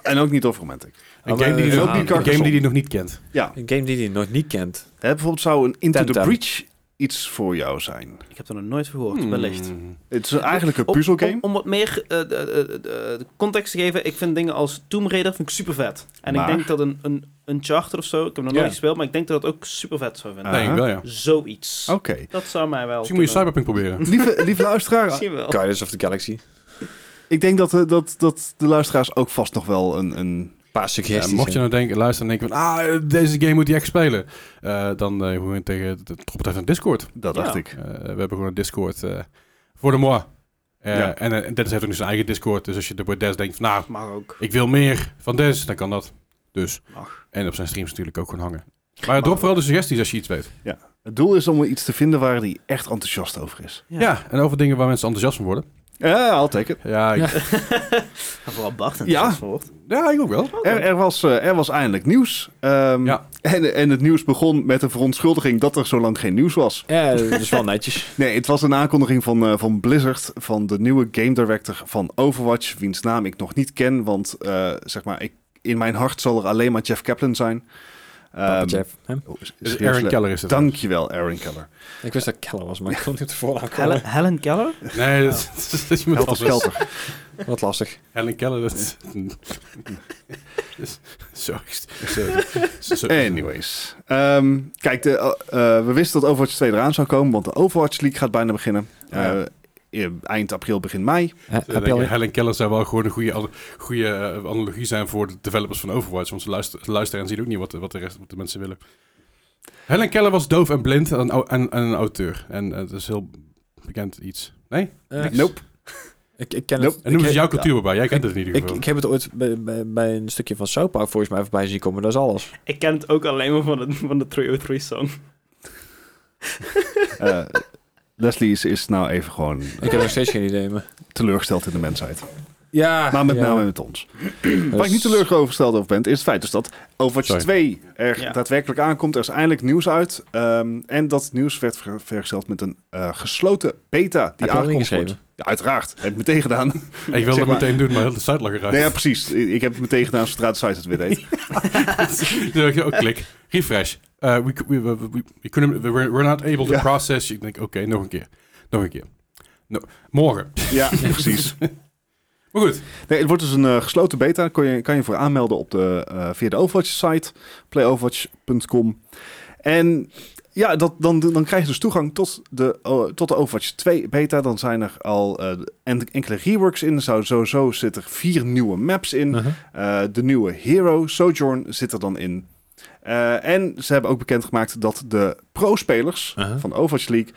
C: En ook niet over romantic.
A: Een game die
B: eh,
A: hij nog-
B: ook die
A: een game die hij nog niet kent.
C: Ja,
B: Een game die hij nog niet kent.
C: hè, bijvoorbeeld zou een Into the
B: Temtem.
C: Breach iets voor jou zijn.
D: Ik heb er nog nooit van gehoord,
A: Hmm.
D: wellicht.
C: Het is eigenlijk een
D: Om-
C: puzzelgame.
D: Om, om wat meer eh, de- de- de- de context te geven, ik vind dingen als Tomb Raider vind ik super vet. En
C: Maar-
D: ik denk dat een, een, een charter of zo, ik heb hem nog
B: Ja.
D: nooit gespeeld, maar ik denk dat dat ook super vet zou vinden.
A: Nee,
C: Aha.
A: ik wel ja.
D: Zoiets.
C: Oké.
D: Dat zou mij wel.
A: Misschien moet je
D: kunnen-
A: Cyberpunk proberen.
C: Lieve, lieve luisteraar,
D: Misschien wel.
B: Guardians of the Galaxy.
C: ik denk dat, eh, dat, dat de luisteraars ook vast nog wel een... een
B: Een paar
A: Ja,
B: suggesties.
A: mocht je
B: hè.
A: nou denken, luisteren en denken van, ah, deze game moet je echt spelen. Eh, dan eh gewoon tegen, de- drop het even een Discord.
C: dat
D: Ja.
C: dacht ik.
A: Eh, we hebben gewoon een Discord eh, voor de moi. Eh,
C: Ja.
A: En eh, Dennis heeft ook nu zijn eigen Discord. Dus als je de woord Des denkt van, nou,
D: Mag ook.
A: ik wil meer van Des, dan kan dat. Dus.
D: Mag.
A: En op zijn streams natuurlijk ook gewoon hangen. Maar drop vooral de suggesties als je iets weet.
C: Het doel is om iets te vinden waar hij echt enthousiast over is.
A: Ja, en over dingen waar mensen enthousiast van worden.
C: Ja, I'll take it.
A: Ja, ik,
D: En vooral Bart en
C: Ja.
D: ja. woord.
A: ja, ik ook wel.
C: Er, er, was, eh, er was eindelijk nieuws. Ehm,
A: Ja.
C: en, en het nieuws begon met een verontschuldiging dat er zo lang geen nieuws was.
B: Ja, dat is wel netjes.
C: Nee, het was een aankondiging van, eh, van Blizzard, van de nieuwe game director van Overwatch, wiens naam ik nog niet ken, want eh, zeg maar, ik, in mijn hart zal er alleen maar Jeff Kaplan zijn.
B: Papa
C: Ehm,
B: Jeff, hè?
C: oh, is- is-
A: Dus Aaron Keller is het.
C: Dankjewel, Aaron Keller.
B: Ik wist dat ik Keller was, maar ik kon niet op de voornaam komen.
D: Helen, Helen Keller?
A: Nee, dat, dat is iemand
C: Helter
A: anders.
C: Skelter.
B: Wat lastig.
A: Helen Keller, dat is... Zo, zo- zo- zo-
C: Anyways. Ehm, kijk, de, eh, eh, we wisten dat Overwatch 2 eraan zou komen, want de Overwatch League gaat bijna beginnen.
A: Ja.
C: Eh, in- eind april, begin mei.
B: Heb
A: Ze
B: je al-
A: denken, Eh, Helen Keller zou wel gewoon een goede, al- goede eh, analogie zijn voor de developers van Overwatch. Want ze luisteren, ze luisteren en zien ook niet wat, de- wat de rest wat de mensen willen. Helen Keller was doof en blind en, een au- en, en een auteur. En eh, dat is heel bekend iets. Nee?
B: Eh,
C: Nope.
B: Ik, ik ken
C: Nope.
B: het.
A: En noemen
B: ik,
A: ze jouw cultuur bij. Jij kent het in ieder
B: ik,
A: geval.
B: ik heb het ooit bij, bij, bij een stukje van South Park volgens mij voorbij zien komen. Dat is alles.
D: Ik ken het ook alleen maar van de, van de 303 song.
C: Eh, Leslie is, is nou even gewoon
B: Ik heb nog steeds geen idee meer.
C: teleurgesteld in de mensheid.
A: Ah,
B: Ja.
C: Maar met
B: ja.
C: name met ons.
B: Dus-
C: Waar ik niet teleurgesteld over ben, is het feit dus dat Overwatch
A: Sorry.
C: 2 er
D: Ja.
C: daadwerkelijk aankomt. Er is eindelijk nieuws uit. Ehm, en dat nieuws werd ver- vergezeld met een eh, gesloten beta die
B: je al
C: aangekomen wordt.
B: ingeschreven?
C: Ja, uiteraard. Heb ik meteen gedaan.
A: Ik, wil
C: zeg
A: dat
C: maar-
A: meteen doen, maar heel de site lag eruit.
C: Nee, ja, precies. Ik ik heb het meteen gedaan zodra de site het weer deed.
A: Toen dacht ik, oh, klik. Refresh. Eh, we, c- we, we, we, we couldn't- we were- we're not able to
C: Ja.
A: process. Ik denk, oké, nog een keer. Nog een keer. No- morgen.
C: Ja, precies.
A: Maar goed.
C: Nee, het wordt dus een eh, gesloten beta. Kon je, kan je voor aanmelden op de, eh, via de Overwatch-site, playoverwatch.com. En ja, dat, dan, dan krijg je dus toegang tot de, eh, tot de Overwatch 2 beta. Dan zijn er al eh, en- enkele reworks in. Er zou sowieso zitten er vier nieuwe maps in.
B: Uh-huh.
C: Eh, de nieuwe Hero Sojourn zit er dan in. Eh, en ze hebben ook bekendgemaakt dat de pro-spelers
B: Uh-huh.
C: van Overwatch League,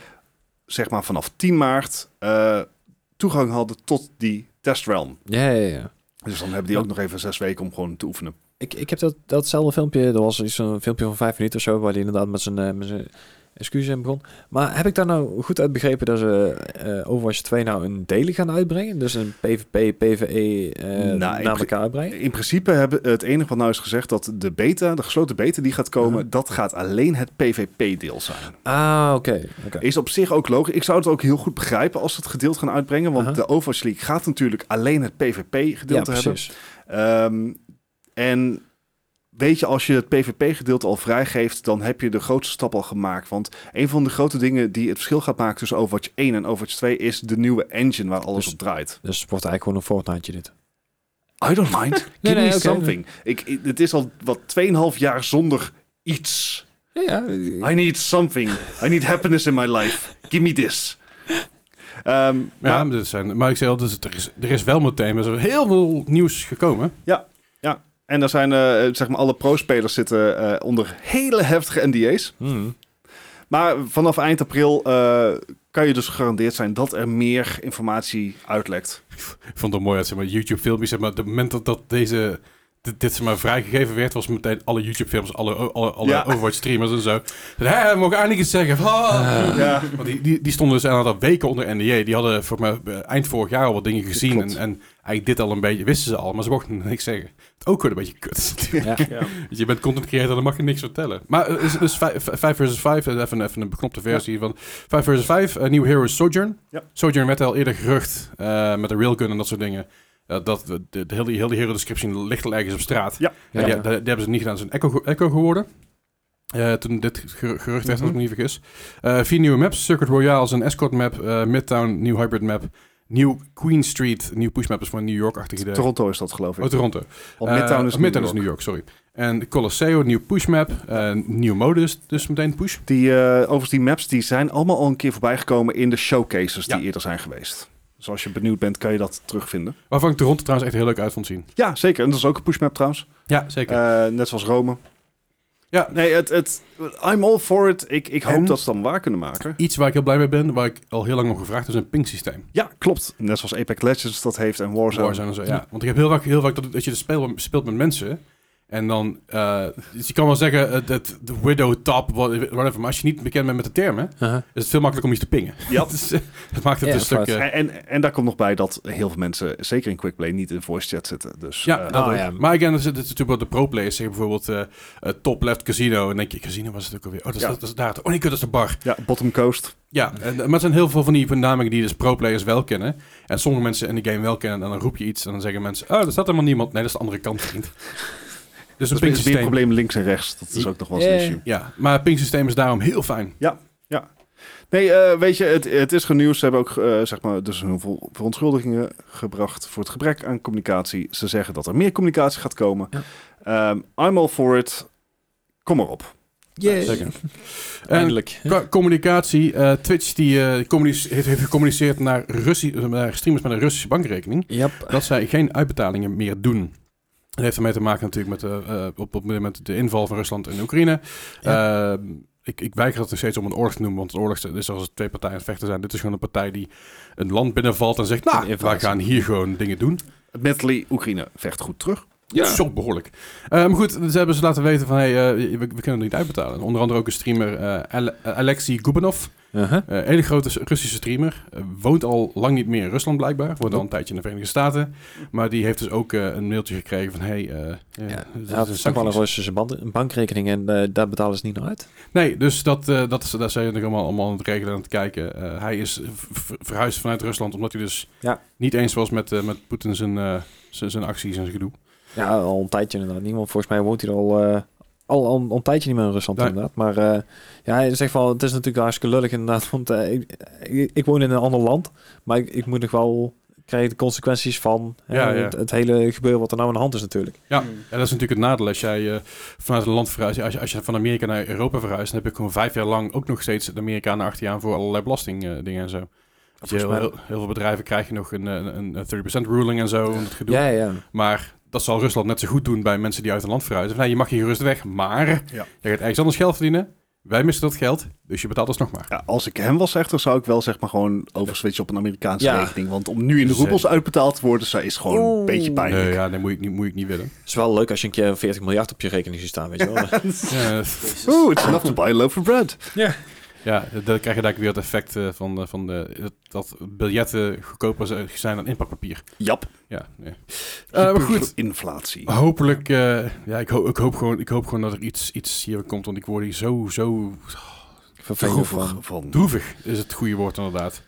C: zeg maar vanaf 10 maart, eh, toegang hadden tot die test realm.
B: Ja, ja, ja.
C: Dus dan hebben die ook nog even zes weken om gewoon te oefenen.
B: Ik, ik heb dat, datzelfde filmpje, er was iets, zo'n filmpje van vijf minuten of zo, waar hij inderdaad met zijn, eh, met zijn excuses in begon. Maar heb ik daar nou goed uit begrepen dat ze eh, Overwatch 2 nou een delen gaan uitbrengen? Dus een PvP, PvE eh
C: Nou,
B: naar
C: ik-
B: elkaar uitbrengen?
C: In principe hebben het enige wat nou is gezegd dat de beta, de gesloten beta die gaat komen,
B: Mhm.
C: dat gaat alleen het PvP-deel zijn.
B: Ah, oké. oké.
C: Is op zich ook logisch. Ik zou het ook heel goed begrijpen als ze het gedeeld gaan uitbrengen, want
B: Aha.
C: de Overwatch League gaat natuurlijk alleen het
B: Ja,
C: PvP-gedeelte hebben.
B: precies.
C: Ehm, en weet je, als je het PvP-gedeelte al vrijgeeft, dan heb je de grootste stap al gemaakt. Want een van de grote dingen die het verschil gaat maken tussen Overwatch 1 en Overwatch 2 is de nieuwe engine waar alles
B: Dus-
C: op draait.
B: Dus het wordt eigenlijk gewoon een Fortniteje dit.
C: I don't mind. Give
B: Nee, nee,
C: me
B: oké.
C: something. Ik, ik- het is al wat 2,5 jaar zonder iets.
B: Ja, ja.
C: I need something. I need happiness in my life. Give me this. Ehm,
A: Ja,
C: maar-
A: maar, dat zijn, maar ik zei al, dus er, is, er is wel meteen er is heel veel nieuws gekomen.
C: en daar zijn, eh, zeg maar, alle pro-spelers zitten eh, onder hele heftige NDA's.
B: Hmm.
C: Maar vanaf eind april eh, kan je dus gegarandeerd zijn dat er meer informatie uitlekt.
A: Ik vond het mooi uit, zeg maar, YouTube-filmpjes. Zeg maar, de moment dat, dat deze, dit, dit zeg maar, vrijgegeven werd, was meteen alle YouTube-films, alle, alle, alle
C: Ja.
A: Overwatch-streamers en zo. Zeiden, Hé, we mogen eigenlijk iets zeggen. Ah.
C: Ja.
A: Want die, die, die stonden dus aan dat weken onder NDA. Die hadden voor mij eh, eind vorig jaar al wat dingen gezien. En,
C: Klopt.
A: en eigenlijk dit al een beetje, wisten ze al, maar ze mochten niks zeggen. Het ook weer een beetje kut.
B: Ja.
D: Ja.
A: Dus je bent content creator, dan mag je niks vertellen. Maar eh, is dus 5 versus 5, even, even een beknopte versie van 5 versus 5, een nieuw Hero is Sojourn.
C: Ja.
A: Sojourn werd al eerder gerucht eh, met de railgun en dat soort dingen. Eh, dat de, de, de hele, heel die hero description ligt al ergens op straat.
B: Ja.
A: En die, die- die hebben ze niet gedaan, ze zijn echo, echo geworden. Eh, toen dit geru- gerucht werd, als ik me niet vergis. Eh, vier nieuwe maps: Circuit Royale is een escort map, eh, Midtown, nieuw hybrid map, nieuw Queen Street, nieuw push map is van New York-achtige. de-
C: Toronto is dat, geloof ik.
A: Oh, Toronto.
C: Want Midtown
A: Eh,
C: is
A: of
C: New
A: Midtown
C: York.
A: is New York, sorry. En Colosseo, nieuw pushmap, eh nieuw modus, dus meteen push.
C: Die, eh, overigens, die maps die zijn allemaal al een keer voorbij gekomen in de showcases die
A: Ja.
C: eerder zijn geweest. Dus als je benieuwd bent, kan je dat terugvinden.
A: Waarvan ik Toronto trouwens echt heel leuk uit vond zien.
C: Ja, zeker. En dat is ook een pushmap trouwens.
A: Ja, zeker.
C: Eh, net zoals Rome.
A: ja,
C: Nee, het, het, I'm all for it. Ik, ik hoop
A: En?
C: dat ze dan waar kunnen maken.
A: iets waar ik heel blij mee ben, waar ik al heel lang om gevraagd heb, is een ping systeem.
C: Ja, klopt. Net zoals Apex Legends dat heeft en Warzone.
A: Warzone en zo, ja. Want ik heb heel vaak, heel vaak dat, dat je dus speel- speelt met mensen. En dan, eh, dus je kan wel zeggen, eh, dat de widow top, what- whatever. Maar als je niet bekend bent met de termen,
B: Uh-huh.
A: is het veel makkelijker om iets te pingen.
C: Ja.
A: Dus, eh, dat maakt het
B: Ja,
A: een stuk...
B: right.
A: eh,
C: En, en, en daar komt nog bij dat heel veel mensen, zeker in Quickplay, niet in voice chat zitten. Dus
A: Ja,
C: eh,
A: dat
B: ah,
A: ook.
B: ja.
A: Maar again, dat is, dat is natuurlijk wat de pro-players zeggen. Bijvoorbeeld eh, eh, top left casino. En dan denk je, casino was het ook alweer. Oh, dat is,
C: Ja.
A: dat, dat is daar. Oh nee, kut, dat is de bar.
C: ja, bottom coast.
A: Ja, en, maar er zijn heel veel van die benamingen die dus pro-players wel kennen. En sommige mensen in de game wel kennen. En dan roep je iets en dan zeggen mensen... Oh, er staat helemaal niemand. Nee, dat is de andere kant, vriend. Dus een
C: Dat is weer een
A: ping-systeem.
C: probleem links en rechts. Dat is ook nog wel eens
B: Ja.
C: een
A: Eh.
C: issue.
A: Ja, maar het ping-systeem is daarom heel fijn.
C: Nee, eh, weet je, het, het is genieuws. Ze hebben ook eh, zeg maar, dus heel veel verontschuldigingen gebracht voor het gebrek aan communicatie. Ze zeggen dat er meer communicatie gaat komen.
B: Ja.
C: Ehm, I'm all for it. Kom maar op.
B: Yeah.
A: Zeker. Eh, En
B: Eindelijk.
A: Qua communicatie, eh, Twitch die, eh, communice- heeft, heeft gecommuniceerd naar, Russi- naar streamers met een Russische bankrekening.
B: Yep.
A: dat zij geen uitbetalingen meer doen. Dat heeft ermee te maken natuurlijk met, eh, eh, op, op dit moment de inval van Rusland in Oekraïne. Eh, ik, ik weiger dat nog steeds om een oorlog te noemen, want een oorlog is als er twee partijen aan het vechten zijn. Dit is gewoon een partij die een land binnenvalt en zegt, nou,
B: Een
A: wij
B: invasie.
A: gaan hier gewoon dingen doen.
C: Admittedly, Oekraïne vecht goed terug.
A: Ja. Zo behoorlijk. Eh, maar goed, ze hebben ze laten weten van, hey, eh, we, we kunnen het niet uitbetalen. Onder andere ook een streamer, eh, Ale- eh, Alexei Gubanov,
B: Uh-huh.
A: eh hele grote S- Russische streamer. Eh, woont al lang niet meer in Rusland blijkbaar. Woont al een tijdje in de Verenigde Staten. Maar die heeft dus ook eh, een mailtje gekregen van... Hey, eh, eh,
B: Ja,
A: dit
B: dat
A: is
B: is toch wel een
A: sancties.
B: Russische band- bankrekening en eh, daar betalen ze niet naar uit.
A: Nee, dus dat, eh, dat, is- daar zijn we nog allemaal, allemaal aan het regelen en aan het kijken. Eh, hij is v- v- verhuisd vanuit Rusland omdat hij dus
B: Ja.
A: niet eens was met, eh, met Poetin zijn, eh, zijn, zijn acties en zijn gedoe.
B: Ja, al een tijdje inderdaad. Niemand, volgens mij woont hij er al, eh, al, al, al een tijdje niet meer in Rusland
A: Nee.
B: inderdaad. Maar eh, ja, hij zegt wel, het is natuurlijk hartstikke lullig inderdaad. Want eh, ik, ik, ik woon in een ander land, maar ik, ik moet nog wel krijg je de consequenties van hè,
A: Ja, ja.
B: Het, het hele gebeuren wat er nou aan de hand is natuurlijk.
A: Ja. En dat is natuurlijk het nadeel als jij eh, vanuit een land verhuist. Als je, als je van Amerika naar Europa verhuist, dan heb je gewoon vijf jaar lang ook nog steeds de Amerikanen achter je aan voor allerlei belastingdingen en zo. Dus
B: Volgens
A: heel,
B: mij-
A: heel, heel veel bedrijven krijgen nog een, eh, een, een 30% ruling en zo. En dat gedoe.
B: Ja, ja.
A: Maar dat zal Rusland net zo goed doen bij mensen die uit een land verhuizen. Van, nou, je mag hier gerust weg, maar je gaat ergens anders geld verdienen. Wij missen dat geld, dus je betaalt alsnog maar.
C: Ja, als ik hem was echter, zou ik wel zeg maar gewoon overswitchen op een Amerikaanse
B: Ja.
C: rekening. Want om nu in de roebels uitbetaald te worden, zo- is gewoon een
B: Oeh.
C: beetje pijnlijk.
A: Nee, Eh, ja, nee, moet ik niet, moet ik niet willen.
B: Het is wel leuk als je een keer 40 miljard op je rekening ziet staan, weet je wel.
A: Ja, eh,
C: Oeh, it's enough to buy a loaf of bread.
A: Ja, dan krijg je daar weer het effect eh, van, de- van de, dat, dat biljetten goedkoper z- zijn dan inpakpapier.
C: Jap.
A: Ja, nee. Eh, maar goed, Ah,
C: Inflatie.
A: hopelijk... eh, ja, ik, ho ik, hoop gewoon, ik hoop gewoon dat er iets, iets hier komt, want ik word hier zo, zo
B: Vervelend
C: droevig
B: van.
C: van.
A: droevig, is het goede woord inderdaad.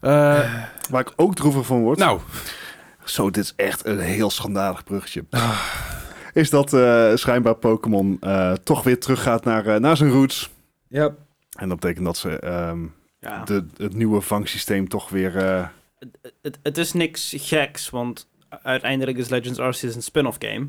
A: Eh,
C: Waar ik ook droevig van word.
A: nou,
C: Zo, dit is echt een heel schandalig bruggetje. Is dat eh, schijnbaar Pokémon eh, toch weer teruggaat naar, eh, naar zijn roots.
B: Ja.
C: En dat betekent dat ze ehm,
D: Ja.
C: de, het nieuwe vangsysteem toch weer... eh,
D: Het- het, het is niks geks, want uiteindelijk is Legends Arceus een spin-off game.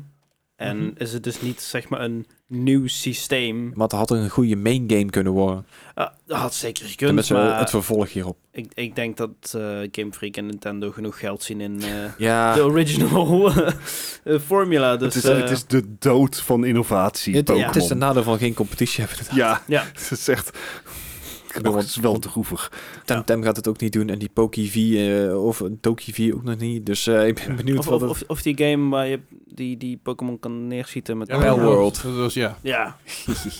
D: En
A: Mhm.
D: is het dus niet, zeg maar, een nieuw systeem.
B: Maar het had een goede main game kunnen worden.
D: Ah, dat had zeker
B: En
D: gekund,
B: met z'n-
D: maar
B: het vervolg hierop.
D: ik, ik denk dat eh, Game Freak en Nintendo genoeg geld zien in eh,
B: Ja.
D: de original eh, formula. Dus,
C: het, is,
D: eh,
C: het is de dood van innovatie,
B: Het,
C: Pokémon.
B: het is een nadeel van geen competitie hebben. inderdaad.
C: Ja,
D: Ja.
C: het is echt...
B: bedoel,
C: het is wel droevig.
B: Temtem gaat het ook niet doen en die Poki V eh, of Doki V ook nog niet. Dus eh, ik ben benieuwd
D: of,
B: wat
D: of,
B: het...
D: of, of die game waar je die, die Pokémon kan neerschieten met...
A: ja,
B: Pal World.
A: Dat was, ja.
D: Ja,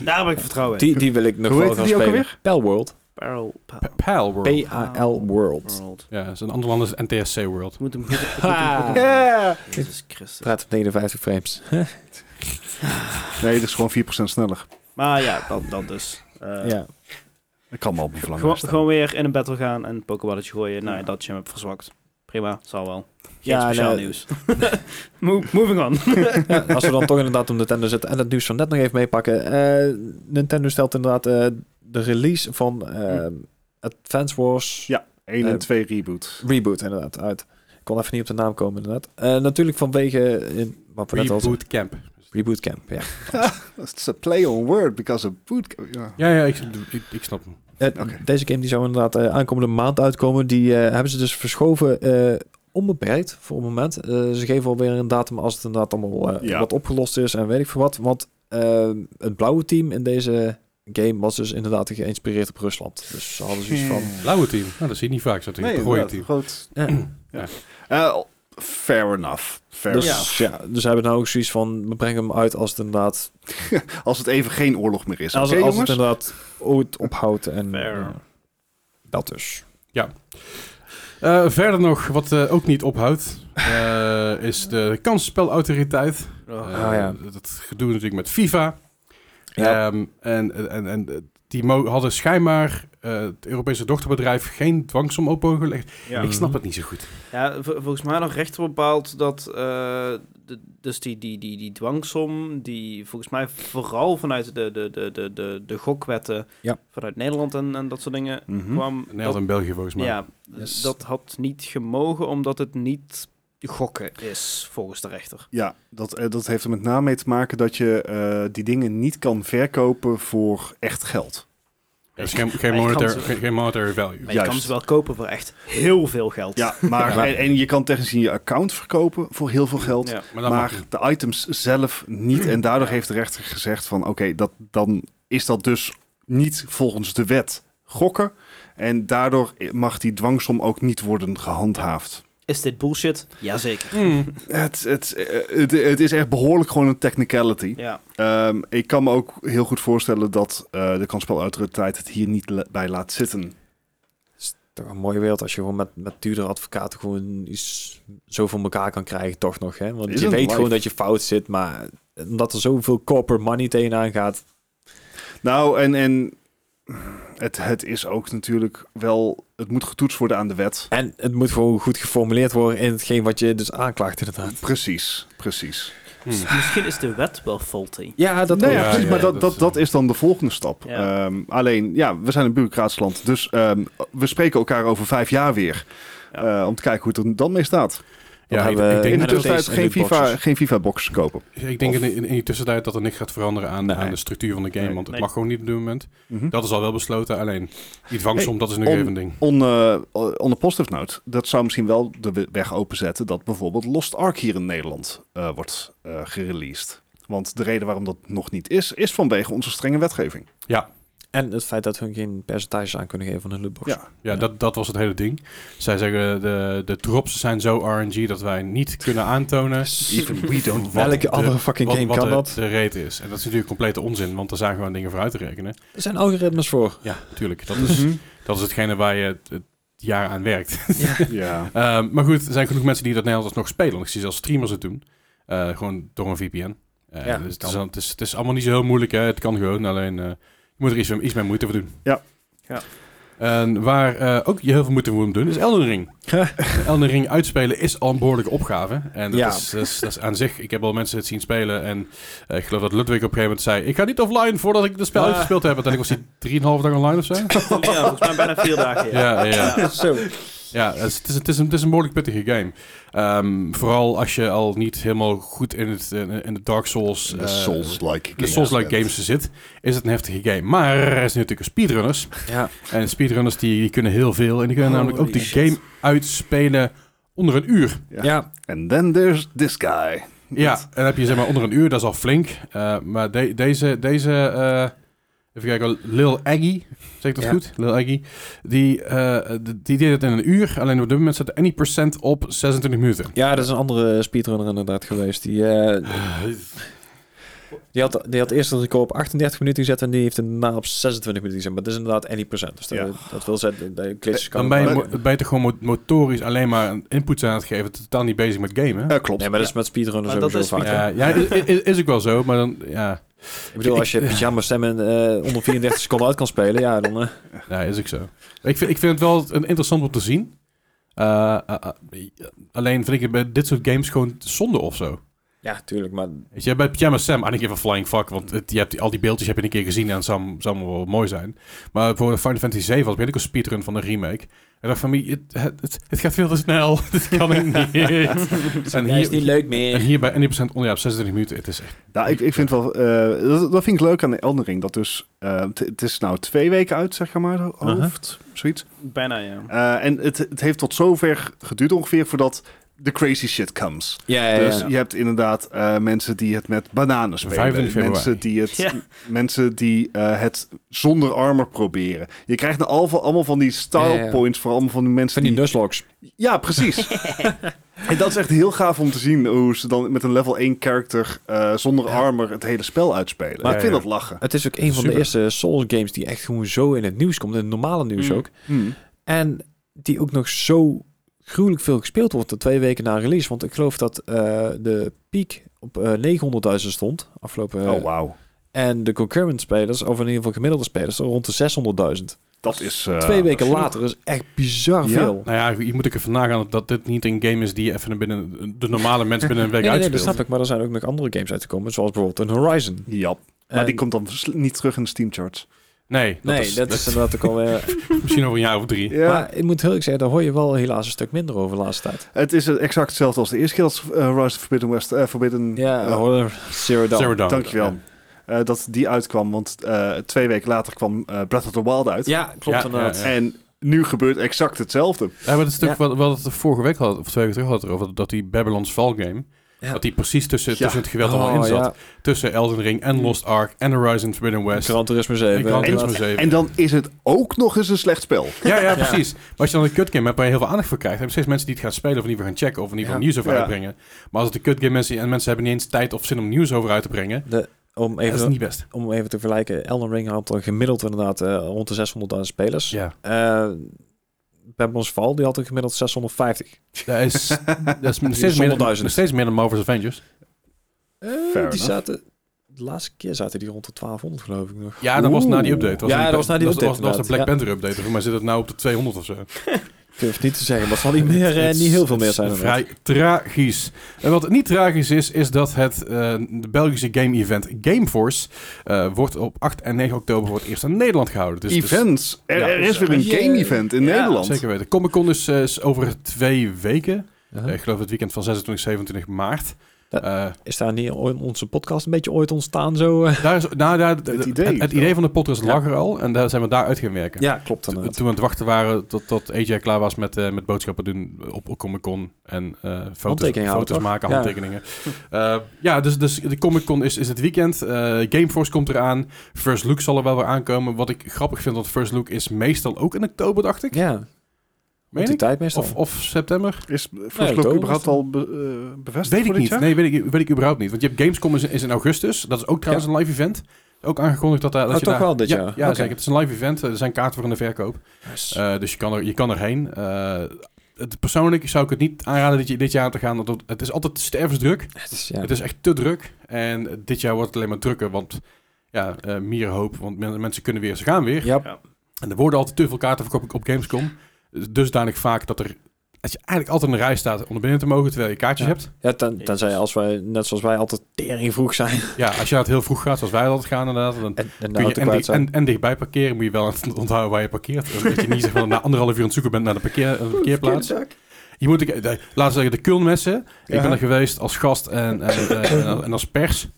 D: daar heb ik vertrouwen in.
B: Die, die wil ik nog
C: Hoe
B: wel
C: heet
B: gaan
C: die ook
B: spelen.
C: alweer?
B: Pal World.
D: Barrel... pa-
A: P- Pal World.
B: P-A-L World.
D: World.
A: ja, is een ander land is het NTSC World.
D: Ik moet hem goed... ik moet hem
B: Ha!
D: goed-
C: Ja.
D: Jezus Christus.
B: Praat op 59 frames.
C: Nee, het is gewoon 4% sneller.
D: Maar ja, dan, dan dus. Eh,
B: ja.
C: Ik kan me al bevlangen.
D: Gewoon, gewoon weer in een battle gaan en een pokeballetje gooien. Nou, ja, dat je hem hebt verzwakt. Prima, zal wel. Geen
B: Ja,
D: speciaal
B: nou,
D: nieuws. Mo- Moving on.
B: Ja, als we dan toch inderdaad om Nintendo zitten en het nieuws van net nog even meepakken. Eh, Nintendo stelt inderdaad eh, de release van eh, Advance Wars
C: 1
B: Eh,
C: en 2 reboot.
B: Reboot inderdaad uit. Ik kon even niet op de naam komen inderdaad. Eh, natuurlijk vanwege... In, wat we net al zeiden.
A: Reboot Camp.
B: Reboot Camp, ja.
C: It's a play on word because a boot... Ja.
A: Ja, ja, ik, ik, ik snap hem.
B: Eh,
C: Oké.
B: Deze game die zou inderdaad eh, aankomende maand uitkomen. Die eh, hebben ze dus verschoven eh, onbeperkt voor het moment. Eh, ze geven alweer een datum als het inderdaad allemaal eh,
C: Ja.
B: wat opgelost is en weet ik veel wat. Want eh, het blauwe team in deze game was dus inderdaad geïnspireerd op Rusland. Dus ze hadden zoiets van...
C: Hmm.
A: Blauwe team. Nou, dat zie je niet vaak. Zo tegen het rode team.
C: groot.
B: Ja.
C: Eh, fair enough. Fair
B: Dus,
C: enough.
B: ja, dus ze hebben nou ook zoiets van, we brengen hem uit als het inderdaad,
C: Als het even geen oorlog meer is.
B: als,
C: Oké,
B: als het
C: jongens?
B: inderdaad ooit ophoudt. En,
D: Fair.
B: eh, dat dus.
A: Eh, verder nog, wat eh, ook niet ophoudt, eh, is de kansspelautoriteit.
D: Oh.
A: Eh,
B: Ah, ja.
A: Dat gedoe natuurlijk met FIFA.
B: Ja.
A: Ehm, en, en, en die mo- hadden schijnbaar eh, het Europese dochterbedrijf geen dwangsom op mogen leggen.
D: Ja.
A: Ik snap het niet zo goed.
D: Ja, vol- volgens mij nog rechter bepaald dat... eh, de- dus die, die, die, die dwangsom, die volgens mij vooral vanuit de, de, de, de, de, de gokwetten...
B: Ja.
D: vanuit Nederland en, en dat soort dingen
B: Hm?
C: Mhm.
D: kwam...
A: Nederland en België volgens mij.
D: Ja,
B: Yes.
D: dat had niet gemogen omdat het niet gokken is, volgens de rechter.
C: Ja, dat, eh, dat heeft er met name mee te maken dat je eh, die dingen niet kan verkopen voor echt geld.
A: Dus geen, geen,
D: Maar je kan
A: monetary,
D: ze-
A: geen, geen monetary value.
D: Maar je kan
C: Juist.
D: ze wel kopen voor echt heel veel geld.
C: Ja, maar
B: Ja.
C: En, en je kan technisch in je account verkopen voor heel veel geld.
D: Ja.
A: Maar, dat mag
C: Maar
A: niet.
C: de items zelf niet. En daardoor heeft de rechter gezegd van oké, dat, dan is dat dus niet volgens de wet gokken. En daardoor eh, mag die dwangsom ook niet worden gehandhaafd.
D: Is dit bullshit? Jazeker.
A: Mm.
C: Het, het, eh, het, het is echt behoorlijk gewoon een technicality.
D: Ja.
C: Ehm, ik kan me ook heel goed voorstellen dat eh de kansspelautoriteit het hier niet le- bij laat zitten.
B: toch een mooie wereld als je gewoon met, met duurdere advocaten gewoon iets zo voor elkaar kan krijgen, toch nog. Hè? Want
C: Is
B: je
C: een
B: weet
C: life.
B: gewoon dat je fout zit, maar omdat er zoveel corporate money tegenaan gaat.
C: Nou, en, en het, het is ook natuurlijk wel... Het moet getoetst worden aan de wet.
B: En het moet gewoon goed geformuleerd worden in hetgeen wat je dus aanklaagt, inderdaad.
C: Precies, precies.
A: Mm.
D: Dus Misschien is de wet wel faulty.
B: Ja, dat
C: nou ja,
A: ook.
C: precies
A: Ja,
C: maar
A: ja,
C: dat,
A: dat
C: dat,
A: is-
C: dat is dan de volgende stap.
D: Ja.
C: Ehm, alleen, ja, we zijn een bureaucratisch land. Dus ehm, we spreken elkaar over vijf jaar weer. eh, om te kijken hoe het er dan mee staat.
B: Dan
A: Ja, ik,
B: hebben we
A: ik
C: In
A: denk,
C: de
B: nog steeds
C: tussentijd
B: in
C: geen
B: de
C: FIFA,
B: boxes.
C: geen FIFA box kopen.
A: ik denk
C: of-
A: in, in, in die tussentijd dat er niks gaat veranderen aan,
C: Nee.
A: aan de structuur van de game.
C: Nee,
A: want het
D: nee.
A: mag gewoon niet op dit moment.
C: Mhm.
A: Dat is al wel besloten. Alleen die dwangsom, dat is nu
C: om-
A: even een ding.
C: On, eh on a positive note, dat zou misschien wel de we- weg openzetten dat bijvoorbeeld Lost Ark hier in Nederland eh, wordt eh gereleased. Want de reden waarom dat nog niet is, is vanwege onze strenge wetgeving.
B: En het feit dat hun geen percentages aan kunnen geven van hun lootbox.
C: Ja.
A: Ja,
B: Ja.
A: Dat, dat was het hele ding. Zij zeggen, de, de drops zijn zo RNG dat wij niet kunnen aantonen...
C: Even we don't want.
B: Welke
A: de-
B: andere fucking
A: wat,
B: game
A: wat
B: kan
A: de,
B: dat?
A: de rate is. En dat is natuurlijk complete onzin, want er zijn gewoon dingen voor uit te rekenen.
B: Er zijn algoritmes voor.
A: Ja, natuurlijk. Dat is, dat is hetgene waar je het, het jaar aan werkt.
C: Ja.
A: Ehm, maar goed, er zijn genoeg mensen die dat Nederlands nog spelen. Want ik zie zelfs streamers het doen. Eh, gewoon door een VPN. Eh,
B: Ja,
A: dus het,
B: kan.
A: is, dan- het, is, het is allemaal niet zo heel moeilijk. Hè? Het kan gewoon. Alleen eh, je moet er iets, iets mee moeite voor doen.
C: Ja.
D: Ja.
A: En waar eh, ook je heel veel moeite voor moet doen, is Elden Ring. Elden Ring uitspelen is al een behoorlijke opgave. En dat,
B: Ja.
A: is, dat, is, dat is aan zich... Ik heb al mensen het zien spelen. En eh, ik geloof dat Ludwig op een gegeven moment zei... Ik ga niet offline voordat ik het spel
D: Ah.
A: uitgespeeld heb. Uiteindelijk was hij drieënhalve dag online of zo.
D: ja, volgens mij bijna vier dagen. Ja.
A: ja, ja. ja.
B: Zo.
A: Ja, het is, het is, het is, een, het is een behoorlijk pittige game. Ehm, vooral als je al niet helemaal goed in het, eh, in de Dark Souls... eh,
C: Souls-like
A: de Souls-like games zit, is het een heftige game. Maar er zijn natuurlijk ook speedrunners.
B: Ja.
A: En speedrunners die, die kunnen heel veel. En die kunnen namelijk ook
D: Holy
A: die
D: shit.
A: game uitspelen onder een uur.
C: Ja.
B: Ja.
C: And then there's this guy.
A: Ja, en dan heb je zeg maar onder een uur, dat is al flink. Eh, maar de- deze, deze eh, even kijken, Lil Aggie, zeg ik dat
B: Ja.
A: goed? Lil Aggie, die, eh, d- die deed het in een uur. Alleen op dit moment staat any percent op 26 minuten.
B: Ja, dat is een andere speedrunner inderdaad geweest. Die, eh, die, had, die had eerst een record op 38 minuten gezet en die heeft hem daarna op 26 minuten gezet. Maar dat is inderdaad any percent. Dus dat,
C: Ja.
B: dat wil zeggen, de glitches kan
A: Dan
B: ook
A: ben je,
B: wel.
A: mo- ben je toch gewoon mo- motorisch alleen maar een input aan het geven, totaal niet bezig met gamen.
C: Eh, klopt.
B: Nee, maar dat is met speedrunners
D: Maar dat
B: sowieso
D: is
B: vaak.
A: Ja, ja i- i- is, ook wel zo, maar dan, ja,
B: Ik bedoel, als je pyjama stemmen eh, onder 34 seconden uit kan spelen, ja, dan... eh,
A: ja, is ook zo. Ik vind, ik vind het wel een- interessant om te zien. Eh, eh, eh, alleen vind ik het bij dit soort games gewoon zonde of zo.
B: ja, tuurlijk, maar...
A: Weet je, bij Pyjama Sam, I don't give a flying fuck, want het- je hebt, die- al die beeldjes heb je een keer gezien en het zou, zou allemaal wel mooi zijn. Maar voor Final Fantasy VII was ben ik een speedrun van een remake. En dacht van, "Mie, het, het, het, het gaat veel te snel, dit kan ik niet. en,
B: Ja, is niet
A: hier,
B: leuk
A: en
B: meer.
A: hier bij 1% onder, ja, op 26 minuten, het is echt...
C: Nou, ik, ik vind wel, eh, dat, dat vind ik leuk aan de Elden Ring. Dat dus, eh, het- het is nou twee weken uit, zeg maar, uit mijn hoofd, zoiets.
D: Bijna, ja.
C: Eh, en het, het heeft tot zover geduurd ongeveer voordat de crazy shit comes.
B: Ja, ja, ja.
C: Dus je hebt inderdaad eh, mensen die het met bananen spelen.
A: 25 februari.
C: Mensen die, het,
D: Ja.
C: mensen die eh, het zonder armor proberen. Je krijgt nou allemaal, allemaal van die style
B: Ja, ja.
C: points voor allemaal van die mensen
B: Van die nuzlocks.
C: Ja, precies. en dat is echt heel gaaf om te zien hoe ze dan met een level 1 character eh, zonder armor het hele spel uitspelen.
A: Maar-
C: ik vind
A: Ja, ja.
C: dat lachen.
B: Het is ook een van de
A: Super.
B: eerste Souls games die echt gewoon zo in het nieuws komt, in het normale nieuws
D: Mm.
B: ook. En die ook nog zo gruwelijk veel gespeeld wordt de twee weken na release. Want ik geloof dat eh, de piek op eh 900.000 stond afgelopen. eh,
C: oh, wauw.
B: En de concurrent spelers, of in ieder geval gemiddelde spelers, rond de 600.000.
C: Dat is... eh,
B: twee weken later is echt bizar
C: Ja?
B: veel.
A: Nou ja, je moet ook even nagaan dat dit niet een game is die je even binnen de normale mens binnen een week
B: Nee, nee, nee, dat
A: uitspeelt.
B: snap ik. Maar er zijn ook nog andere games uitgekomen, zoals bijvoorbeeld een Horizon.
C: Ja, maar
B: En-
C: die komt dan sl- niet terug in de Steam charts.
A: Nee, dat,
B: Nee,
A: is,
B: dat is inderdaad ook alweer...
A: misschien over een jaar of drie.
C: Ja.
B: Maar ik moet heel eerlijk zeggen, daar hoor je wel helaas een stuk minder over de laatste tijd.
C: Het is exact hetzelfde als de eerste keer als eh, Rise of Forbidden West. eh, Forbidden,
B: Ja,
C: eh,
B: hoor, Zero Dawn.
A: Zero Dawn.
C: dankjewel.
A: Oh, Ja.
C: Eh, dat die uitkwam, want eh, twee weken later kwam eh, Breath of the Wild uit.
B: Ja, klopt
A: Ja,
B: inderdaad.
A: ja, ja.
C: En nu gebeurt exact hetzelfde.
A: Ja, maar dat is natuurlijk wel, wel dat we vorige week hadden, of twee weken terug hadden, we erover, dat die Babylon's Fall game,
B: Ja.
A: dat die precies tussen,
C: Ja.
A: tussen het geweld allemaal in
B: Oh,
A: zat.
B: ja.
A: Tussen Elden Ring en Lost Ark en Horizon Forbidden West.
B: Gran Turismo 7.
A: En Gran
B: inderdaad.
A: Turismo 7.
C: En dan is het ook nog eens een slecht spel.
A: Ja, ja, precies. Maar als je dan een kutgame hebt waar je heel veel aandacht voor krijgt, hebben steeds mensen die het gaan spelen of in ieder geval gaan checken of in ieder geval
B: Ja.
A: nieuws over
C: Ja.
A: uitbrengen. Maar als het een kutgame is en mensen hebben niet eens tijd of zin om nieuws over uit te brengen,
B: De, om,
A: dat is
B: even,
A: niet best.
B: om even te vergelijken, Elden Ring had er gemiddeld inderdaad eh, rond de 600.000 spelers.
A: Ja,
B: Eh, Babylon's Fall, die had er gemiddeld 650.
A: dat is, dat is nog steeds, meer,
B: 100.000.
A: nog steeds meer dan Marvel's Avengers.
B: Eh,
C: Fair
B: die
C: enough.
B: zaten... De laatste keer zaten die rond de 1200, geloof ik nog.
A: Ja, dat was
C: Oeh.
A: na die update.
B: Ja,
A: een-
B: dat was na die
A: was-
B: update,
A: was- was de Black
B: inderdaad.
A: Panther update, maar zit het nou op de 200 of zo?
B: Ik durf het niet te zeggen, maar het zal niet, meer, eh,
A: Het is-
B: niet heel veel meer
A: het is
B: zijn. inderdaad.
A: Vrij tragisch. En wat niet tragisch is, is dat het eh, de Belgische game-event Gameforce eh, wordt op 8 en 9 oktober voor het eerst in Nederland gehouden. Dus, dus-
C: Events. Er,
A: Ja,
C: er
A: dus,
C: is weer een
B: eh,
C: game-event in
D: ja,
C: Nederland.
A: Zeker weten. Comic Con is, eh, is over twee weken.
B: Ja.
A: Eh, ik geloof het weekend van 26, 27 maart.
B: Dat-
A: Eh,
B: Is daar niet ooit onze podcast een beetje ooit ontstaan? Zo, eh?
A: daar is, nou, daar, het,
C: idee
A: het,
C: is wel.
A: idee van de podcast
B: Ja.
A: lag er al. En daar zijn we daar uit gaan werken.
B: Ja, klopt.
A: Toen,
B: inderdaad.
A: toen we aan het wachten waren tot, tot AJ klaar was met, eh, met boodschappen doen op, op Comic Con en eh, foto's,
B: Handtekeningen houden,
A: foto's
B: toch?
A: maken,
B: Ja.
A: handtekeningen. Eh, ja, dus, dus de Comic Con is, is het weekend. Eh, Gameforce komt eraan. First Look zal er wel weer aankomen. Wat ik grappig vind, want First Look is meestal ook in oktober, dacht ik.
B: Ja, op
A: Meen
B: die
A: ik?
B: tijd meestal.
A: Of, of september?
C: Is First
B: Nee,
C: Look
B: toch?
C: überhaupt al be- eh, bevestigd
A: Weet ik
C: voor dit
A: niet.
C: jaar?
A: Nee, weet ik, weet ik überhaupt niet. Want je hebt Gamescom is, in- is in augustus. Dat is ook trouwens een live event. Ook aangekondigd dat, daar- dat
B: Oh,
A: je
B: toch
A: daar-
B: wel dit
A: Ja,
B: jaar?
A: Ja,
B: Oké.
A: zeker. Het is een live event. Eh, Er zijn kaarten voor in de verkoop.
B: Yes.
A: Eh, dus je kan, er, je kan erheen. Eh, het, persoonlijk zou ik het niet aanraden dit, je- dit jaar te gaan. want het is altijd stervensdruk.
B: Het is, ja.
A: Het is echt te druk. En dit jaar wordt het alleen maar drukker. Want ja, eh mierenhoop. Want men- mensen kunnen weer, ze gaan weer.
B: Ja,
A: En er worden altijd te veel kaarten verkocht op Gamescom. Dus Dusdanig vaak dat er... Dat je eigenlijk altijd in een rij staat om naar binnen te mogen terwijl je kaartjes
B: Ja.
A: hebt.
B: Ja, ten, tenzij als wij, net zoals wij, altijd tering vroeg zijn.
A: Ja, als je het heel vroeg gaat, zoals wij altijd gaan inderdaad, dan
B: En, en de
A: kun je
B: auto
A: en,
B: kwijt
A: di-
B: zijn.
A: en, en dichtbij parkeren moet je wel onthouden waar je parkeert. Dat je niet zeg maar, na anderhalf uur aan het zoeken bent naar de parkeer, een parkeerplaats. Je moet, ik, de, laten we zeggen, de Kulnmessen. Ik ben er geweest als gast en, en, eh, en, en als pers.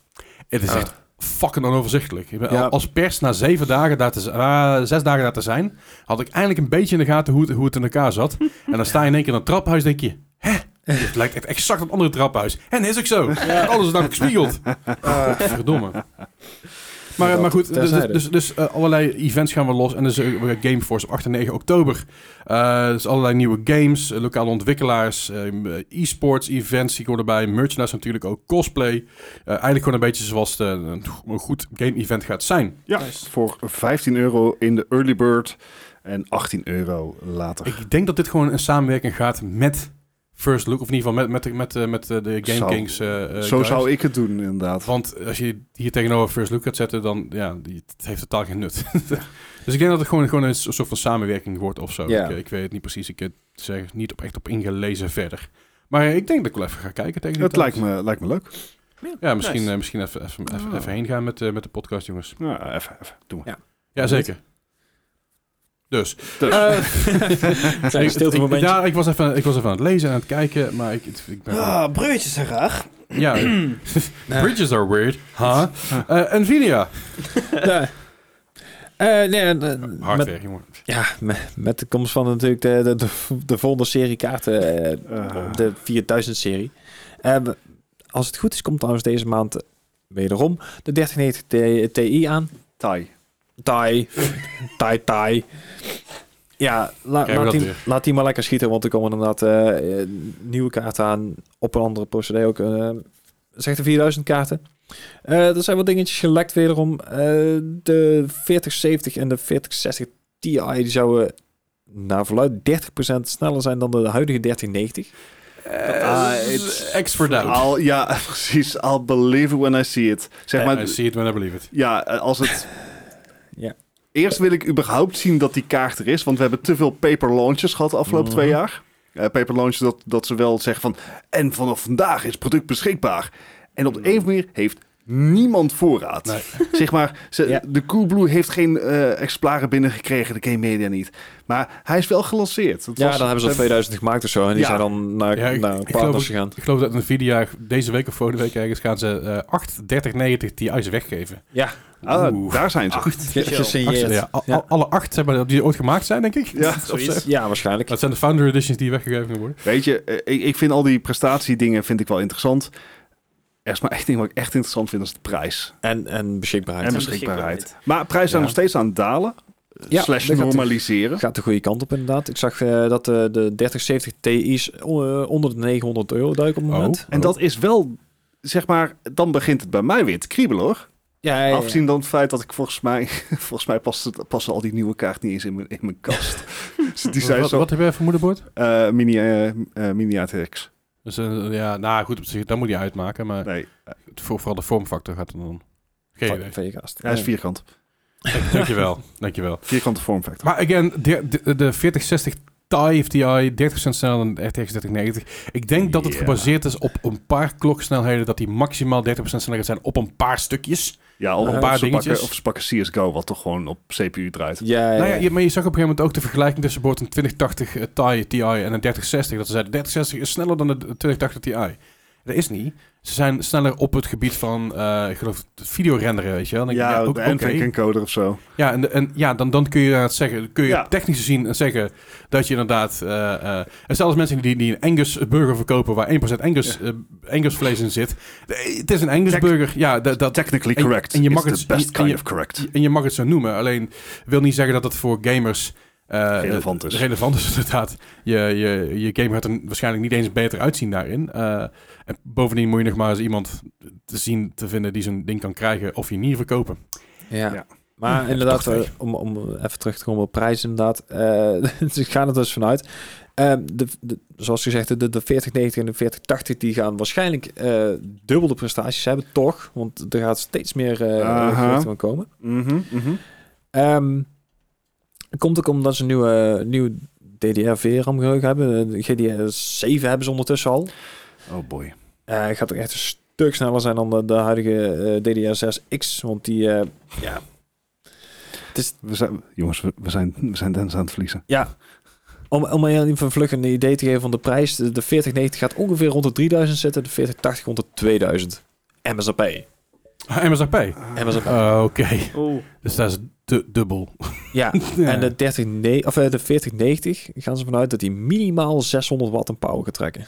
A: Het is
B: Ah.
A: echt fucking onoverzichtelijk. Ik ben
B: Ja.
A: al- Als pers na zeven dagen daar te, z- ah, zes dagen daar te zijn, had ik eindelijk een beetje in de gaten hoe het, hoe het in elkaar zat. En dan sta je in één keer in een traphuis denk je, hè? Het lijkt echt exact op een andere traphuis. En is ook zo. Alles is namelijk gespiegeld. Verdomme. Maar, eh, maar goed, dus,
B: Terzijde.
A: dus, dus, eh, allerlei events gaan we los. En dus eh, we Gameforce op 8 en 9 oktober. Eh, dus allerlei nieuwe games, eh, lokale ontwikkelaars, eh, e-sports events zie ik hoor erbij. Merchandise natuurlijk ook, cosplay. Eh, eigenlijk gewoon een beetje zoals de, een go- een goed game event gaat zijn.
C: Ja, voor 15 euro in de early bird en 18 euro later.
A: Ik denk dat dit gewoon een samenwerking gaat met First Look. Of in ieder geval met, met, met, eh, met eh, de Game
C: Zou-
A: Kings. eh, eh,
C: Zo
A: guys.
C: zou ik het doen, inderdaad.
A: Want als je hier tegenover First Look gaat zetten, dan ja, die, het heeft totaal geen nut. dus ik denk dat het gewoon, gewoon een so- soort van samenwerking wordt of zo.
B: Ja.
A: Ik, ik weet het niet precies. Ik heb er ergens niet op, echt op ingelezen verder. Maar eh, ik denk dat ik wel even ga kijken tegen die
C: Het
A: tijd.
C: lijkt me, lijkt me leuk.
A: Ja, misschien,
D: Nice.
A: eh, misschien even, even, even,
C: Ah.
A: even heen gaan met, eh, met de podcast, jongens.
C: Nou, even, even. Doe maar.
A: Ja, zeker. Dus.
C: Dus.
A: eh,
B: Zijn
A: ik-
B: stilte
A: ik-
B: momentje.
A: ja, ik was, even, ik was even aan het lezen en aan het kijken, maar ik, ik
C: eh,
A: ben...
D: Ah, broodjes zijn graag.
A: Ja, bridges are weird, huh? Eh Nvidia.
B: Ja. Eh, nee, en, eh,
A: Hardware,
B: met,
A: jongen.
B: ja, met, met de komst van natuurlijk de, de, de, de volgende serie kaarten, eh,
C: Eh,
B: de 4000-serie. Eh, we- als het goed is, komt trouwens deze maand wederom de 3090 Ti- Ti aan.
C: Thai.
B: Tai. Tai, tai. Ja, la-
A: Krijgen we dat
B: laat, die,
A: weer.
B: laat die maar lekker schieten, want er komen inderdaad eh, eh, nieuwe kaarten aan op een andere procedé ook. eh, zegt de 4000 kaarten. Eh, er zijn wat dingetjes gelekt wederom. Eh, de 4070 en de 4060 Ti die zouden naar verluid 30% sneller zijn dan de huidige 3090.
C: Ah,
A: Ex
C: it's-
A: Eh, X for doubt.
C: I'll- ja, precies. I'll believe it when I see it. Zeg
B: Eh,
C: maar,
A: I see it when I believe it.
C: ja, eh, als het...
B: Ja.
C: Eerst wil ik überhaupt zien dat die kaart er is, want we hebben te veel paper launches gehad de afgelopen twee
B: Mhm.
C: jaar. Eh, paper launches dat, dat ze wel zeggen van, en vanaf vandaag is het product beschikbaar. En op de een of andere manier heeft niemand voorraad.
A: Nee.
C: Zeg maar, ze,
B: Ja.
C: de Coolblue heeft geen eh exemplaren binnengekregen, de Game Media niet. Maar hij is wel gelanceerd. Het
B: Ja,
C: was-
B: dan hebben ze al 2000 gemaakt of zo. En die
C: Ja.
B: zijn dan naar,
A: Ja, ik-
B: naar
A: ik geloof ook-
B: partners gegaan.
A: Ik geloof dat Nvidia deze week of vorige week ergens gaan ze eh 8 30 90 Ti's weggeven.
B: Ja,
C: Ah,
A: Oeh.
C: daar zijn ze.
A: Acht,
B: gesigneerd.
A: ja, oh, al-
B: Ja.
A: Alle acht zeg maar, die ooit gemaakt zijn, denk ik.
C: Ja,
A: Of zo.
C: zoiets.
B: Ja, waarschijnlijk.
A: Dat zijn de founder editions die weggegeven gaan worden.
C: Weet je, eh, ik, ik vind al die prestatiedingen vind ik wel interessant. Er is maar één ding wat ik echt interessant vind, dat is de prijs.
B: En, en beschikbaarheid.
C: En
D: beschikbaarheid.
C: beschikbaarheid. Maar prijzen zijn
A: Ja.
C: nog steeds aan het dalen. eh,
B: Ja,
C: slash
B: dat gaat-
C: normaliseren.
B: Gaat de goede kant op inderdaad. Ik zag eh, dat eh, de 3070 Ti's on- eh, onder de 900 euro duiken op het
A: Oh.
B: moment.
C: En dat is wel, zeg maar, dan begint het bij mij weer te kriebelen hoor.
B: Ja, ja, ja.
C: Afzien dan het feit dat ik volgens mij, volgens mij past het- passen al die nieuwe kaarten niet eens in mijn, in mijn kast. Dus die zijn
A: wat,
C: zo,
A: wat heb jij voor moederbord?
C: eh, mini, eh eh, mini ATX.
A: Dus, eh, ja, nou goed, op zich, dat moet je uitmaken. Maar
C: Nee, eh,
A: voor, vooral de vormfactor gaat er dan... Geen
B: Van-
A: idee.
B: van je gast.
C: hij is
B: Ja.
C: vierkant.
A: eh, Dankjewel, dankjewel.
C: Vierkante vormfactor.
A: Maar again, de, de, de 4060 Thai FTI, 30% sneller dan de RTX 3090. Ik denk dat het
C: Ja.
A: gebaseerd is op een paar kloksnelheden, dat die maximaal 30% sneller gaat zijn op een paar stukjes.
C: Ja, of,
B: Een
C: een
A: paar
C: paar ze pakken,
A: dingetjes.
C: of ze pakken CSGO, wat toch gewoon op CPU draait.
B: Ja, ja,
A: Nou ja,
B: ja.
A: je- maar je zag op een gegeven moment ook de vergelijking tussen bijvoorbeeld een 2080 eh, Ti Ti en een 3060. Dat ze zeiden, 3060 is sneller dan de 2080 Ti. Dat is niet. Ze zijn sneller op het gebied van, eh, ik geloof, het videorenderen, weet je wel. Dan denk ik,
C: Ja,
A: ook-
C: de
A: oké.
C: encoder of zo.
A: Ja, en, en ja, dan, dan kun je inderdaad zeggen, kun je
C: Ja.
A: technisch gezien zeggen dat je inderdaad. eh, eh, en zelfs mensen die, die een Angus burger verkopen waar 1% Angus, eh, Angus vlees in zit. eh, Het is een Angus
C: Tech-
A: burger. Ja, Eh, dat, dat,
C: Technically
A: en-
C: correct.
A: en je mag
C: It's
A: het-
C: the best
A: en
C: kind
A: je-
C: of correct.
A: en je mag het zo noemen. Alleen wil niet zeggen dat het voor gamers. eh,
C: Relevant is.
A: Relevant is inderdaad. Je, je, je game gaat er waarschijnlijk niet eens beter uitzien daarin. Eh, en bovendien moet je nog maar eens iemand te zien te vinden die zo'n ding kan krijgen of je niet verkopen.
B: Ja.
C: Ja.
B: Maar
A: Ja,
B: inderdaad,
A: prachtig.
B: eh, om, om even terug te komen op prijs inderdaad. eh ze gaan er dus vanuit. Eh, de, de- zoals gezegd, de, de 4090 en de 4080 die gaan waarschijnlijk eh dubbel de prestaties hebben, toch? Want er gaat steeds meer eh
C: Aha.
B: gewicht van komen.
C: Mhm, mhm.
B: Ehm, komt ook omdat ze een nieuwe, nieuwe DDR4-RAM geheugen hebben. Eh, GDR7 hebben ze ondertussen al.
C: Oh boy.
B: Eh gaat ook echt een stuk sneller zijn dan de, de huidige eh, DDR6X. Want die... eh, ja. Het is,
C: We zijn, jongens, we, we zijn, we zijn Dennis aan het verliezen.
B: ja. Om, om je even een vluggende idee te geven van de prijs. De, de 4090 gaat ongeveer rond de 3000 zitten. De 4080 rond de 2000. MSRP.
A: MSRP.
B: MSRP.
A: Eh, Oké.
D: Oh,
A: Dus dat is du- dubbel.
B: Ja.
A: Ja.
B: En de, 30, ne- of, eh, de 4090 gaan ze vanuit dat die minimaal 600 watt aan power gaat trekken.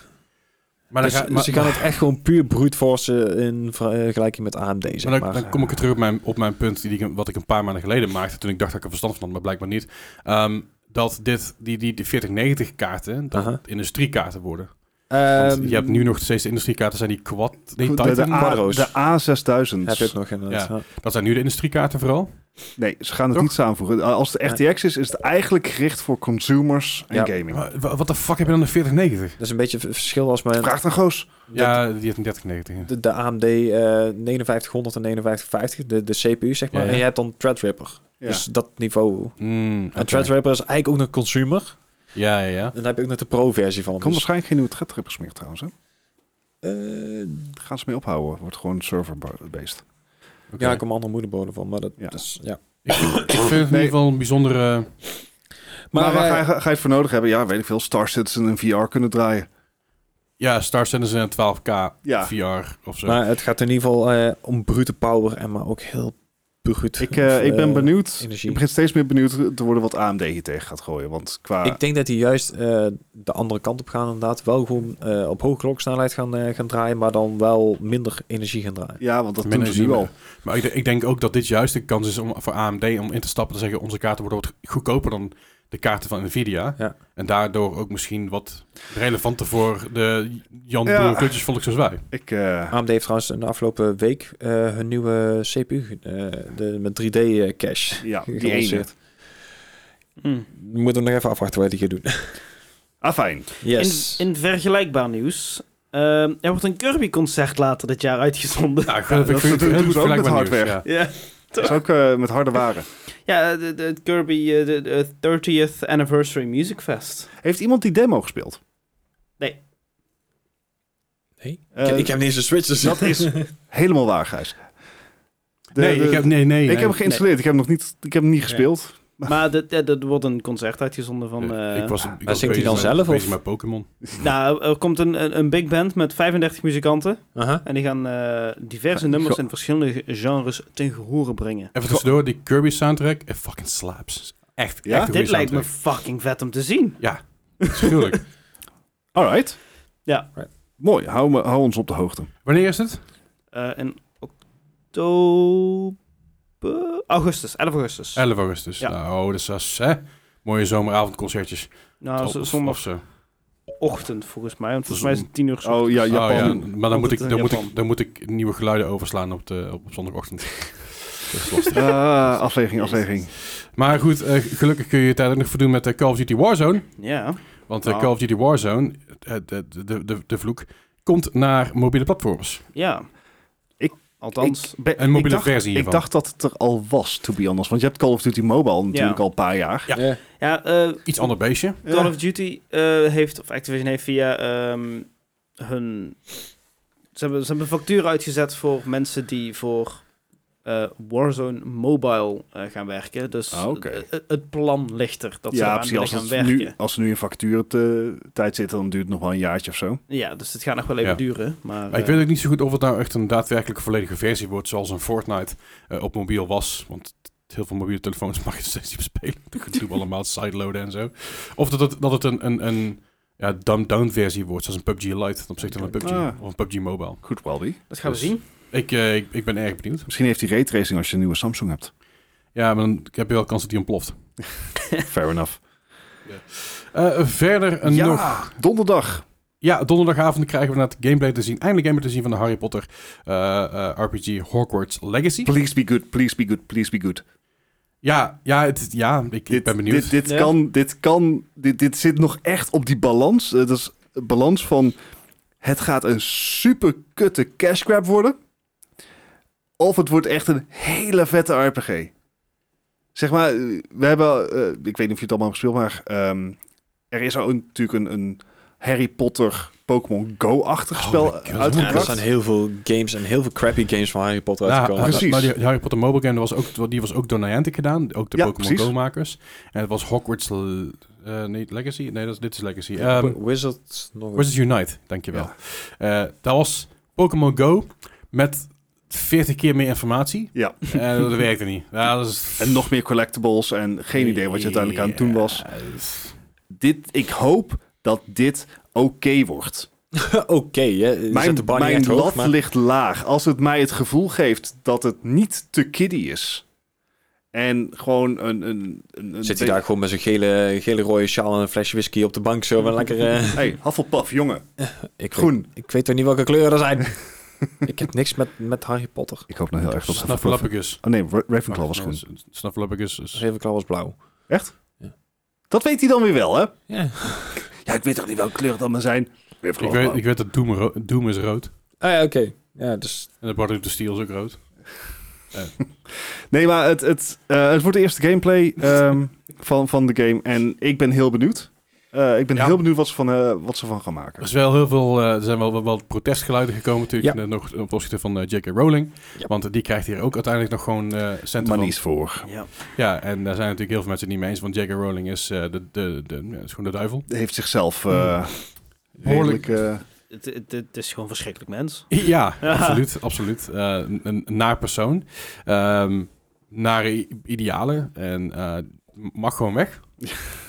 A: maar dan,
B: dus,
A: ga-
B: dus
A: maar-
B: je kan het echt gewoon puur brute forcen in vergelijking met AMD, zeg
A: Maar
B: maar.
A: dan, dan kom ik weer terug op mijn, op mijn punt, die ik, wat ik een paar maanden geleden maakte, toen ik dacht dat ik er verstand van had, maar blijkbaar niet. Ehm, dat dit, die, die, die 4090 kaarten, dat
B: Aha.
A: industriekaarten worden. Want
B: Ehm,
A: je hebt nu nog steeds de industriekaarten, zijn die quad, nee,
C: De,
A: Titan,
C: de, A,
B: Quadro's.
C: de A6000.
B: Heb je ook nog inderdaad. Ja.
A: dat zijn nu de industriekaarten vooral.
C: Nee, ze gaan het
A: Toch?
C: niet samenvoegen. Eh, Als de RTX is, is het eigenlijk gericht voor consumers en
B: Ja.
C: gaming.
A: Maar wa- wat de fuck heb je dan een 4090?
B: Dat is een beetje het verschil als mijn
C: Vraag dan Goos.
A: Ja, die heeft een 3090. in.
B: de, de AMD eh 5900 en 5950, de, de CPU zeg maar.
A: Ja, ja.
B: En je hebt dan Threadripper. Dus dat niveau.
A: Mm,
B: En
A: oké.
B: Threadripper is eigenlijk ook nog consumer.
A: Ja, ja, ja.
B: En daar heb je ook nog de pro-versie van.
C: Er komt
B: Dus,
C: waarschijnlijk geen nieuwe threadrippers meer trouwens. Hè?
B: eh,
C: Daar gaan ze mee ophouden. Wordt gewoon server-based.
A: Oké.
B: Ja, ik kom andere moederborden van, maar dat
C: Ja.
B: dus, ja.
A: ik, ik vind het in ieder geval een bijzondere...
C: Maar, waar
B: eh,
C: ga, je, ga je het voor nodig hebben? Ja, weet ik veel. Star Citizen en VR kunnen draaien.
A: Ja, Star Citizen en 12K
C: Ja.
A: VR of zo.
B: maar het gaat in ieder geval eh, om brute power en maar ook heel brute
C: Ik, eh, ik ben
B: eh,
C: benieuwd.
B: energie.
C: Ik begin steeds meer benieuwd te worden wat AMD hier tegen gaat gooien. Want qua...
B: Ik denk dat die juist eh, de andere kant op gaan inderdaad. Wel gewoon eh, op hoge kloksnelheid gaan, eh, gaan draaien, maar dan wel minder energie gaan draaien.
C: ja, want dat
A: Minder
C: doen ze nu
A: zien we.
C: al.
A: Maar ik, de- ik denk ook dat dit juist de kans is om, voor AMD om in te stappen te zeggen... onze kaarten worden wat goedkoper dan de kaarten van Nvidia.
B: Ja.
A: En daardoor ook misschien wat relevanter voor de Jan
C: Ja.
A: Boer Klutjesvolk zoals wij.
C: Ik,
A: Ah.
C: eh,
B: AMD heeft trouwens in de afgelopen week eh, hun nieuwe CPU eh, de, met eh, 3D-cache
C: ja, die ene.
B: gelanceerd. Moeten we nog even afwachten wat die gaat doen.
C: Ah, fijn.
B: Yes.
D: in, in vergelijkbaar nieuws. ehm, er wordt een Kirby-concert later dit jaar uitgezonden.
A: Nou, ik
C: Ja, dat- dat doen ze ook
A: vergelijkbaar
C: met
A: nieuws,
C: hardware.
A: ja.
D: Ja,
C: Dat is ook eh, met harde waren.
D: ja de, de het Kirby eh, de, de 30th Anniversary Music Fest.
C: Heeft iemand die demo gespeeld?
B: Nee?
C: Eh,
B: ik, ik heb niet eens een Switch, dus
C: Dat is helemaal waar, Gijs. De-
A: nee,
C: de-
A: ik heb, nee, nee.
C: ik
A: nee.
C: heb hem geïnstalleerd. Ik heb hem nog niet, ik heb hem niet gespeeld.
D: Maar de- de- er wordt een concert uitgezonden van... eh,
A: ik was, ik
B: Maar
A: was
B: zingt hij
A: bezig
B: dan
A: met-
B: zelf,
A: bezig
B: of?
A: met Pokémon.
D: Nou, er komt een, een, een big band met 35 muzikanten.
B: Aha.
D: En die gaan eh, diverse
C: Ja,
D: nummers
C: go-
D: in verschillende genres ten gehore brengen.
A: Even tussendoor, die Kirby soundtrack. eh, fucking slaps. Echt,
C: Ja?
A: echt een
D: Dit
A: goede
D: lijkt me
A: soundtrack.
D: fucking vet om te zien.
A: Dat is gruwelijk.
C: Alright.
D: Ja.
B: Right.
C: Mooi. Hou, me, hou ons op de hoogte.
A: Wanneer is het?
D: Eh, in oktober... Augustus, 11 augustus.
A: 11 augustus.
D: Ja.
A: Nou, dus dat is... Hè? Mooie zomeravondconcertjes.
D: nou,
A: Of-
D: z-
A: of-
D: zondag
A: of zo.
D: ochtend volgens mij. Want volgens mij is het tien uur.
C: Oh ja, Japan.
A: Oh, ja. Maar dan moet,
D: het
A: ik,
D: in
A: dan, moet
D: Japan.
A: ik, dan moet ik nieuwe geluiden overslaan op, de, op, op zondagochtend. Dat is lastig.
C: Ah, aflevering, aflevering.
A: maar goed, eh, gelukkig kun je het tijd ook nog verdoen met de Call of Duty Warzone.
D: Ja.
A: Want eh,
C: Ah.
A: Call of Duty Warzone, eh, de, de, de, de, de vloek, komt naar mobiele platforms.
D: Ja. Althans,
C: Ik ben-
A: Een mobiele
C: ik dacht,
A: versie hiervan.
C: Ik dacht dat het er al was, to be honest. Want je hebt Call of Duty Mobile natuurlijk
D: Ja.
C: al een paar jaar.
A: Ja.
B: Ja.
D: ja, eh,
A: Iets ander beestje.
D: Call
C: Ja.
D: of Duty eh, heeft, of Activision heeft via ehm, hun... Ze hebben, ze hebben een factuur uitgezet voor mensen die voor eh, Warzone Mobile eh, gaan werken. Dus
C: Ah, oké.
D: eh, eh, het plan ligt er dat ze
C: ja,
D: eraan
C: precies.
D: willen
C: Als,
D: gaan
C: het
D: werken.
C: nu, als ze nu in factuurtijd zitten, dan duurt het nog wel een jaartje of zo.
D: Ja, dus het gaat nog wel even
A: Ja.
D: duren. Maar,
A: Maar ik
D: eh,
A: weet ook niet zo goed of het nou echt een daadwerkelijke volledige versie wordt, zoals een Fortnite eh, op mobiel was. Want heel veel mobiele telefoons mag je steeds niet spelen. Dat doen we allemaal sideloaden en zo. Of dat het, dat het een, een, een ja, dumbed-down versie wordt, zoals een PUBG Lite ten opzichte van een PUBG
C: Ah.
A: of een PUBG Mobile.
C: Goed, Waldy.
D: dat gaan we
A: dus-
D: zien.
A: Ik, eh, ik, ik ben erg benieuwd.
C: Misschien heeft hij raytracing als je een nieuwe Samsung hebt.
A: Ja, maar dan heb je wel kans dat die ontploft.
C: Fair enough.
A: Eh, verder een
C: ja,
A: nog
C: donderdag.
A: Ja, donderdagavond krijgen we het gameplay te zien. Eindelijk gameplay te zien van de Harry Potter eh, eh, RPG Hogwarts Legacy.
C: Please be good, please be good, please be good.
A: Ja, ja, het, ja ik, ik ben benieuwd.
C: Dit, dit
D: Ja.
C: kan, dit kan, dit, dit zit nog echt op die balans. Eh, dat is een balans van het gaat een super kutte cash grab worden. Of het wordt echt een hele vette RPG. Zeg maar, eh, we hebben, eh, ik weet niet of je het allemaal hebt gespeeld, maar ehm, er is ook natuurlijk een, een Harry Potter Pokémon Go-achtig
A: Oh my
C: spel
A: God.
B: Ja, er
C: uitgebracht.
B: zijn heel veel games en heel veel crappy games van Harry Potter uitgekomen.
A: nou,
C: Precies.
A: nou, die, die Harry Potter mobile game was ook, die was ook door Niantic gedaan. Ook de
C: Ja,
A: Pokémon
C: precies.
A: Go-makers. En het was Hogwarts... Le- eh, nee, Legacy? Nee, dat is, dit is Legacy.
B: Ja,
A: Ehm
B: Wi- Wizard nog
A: Wizards Unite, dankjewel. Eh dat was Pokémon Go met 40 keer meer informatie.
C: Ja.
A: Eh, dat werkte niet. Ja, dat is...
C: En nog meer collectibles en geen idee wat je uiteindelijk aan het doen was.
A: Ja, dat is-
C: dit, ik hoop dat dit oké wordt.
B: Oké, hè, je zet de
C: Mijn,
B: bar niet
C: mijn
B: echt hoog,
C: lat
B: maar-
C: ligt laag. Als het mij het gevoel geeft dat het niet te kiddy is. En gewoon een... een, een, een
B: Zit hij daar gewoon met zijn gele, gele rode sjaal en een flesje whisky op de bank zo. Maar lekker... eh,
C: Hey, Hufflepuff, jongen.
B: ik
C: Groen.
B: Weet, ik weet toch niet welke kleuren er zijn. ik heb niks met, met Harry Potter.
C: Ik hoop nog heel erg dat Hufflepuff...
A: Snuffleupagus.
C: Oh nee, Ra- Ravenclaw was groen.
A: Nee, Snuffleupagus is...
B: Ravenclaw Dus was blauw.
C: Dat weet hij dan weer wel, hè?
B: Ja.
C: Ja, ik weet toch niet welke kleur het allemaal zijn?
A: Ik
C: Ravenclaw.
A: weet, ik weet dat Doom, ro- Doom is rood.
B: Ah ja, oké. Ja, dus...
A: En de Bart of the Steel is ook rood.
C: Nee, maar het, het, eh, het wordt de eerste gameplay ehm, van, van de game. En ik ben heel benieuwd. Eh, ik ben
A: Ja.
C: heel benieuwd wat ze, van, eh, wat ze van gaan
A: Er,
C: maken.
A: is wel heel veel, eh, er zijn wel, wel, wel protestgeluiden gekomen natuurlijk.
B: Ja.
A: eh, nog op opzichte van eh, J.K. Rowling.
B: Ja.
A: Want die krijgt hier ook uiteindelijk nog gewoon eh centen van.
C: Manies voor.
D: Ja.
A: Ja, en daar zijn natuurlijk heel veel mensen het niet mee eens. Want J.K. Rowling is, eh, de, de, de, ja, is gewoon de duivel.
C: heeft zichzelf eh
A: Hmm. Behoorlijk.
C: redelijk... eh,
D: Het, het, het is gewoon verschrikkelijk mens.
A: Ja,
D: Ja.
A: absoluut. absoluut. Eh, een, een naar persoon. Ehm nare i- idealen. En eh, mag gewoon weg.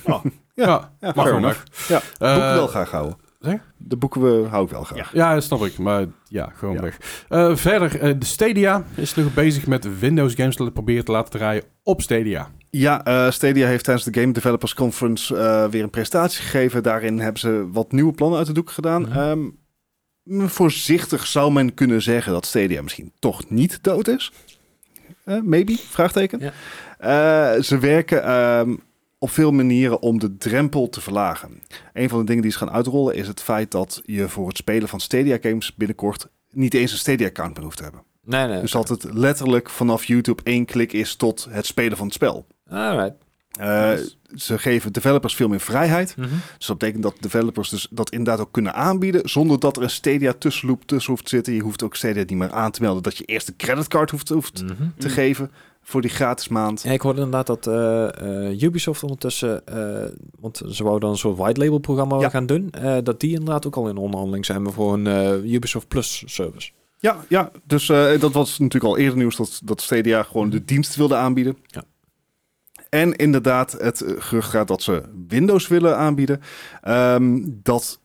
C: Oh,
A: ja,
C: ja,
A: mag
C: fair
A: gewoon
C: enough.
A: weg.
C: Ja,
A: Eh,
C: boeken wel graag houden.
A: zeg je?
C: De boeken we hou ik wel graag.
D: Ja.
A: Ja, dat snap ik. Maar ja, gewoon
C: Ja.
A: weg. Eh, verder, eh, de Stadia is nog bezig met Windows games te proberen te laten draaien op Stadia.
C: Ja, eh, Stadia heeft tijdens de Game Developers Conference eh, weer een presentatie gegeven. Daarin hebben ze wat nieuwe plannen uit de doek gedaan.
B: Mhm.
C: Ehm, mm, voorzichtig zou men kunnen zeggen dat Stadia misschien toch niet dood is. Eh, maybe? Vraagteken.
B: Ja.
C: Eh, ze werken ehm, op veel manieren om de drempel te verlagen. Een van de dingen die ze gaan uitrollen is het feit dat je voor het spelen van Stadia games binnenkort niet eens een Stadia-account meer hoeft te hebben.
B: Nee, nee.
C: Dus dat het letterlijk vanaf YouTube één klik is tot het spelen van het spel.
B: Alright.
C: Eh,
B: Nice.
C: Ze geven developers veel meer vrijheid.
B: Mhm.
C: Dus dat betekent dat developers dus dat inderdaad ook kunnen aanbieden. Zonder dat er een Stadia tussenloop tussen hoeft te zitten. Je hoeft ook Stadia niet meer aan te melden. Dat je eerst een creditcard hoeft, hoeft
B: Mhm.
C: te
D: Mm.
C: geven voor die gratis maand.
B: Ja, ik hoorde inderdaad dat eh, eh, Ubisoft ondertussen, eh, want ze wou dan een soort white label programma
C: Ja.
B: gaan doen, eh, dat die inderdaad ook al in onderhandeling zijn voor een eh, Ubisoft Plus service.
C: Ja, ja dus eh, dat was natuurlijk al eerder nieuws dat, dat Stadia gewoon de dienst wilde aanbieden.
B: Ja.
C: En inderdaad, het eh, gerucht gaat dat ze Windows willen aanbieden. Ehm, dat,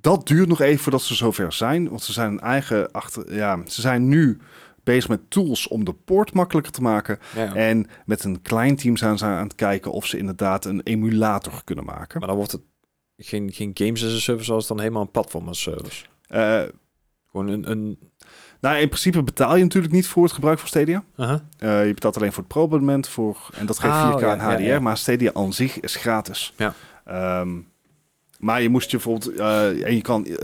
C: dat duurt nog even voordat ze zover zijn. Want ze zijn een eigen achter. Ja, ze zijn nu bezig met tools om de poort makkelijker te maken.
B: Ja.
C: En met een klein team zijn ze aan het kijken of ze inderdaad een emulator kunnen maken.
B: Maar dan wordt het geen, geen games as a service, als dan helemaal een platform as a service.
C: Eh,
B: Gewoon een... een
C: nou, in principe betaal je natuurlijk niet voor het gebruik van Stadia.
B: aha.
C: Eh, je betaalt alleen voor het pro-abonnement voor, en dat geeft
B: Ah,
C: 4K en
B: ja, ja,
C: HDR,
B: ja.
C: maar Stadia aan zich is gratis.
B: Ja.
C: Ehm, maar je moest je bijvoorbeeld, eh, en je kan eh,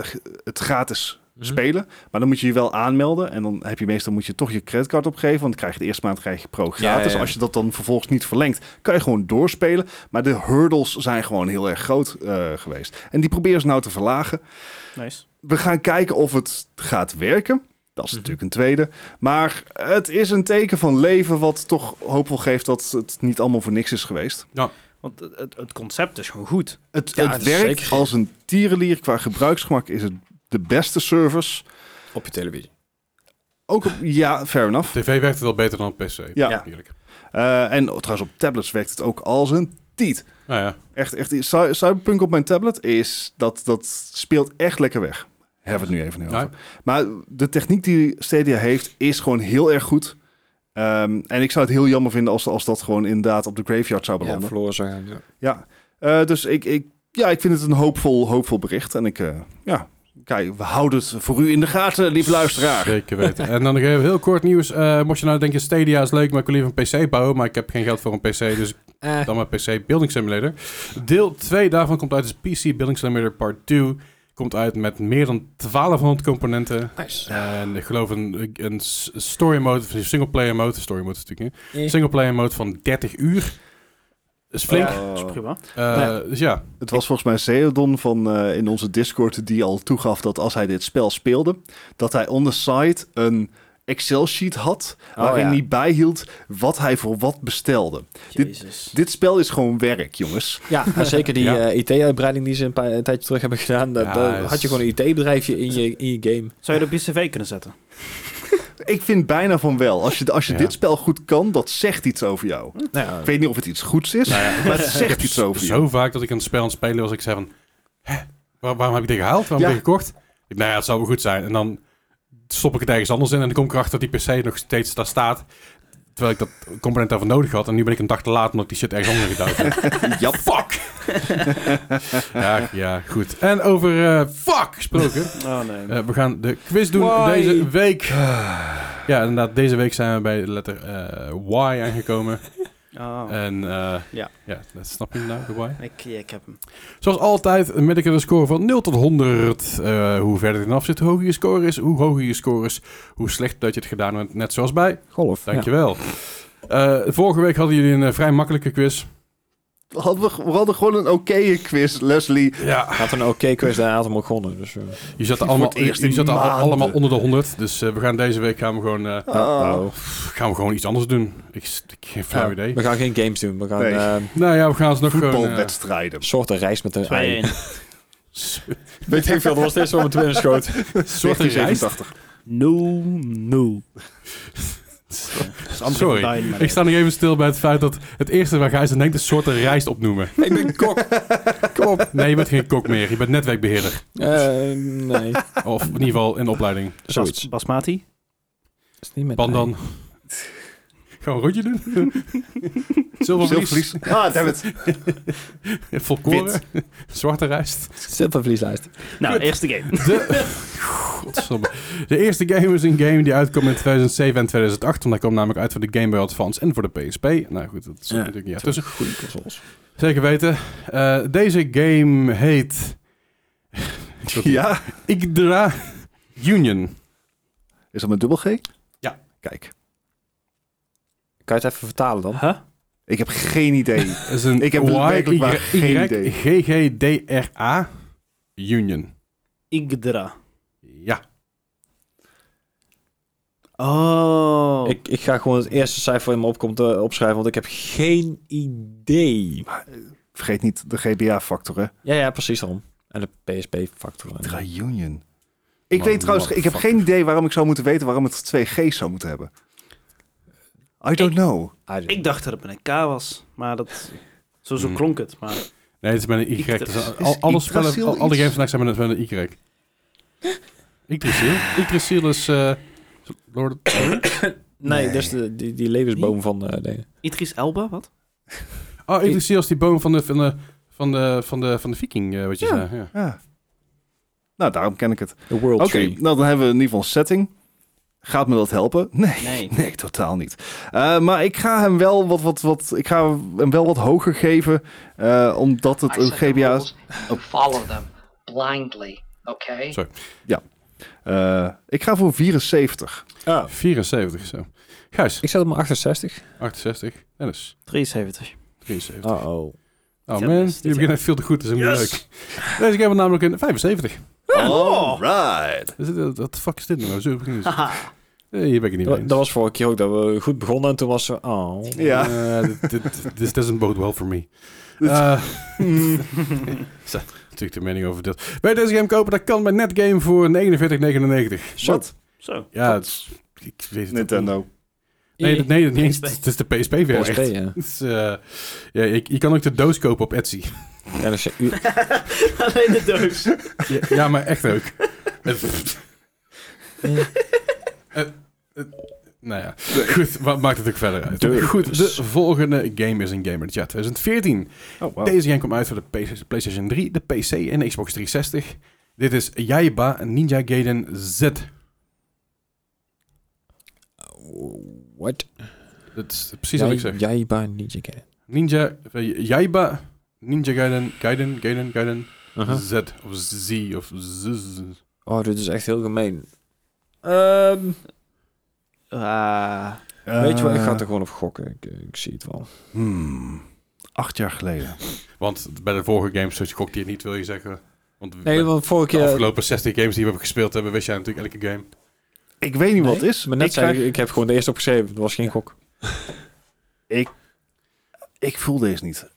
C: het gratis
B: Mhm.
C: spelen. Maar dan moet je je wel aanmelden. En dan heb je meestal moet je toch je creditcard opgeven. Want dan krijg je de eerste maand krijg je pro gratis.
B: ja.
C: Als je dat dan vervolgens niet verlengt, kan je gewoon doorspelen. Maar de hurdles zijn gewoon heel erg groot eh, geweest. En die proberen ze nou te verlagen.
D: Nice.
C: We gaan kijken of het gaat werken. Dat is
B: Mhm.
C: natuurlijk een tweede. Maar het is een teken van leven wat toch hoopvol geeft dat het niet allemaal voor niks is geweest.
D: Want het, het, het concept is gewoon goed.
C: Het,
B: Ja,
C: het
B: dat is
C: werkt
B: zeker.
C: als een tierenlier. Qua gebruiksgemak is het de beste service.
B: Op je televisie.
C: Ook op, ja, fair enough.
A: TV werkt het al beter dan op PC.
C: Ja.
A: natuurlijk.
C: Eh, en trouwens, op tablets werkt het ook als een tiet.
A: Nou ja.
C: Echt, echt, Cy- Cyberpunk op mijn tablet is, dat, dat speelt echt lekker weg. Hebben we het nu even niet over.
A: Ja.
C: Maar de techniek die Stadia heeft, is gewoon heel erg goed. Ehm, en ik zou het heel jammer vinden als, als dat gewoon inderdaad op de graveyard zou
B: Ja,
C: belanden. Ja.
B: verloren zijn. Ja.
C: Eh, dus ik, ik, ja, ik vind het een hoopvol, hoopvol bericht. En ik, eh, ja, kijk, we houden het voor u in de gaten, lief luisteraar.
A: Zeker weten. en dan nog even heel kort nieuws. Eh, mocht je nou denken, Stadia is leuk, maar ik wil liever een PC bouwen. Maar ik heb geen geld voor een PC, dus ik
B: Eh,
A: dan mijn PC Building Simulator. Deel 2 daarvan komt uit, dus PC Building Simulator Part 2. Komt uit met meer dan 1200 componenten.
B: nice.
A: En ik geloof een, een s- story mode, of een single player mode, story mode is het natuurlijk niet.
B: Ja.
A: Single player mode van 30 uur. is flink.
C: Oh.
D: Dat is prima.
A: Eh,
C: Nee.
A: Dus ja,
C: Het was volgens mij Zeodon van, eh, in onze Discord die al toegaf dat als hij dit spel speelde, dat hij on the side een Excel-sheet had waarin
B: Oh, ja.
C: hij bijhield wat hij voor wat bestelde.
D: Jezus.
C: Dit spel is gewoon werk, jongens.
B: Ja, en zeker die
A: Ja.
B: eh, IT-uitbreiding die ze een, paar, een tijdje terug hebben gedaan. Dat,
A: Ja,
B: dat
A: is-
B: had je gewoon een IT-bedrijfje in je, in je game.
D: Zou je dat op je cv kunnen zetten?
C: Ik vind bijna van wel. Als je, als je
A: Ja.
C: dit spel goed kan, dat zegt iets over jou.
B: Nou,
C: Ik weet niet of het iets goeds is, maar het
A: Ik
C: zegt
A: heb
C: iets over
A: Nou zo
C: je.
A: vaak dat ik een spel aan het spelen was, ik zei van, Hè, waar- waarom heb ik dit gehaald? Waarom
C: Ja.
A: heb ik dit gekocht? Ik, nou ja, het zou wel goed zijn. En dan stop ik het ergens anders in en dan kom ik erachter dat die PC nog steeds daar staat. Terwijl ik dat component daarvoor nodig had. En nu ben ik een dag te laat omdat ik die shit ergens anders gedouwd heb.
C: Jap.
A: Fuck! ja, ja, goed. En over eh, fuck gesproken.
D: Oh nee.
A: Eh, we gaan de quiz doen
B: Why?
A: deze week.
C: Ah.
A: Ja, inderdaad. Deze week zijn we bij de letter eh, Y aangekomen.
D: Oh.
A: En eh,
D: Ja.
A: ja, dat snap je nou, de Y.
D: ik, ja, ik heb hem.
A: Zoals altijd met ik een score van 0 tot 100. Eh, hoe verder het af zit, hoe hoger je score is, hoe hoger je score is, hoe slecht dat je het gedaan hebt. Net zoals bij.
B: golf. ja.
A: Dankjewel. Eh, vorige week hadden jullie een eh, vrij makkelijke quiz.
C: Hadden we, we hadden gewoon een oké quiz, Leslie.
A: Ja.
B: Had een oké quiz, daar had hem ook gewonnen. Dus, eh,
A: Je zat er allemaal,
C: Voor het eerst
A: je
C: in
A: zat er al-
C: maanden.
A: allemaal onder de 100. Dus eh, we gaan deze week gaan we gewoon, eh,
C: Ah.
B: oh.
A: gaan we gewoon iets anders doen. Ik, ik heb geen flauw
B: Ja,
A: idee.
B: We gaan geen games doen. We gaan
C: Nee.
B: eh,
A: Nou ja, we gaan ze nog gewoon... eh,
C: Voetbalwedstrijden.
B: een soort een reis met een ei.
D: 2-1.
B: Weet ik veel, dat was dit zo met in schoot.
A: soort een reis.
C: 1987.
D: 0-0.
A: Sorry. Ik sta nog even stil bij het feit dat het eerste waar Gijs aan denkt is soorten rijst opnoemen.
B: Ik ben kok. Kom op.
A: Nee, je bent geen kok meer. Je bent netwerkbeheerder.
B: Eh, nee.
A: Of in ieder geval in de opleiding.
B: Zoiets.
D: Basmati.
B: Is niet met
A: Pan dan. Gaan we een rondje doen? Zilvervlies.
C: Zilvervlies. Ah, damn it.
A: Volkoren. Zwarte rijst.
B: Zilvervlieslijst.
D: Nou,
A: Kut.
D: eerste game.
A: De... Godsamme. De eerste game is een game die uitkwam in 2007 en 2008. Want hij kwam namelijk uit voor de Game Boy Advance en voor de PSP. Nou goed, dat is
B: Ja.
A: natuurlijk niet
B: Tussen
A: tussen.
B: goede consoles.
A: Zeker weten. Eh, deze game heet...
C: Ja.
A: Yggdra Union.
C: Is dat met dubbel G?
A: Ja.
C: Kijk,
B: Kan je het even vertalen dan?
D: Huh?
C: ik heb geen idee.
A: Dat is een
C: Ik heb
A: Y,
C: werkelijk waar
A: Y-
C: geen
A: Y-
C: idee.
A: G-G-D-R-A Union.
D: Igdra.
A: Ja.
D: Oh.
B: Ik, ik ga gewoon het eerste cijfer in me opkomt eh, opschrijven, want ik heb geen idee.
C: Vergeet niet de GBA-factor, hè?
B: Ja, ja, precies daarom. En de PSP-factor.
C: Reunion. Ik
A: Man,
C: weet trouwens,
A: what
C: ik heb
A: fuck.
C: geen idee waarom ik zou moeten weten waarom het twee G's zou moeten hebben. I don't know.
D: Ik dacht dat het met een K was, maar dat... Zo, zo
A: Hmm.
D: klonk het, maar...
A: Nee, het is met een Y.
D: Yggdra-
A: Dus al-
C: is
A: al- alle,
C: Yggdrasil
A: spellen, al- alle
C: iets?
A: games vandaag zijn met een, met een Y. Yggdrasil? Yggdrasil is... eh, Lord of the Rings?
B: Nee,
C: Nee.
B: dat is de, die, die levensboom van eh de...
D: dus Idris Elba, wat?
A: Oh, Yggdrasil is die boom van de, van de, van de, van de, van de viking, eh, wat je
C: Ja.
A: zei. Ja.
C: Ja. Nou, daarom ken ik het.
B: The World
C: Oké,
B: Tree.
C: nou dan hebben we in ieder geval een setting. Gaat me dat helpen? Nee,
D: Nee.
C: nee totaal niet. Eh, maar ik ga hem wel wat, wat, wat, ik ga hem wel wat hoger geven, eh, omdat het
E: I
C: een
E: set the
C: GBA is.
E: rules, you follow them blindly, okay?
A: Sorry.
C: Eh, ik ga voor 74.
B: Ah,
A: 74 zo. Gijs,
B: ik zet hem op 68.
A: 68. Dennis,
D: 73.
A: 73. Oh,
B: Oh, oh.
D: Ja,
A: man,
D: dus
A: je
D: dit
A: begint
D: jaar.
A: echt veel te goed. Dat is helemaal
D: Yes!
A: leuk. Deze game had namelijk een 75.
B: Oh.
C: All right.
A: Dus dit- Wat de fuck is dit nou? Zo begin is-
D: Haha.
A: Eh, Hier ben ik het niet mee
B: Dat,
A: eens.
B: dat was vorige keer ook dat we goed begonnen en toen was ze... Oh.
C: Ja.
A: Eh, dit- dit- This doesn't bode well for me. Eh, Zo, Natuurlijk de mening over dat. Bij deze game kopen, dat kan bij Netgame voor 49,99.
B: Zo.
C: Wat?
D: Zo.
A: Ja,
C: Dat
A: het- ik weet het
C: Nintendo. Oh,
A: Nee, dat- nee, dat niet eens.
D: PSP.
A: Het is de PSP-versie.
B: PSP, ja.
A: eh, ja, je, je kan ook de doos kopen op Etsy.
B: Ja, dat is- u-
D: Alleen de doos.
A: Ja, ja, maar echt ook. Eh, eh, eh, nou ja, goed, wat maakt het ook verder uit.
B: Dus.
A: Goed, de volgende game is een Gamer Chat 2014.
C: Oh, wow.
A: Deze game kwam uit voor de PS- PlayStation 3, de PC en de Xbox 360. Dit is Yaiba Ninja Gaiden Z.
B: What?
A: Dat is precies wat ik zeg.
B: Jij bij Ninja Gaiden.
A: Ninja, eh, Yaiba Ninja Gaiden, Gaiden, Gaiden, Gaiden
B: Aha.
A: Z of Z of Z.
B: Oh, dit is echt heel gemeen. Ehm,
D: Ah.
B: weet je wat, ik
C: Eh,
B: ga er gewoon op gokken. Ik, ik zie het wel.
C: hmm, acht jaar geleden.
A: Want bij de vorige games, zoals je gokt hier niet, wil je zeggen. Want
B: Nee, eh, want vorige
A: de
B: keer...
A: afgelopen 60 games die we hebben gespeeld hebben, wist jij natuurlijk elke game.
C: Ik weet niet
B: Nee,
C: wat het is.
B: Maar net
C: ik,
B: zei
C: krijg-
B: ik, ik heb gewoon de eerste opgeschreven. Het was geen gok.
C: ik voel deze niet.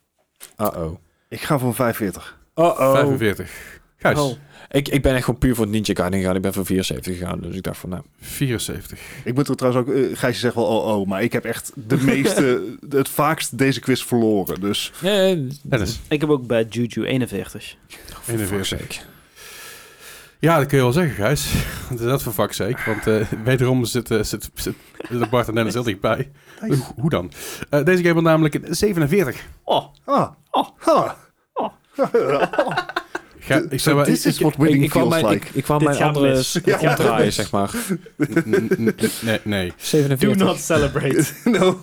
B: Uh-oh.
C: Ik ga voor 45.
B: Uh-oh.
A: 45. Gijs,
D: Oh.
B: Ik, ik ben echt gewoon puur voor Ninja Gaiden gegaan. Ik ben voor 74 gegaan. Dus ik dacht van, nou...
A: 74.
C: Ik moet er trouwens ook... eh, Gijsje zegt wel oh oh, maar ik heb echt de meeste... het vaakst deze quiz verloren. Dus
B: Nee,
A: Dennis,
D: Ik heb ook bij Juju 41.
A: 41. Ja, dat kun je wel zeggen, Gijs. Want Dat is voor fuck's sake. Want eh, wederom zit, eh, zit, zit, zitten Bart en Dennis heel dichtbij.
C: Nice.
A: Hoe- Hoe dan? Eh, deze game had namelijk een 47.
D: Oh,
C: Ah.
D: Oh.
C: Ah.
D: Oh.
A: Ga, ik zeg maar,
C: This
A: ik-
C: is what winning
B: Ik, ik kwam
C: feels
B: mijn,
C: like.
B: ik, ik kwam
D: Dit
B: mijn
D: gaat
B: andere
D: mis.
B: s-
D: Ja.
B: omdraaien, zeg maar.
A: ik- n- n- n- nee, nee.
D: do
B: 47.
D: not celebrate.
C: no.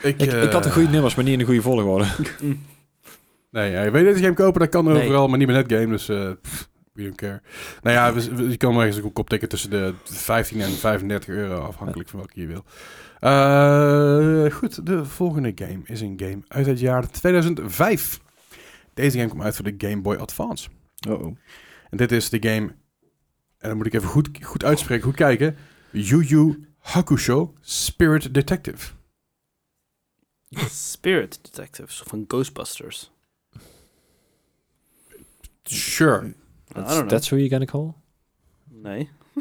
A: Ik,
B: Ik, ik had de
A: eh,
B: goede nummers, maar niet in de goede volgorde.
A: Nee, ja, je weet deze game kopen, dat kan
D: Nee.
A: overal, maar niet bij Netgame, dus eh pff, we don't care. Nou ja, we- we- je kan maar eens een kop tikken tussen de 15 en 35 euro, afhankelijk van welke je wil. Eh, goed, de volgende game is een game uit het jaar 2005. Deze game kwam uit voor de Game Boy Advance.
C: Oh, oh.
A: En dit is de game, en dan moet ik even goed, goed uitspreken, goed kijken. Yu Yu Hakusho Spirit Detective.
D: Spirit Detectives van Ghostbusters.
A: Sure.
D: I don't
B: That's,
D: know.
B: that's who you're gonna call?
D: Nee.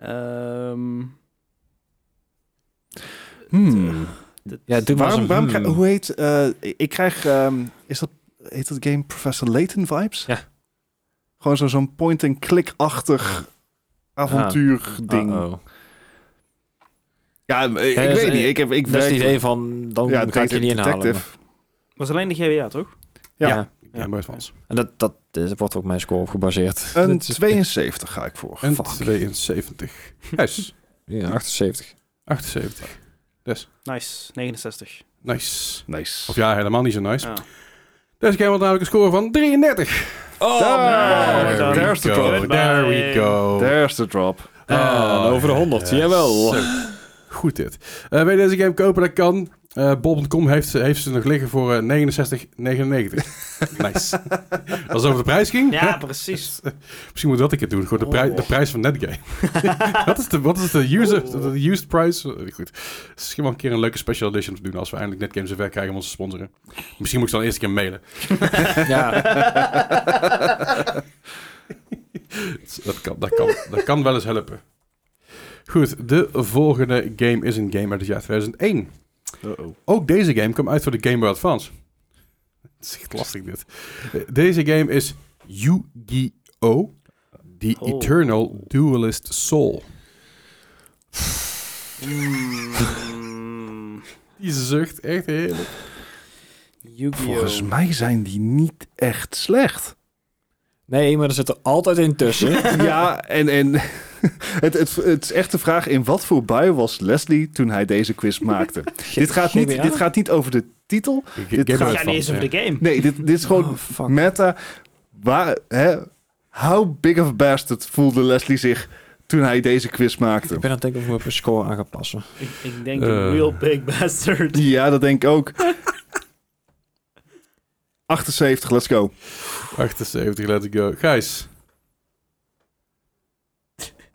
D: Ehm
C: Hmm.
D: dit-
B: Ja, doe maar
C: Waarom,
B: eens
C: waarom
B: een
C: krijg-
B: hmm.
C: hoe heet... eh, ik krijg... ehm, is dat, heet dat game Professor Layton vibes?
B: Ja.
C: Gewoon zo- zo'n point-and-click-achtig avontuur-ding.
B: Ah. Uh-oh.
C: Ja, eh, ik,
B: Ja,
C: ik
B: dat is-
C: weet niet. Ik heb, ik
B: Dat is het
C: werk-
B: idee van, dan
C: ja,
B: ga ik je niet inhalen.
C: detective.
D: was alleen de GBA, toch?
C: Ja.
A: Game Boy Advance.
B: En dat, dat is, wordt ook mijn score op gebaseerd.
C: Een
B: Dat is-
C: 72 ga ik voor.
A: En
C: Fuck.
A: 72. Juist.
B: Ja, 78.
A: 78.
D: Nice, 69.
A: Nice.
C: Nice.
A: Of ja, helemaal niet zo nice.
D: Ah.
A: Deze game had namelijk een score van 33.
B: Oh,
C: Daar.
D: nee.
A: we
C: There's the
A: go,
C: drop.
A: There we go.
C: There's the drop.
A: Ah,
B: over de 100,
A: ja,
B: jawel.
A: zo. Goed dit. Eh wil je deze game kopen? Dat kan. Eh Bob.com heeft, heeft ze nog liggen voor eh, 69,99. nice. Als het over de prijs ging?
D: Ja, precies.
A: Misschien moet dat ik het doen. Gewoon de, prij-
D: Oh.
A: de prijs van Netgame. wat is de, wat is de, user,
D: Oh.
A: de used price? Eh, Goed. Misschien wel een keer een leuke special edition te doen als we eindelijk Netgame zover krijgen om ons te sponsoren. Misschien moet ik ze dan eerst een keer mailen.
B: Ja,
A: Dat kan, dat kan, dat kan wel eens helpen. Goed, de volgende game is een game uit het jaar 2001.
C: Uh-oh.
A: Ook deze game kwam uit voor de Game Boy Advance. Het is echt lastig dit. Eh, Deze game is Yu-Gi-Oh! The
D: Oh.
A: Eternal Duelist Soul.
D: Mm,
A: Die zucht echt heerlijk.
C: Volgens
D: Yu-Gi-Oh!
C: mij zijn die niet echt slecht.
B: nee, maar er zit er altijd in tussen.
C: ja, en, en het, het, het is echt de vraag in wat voor bui was Leslie toen hij deze quiz maakte. dit, gaat niet,
B: GBA?
C: dit gaat niet over de titel.
A: Ga
C: Dit gaat-
D: Ja, niet eens over de game.
C: Nee, dit, dit is gewoon
B: Oh, fuck.
C: meta. Waar, hè, How big of a bastard voelde Leslie zich toen hij deze quiz maakte?
B: Ik ben aan het denken of ik mijn score aan ga passen.
D: Ik, ik denk
A: Eh.
D: een real big bastard.
C: Ja, dat denk ik ook. 78, let's go.
A: 78, eh, let's go. Gijs,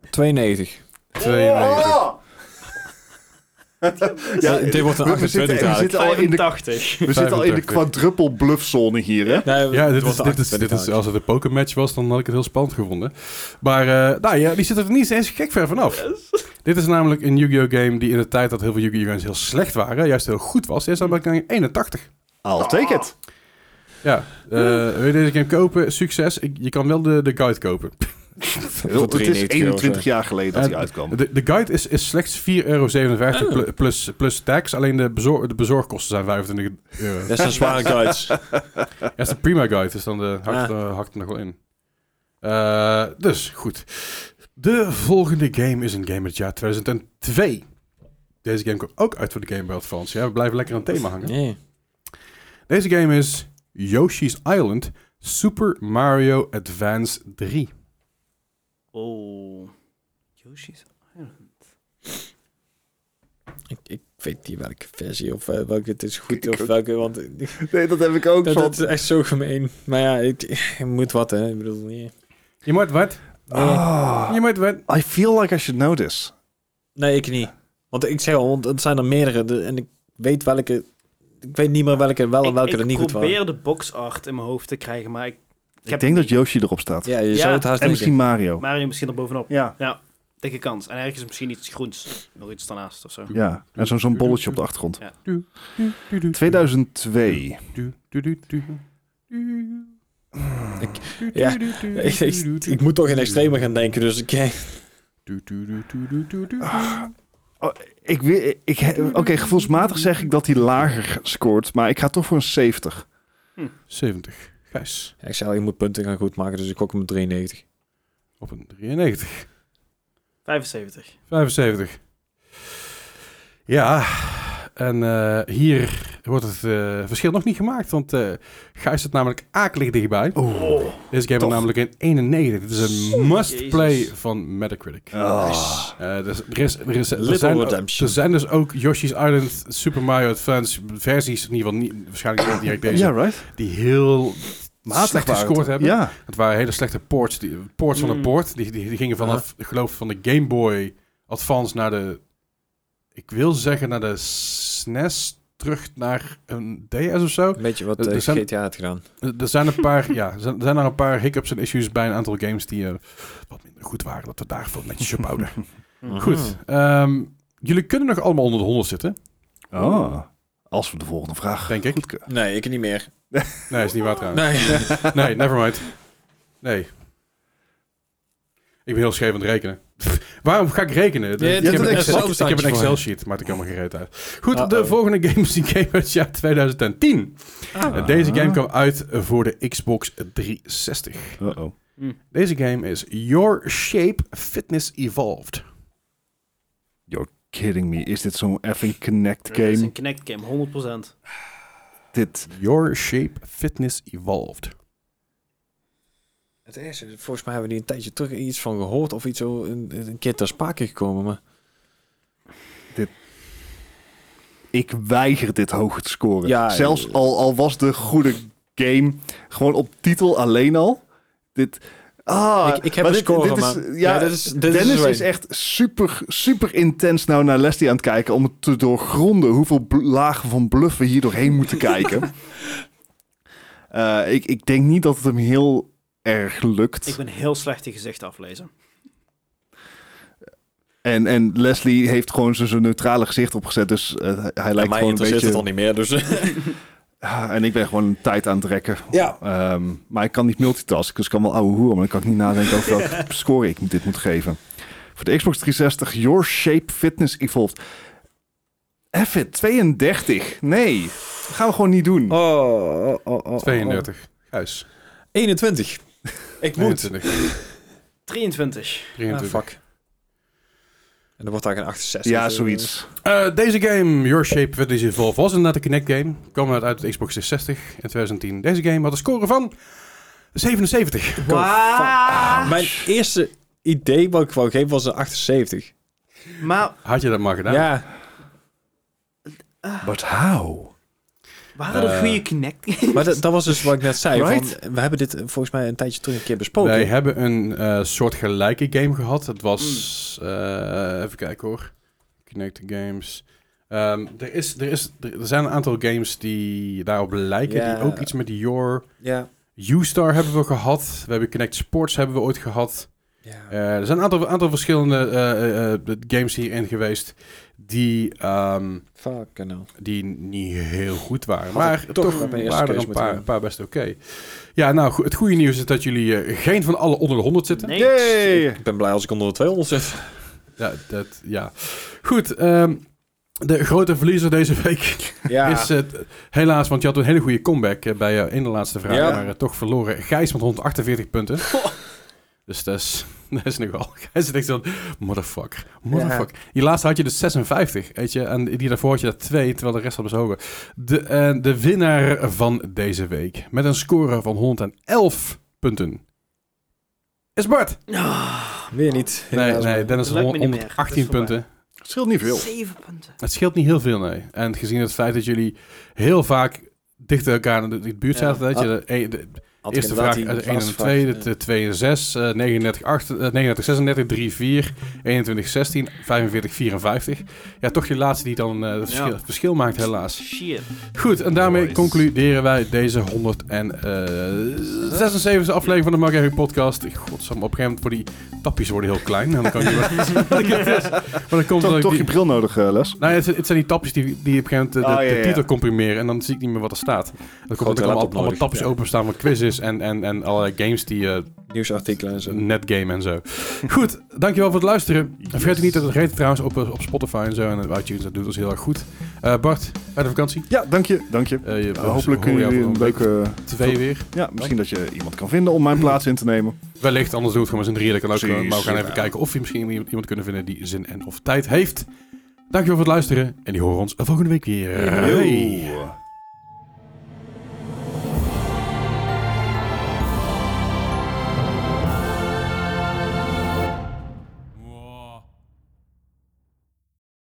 B: 92.
C: Oh!
A: 92.
C: Ja,
B: dit wordt een
C: we- we
B: 28
C: zitten- we
B: eigenlijk.
C: zitten al in de
D: 85.
C: We zitten al in de
A: 85.
C: quadruple bluffzone hier, hè?
B: Nee,
A: Ja, dit is,
B: wordt een
A: dit is,
B: 28
A: dit is,
B: eigenlijk.
A: als het een pokermatch was, dan had ik het heel spannend gevonden. Maar eh, nou ja, die zit er niet eens gek ver vanaf. Dit is namelijk een Yu-Gi-Oh! game die in de tijd dat heel veel Yu-Gi-Oh! games heel slecht waren, juist heel goed was. Eerst namelijk een 81.
C: I'll take it.
A: Ja, eh, wil je deze game kopen? Succes. Ik- je kan wel de, de guide kopen.
B: Voor
C: Het is
B: 93 euro,
C: 21
B: zeg.
C: jaar geleden dat
A: Ja,
C: hij uitkwam.
A: De, de guide is, is slechts 4,57 euro plu- plus, plus tax. Alleen de, bezor- de bezorgkosten zijn 25 euro.
B: Dat zijn zware guides.
A: Ja, het is de prima guide, dus dan eh, hakt,
B: Ah.
A: eh, hakt er nog wel in. Eh, dus, goed. De volgende game is een game uit het jaar 2002. Deze game komt ook uit voor de Game Boy Advance. Ja, we blijven lekker aan het thema hangen.
B: Nee.
A: Deze game is Yoshi's Island Super Mario Advance 3.
D: Oh. Yoshi's Island.
B: Ik, ik weet niet welke versie of eh, welke het is goed
C: Ik
B: of
C: ook.
B: welke, want ik-
C: Nee, dat heb ik ook.
B: dat,
C: van-
B: dat is echt zo gemeen. Maar ja, ik, je moet wat hè, ik bedoel nee.
A: Je moet wat? Eh,
C: Ah,
A: Je moet wat?
C: I feel like I should know this.
B: Nee, ik niet. Want ik zeg al, want het zijn er meerdere de- en ik weet welke, ik weet niet meer welke wel en welke
D: ik,
B: er niet
D: ik
B: goed waren.
D: probeer de box art in mijn hoofd te krijgen, maar ik,
C: Ik,
D: heb
C: denk dat
D: niet-
C: Yoshi erop staat.
B: Ja, je
D: Ja,
B: zou het haast
C: en
B: denken.
C: misschien Mario.
D: Mario misschien er bovenop.
C: Ja,
D: Dikke kans. En ergens misschien iets groens. Nog iets daarnaast of zo.
C: ja. En zo- zo'n bolletje op de achtergrond. 2002.
B: ja, Ik, ik, ik moet toch in extreme gaan denken, dus ik... Ah.
C: Oh, ik weet- ik, he- Oké, gevoelsmatig zeg ik dat hij lager scoort, maar ik ga toch voor een 70.
A: 70. Gijs.
B: Ja, ik zei al, je moet punten gaan goed maken, dus ik gok hem op 93.
A: Op een 93.
D: 75.
A: 75. Ja, en eh, hier wordt het eh, verschil nog niet gemaakt, want eh Gijs zit namelijk akelig dichtbij.
C: Oeh.
A: Deze game
C: toch.
A: is namelijk een 91. Dit is een
D: Jezus.
A: must-play van Metacritic.
C: Ah.
A: Eh, dus er, is, er, is, er,
B: Little
A: zijn,
B: Redemption.
A: er zijn dus ook Yoshi's Island, Super Mario Advance versies, in ieder geval niet, waarschijnlijk niet direct deze,
C: Ja, right?
A: die heel
C: Matig
A: slecht
C: waren
A: gescoord
C: het.
A: hebben.
C: Ja.
A: Het waren hele slechte ports, die, ports van
D: Mm.
A: een port. Die, die, die gingen vanaf, ik geloof van de Game Boy Advance naar de, ik wil zeggen naar de SNES, terug naar een DS of zo.
B: Een beetje wat
A: Er- er
B: eh,
A: zijn-
B: GTA had gedaan.
A: Er er zijn een paar, ja, er zijn- er zijn er een paar hiccups en issues bij een aantal games die eh, wat minder goed waren. Dat we daarvoor netjes op houden. Goed, ehm, jullie kunnen nog allemaal onder de 100 zitten,
C: Oh. Als we de volgende vraag
A: denk ik.
C: goed kunnen.
B: Nee, ik niet meer.
A: Nee, is niet waar trouwens.
B: Nee.
A: Nee, never mind. Nee. Ik ben heel scheef aan het rekenen. Pff, Waarom ga ik rekenen?
B: Ja,
A: ik,
B: je
A: heb
B: hebt
A: een
B: een
A: Excel, ik,
B: Excel-bestandje
A: heb een Excel
B: voor je. Ah, oh.
A: sheet, maakt ik helemaal geen reet uit. Goed,
B: Uh-oh.
A: de volgende game is die game uit het jaar 2010.
B: Ah.
A: En Deze game kwam uit voor de Xbox 360.
C: Uh-oh.
A: Deze game is Your Shape Fitness Evolved.
C: Kidding me. Is dit zo'n effing Connect
D: Het is
C: game?
D: een Kinect game, 100%.
C: Dit.
A: Your Shape Fitness
B: Oh,
A: Evolved.
B: Het eerste, volgens mij hebben we die een tijdje terug iets van gehoord of iets zo een, een keer ter sprake gekomen. Maar
C: Ik weiger dit hoog te scoren.
B: Ja,
C: Zelfs
B: eh,
C: al, al was de goede game gewoon op titel alleen al. Dit. Ah,
B: ik, ik heb
C: maar
B: een score,
C: dit is,
B: maar...
C: ja,
B: dit is, dit
C: Dennis is,
B: zo-
C: echt super, super intens nou naar Leslie aan het kijken om te doorgronden hoeveel bl- lagen van bluff we hier doorheen moeten kijken. Eh, ik, ik denk niet dat het hem heel erg lukt.
D: Ik ben heel slecht in gezicht aflezen.
C: En, en Leslie heeft gewoon zijn zijn neutrale gezicht opgezet, dus eh, hij
B: Ja,
C: lijkt
B: mij
C: gewoon een
B: interesseert het al
C: beetje...
B: niet meer, dus...
C: Ah, En ik ben gewoon een tijd aan het rekken.
B: ja.
C: Ehm, maar ik kan niet multitasken, dus ik kan wel ouwe hoeren, maar dan kan ik niet nadenken over welke score ik dit moet geven. Voor de Xbox 360, Your Shape Fitness Evolved. Even 32. Nee, dat gaan we gewoon niet doen.
B: Oh, oh, oh, oh, oh.
A: 32. Gijs.
B: 21. Ik moet.
A: 22.
D: 23.
B: Ah,
A: 23.
B: fuck. En dan wordt daar een 68.
C: ja,
B: of zo.
C: zoiets.
A: Eh, deze game, Your Shape Fitness Evolved, was inderdaad een Kinect game. Kwam uit uit de Xbox 360 in 2010. Deze game had een score van 87,5. 77.
D: Wauw.
B: Eh, Ah. Mijn eerste idee wat ik wou geven was een 78.
D: Maar
A: Had je dat maar gedaan?
B: Ja,
C: But how?
D: waren er
B: Eh,
D: goede connect?
B: maar dat, dat was dus wat ik net zei.
C: Right?
B: Van, we hebben dit eh, volgens mij een tijdje terug een keer besproken.
A: Wij hebben een eh, soort gelijke game gehad. Het was...
B: Hmm.
A: eh, even kijken hoor. Connect Games. Ehm, er, is, er, is, er zijn een aantal games die daarop lijken.
B: Ja.
A: Die ook iets met Your...
B: Ja.
A: U-Star hebben we gehad. We hebben Connect Sports hebben we ooit gehad.
B: ja.
A: Eh, er zijn een aantal, aantal verschillende eh, eh, games hierin geweest die, ehm,
B: Fuck, nou.
A: die niet heel goed waren.
B: Had
A: maar
B: ik toch
A: toch
B: bij mijn eerste
A: waren er
B: keus
A: een paar,
B: moeten
A: een paar best oké. Ja, nou, go- het goede nieuws is dat jullie eh, geen van alle onder de 100 zitten.
D: Nee.
C: Yay!
B: Ik ben blij als ik onder de 200 zit.
A: Ja, dat, ja. Goed, ehm, de grote verliezer deze week
B: Ja.
A: is het helaas, want je had een hele goede comeback eh, bij je in de laatste vraag,
B: Ja.
A: maar eh, toch verloren. Gijs met 148 punten. Dus dat is, dat is nogal. Gijs zit echt zo, motherfucker, motherfucker. Die laatste had je dus 56, weet je. En die daarvoor had je dat 2, terwijl de rest had bezogen. De, eh, de winnaar van deze week, met een score van 111 punten, is Bart.
D: Ah,
B: Weer niet.
A: Nee,
B: Helaas,
A: nee,
B: maar-
A: Dennis
D: Het lukt me niet meer.
A: 118
D: Het is
A: punten.
C: Het scheelt niet veel.
D: Zeven punten.
A: Het scheelt niet heel veel, nee. En gezien het feit dat jullie heel vaak dichter elkaar in de, de buurt
D: Ja.
A: zaten, dat je
B: Ah.
A: de, een- de
B: Had ik
A: eerste
B: inderdaad
A: vraag
B: die
A: 1 en
B: laatste
A: 2,
B: vraag,
A: de
B: ja.
A: de 2 en 6, eh, 39, 8, eh, 39, 36, 3, 4, 21, 16, 45, 54. Ja, toch je laatste die dan eh, het verschil,
D: Ja.
A: verschil maakt, helaas.
D: Shit.
A: Goed, en daarmee
C: Nice.
A: concluderen wij deze 176e aflevering van de Mark Harry Podcast. Ik- Godsam, op een gegeven moment voor die tapjes worden heel klein. En dan kan ik niet meer- wat ik het is. Maar dan komt
C: Toch,
A: dan
C: toch
A: die-
C: je bril nodig, eh, Les.
A: nou, ja, het, het zijn die tapjes die, die op een gegeven moment de, de-
C: Oh, ja,
A: de
C: ja.
A: titel comprimeren. En dan zie ik niet meer wat er staat. Dan komt
B: laptop
A: er allemaal,
B: nodig,
A: allemaal tapjes
B: ja.
A: openstaan van quizzes en, en, en allerlei games die eh
B: Nieuwsartikelen en zo.
A: netgame en zo. Goed, dankjewel voor het luisteren. En Vergeet ook
C: Yes.
A: niet dat het reten trouwens op, eh, op Spotify en zo en op iTunes. Dat doet ons heel erg goed. Eh, Bart, bij de vakantie.
C: Ja, dank je. Dank je.
A: Eh, je-
C: Ja,
A: we
C: hopelijk
A: horen
C: kunnen
A: jou
C: jullie
A: over
C: een leuke...
A: Twee weer.
C: Ja, misschien dat je iemand kan vinden om mijn plaats in te nemen.
A: Wellicht, anders doen we het gewoon met z'n drieën. Dat kan ook.
C: Precies,
A: maar we gaan even
C: ja.
A: kijken of we misschien iemand iemand kunnen vinden die zin en of tijd heeft. Dankjewel voor het luisteren. En die horen ons volgende week weer. Hey.
C: Yo.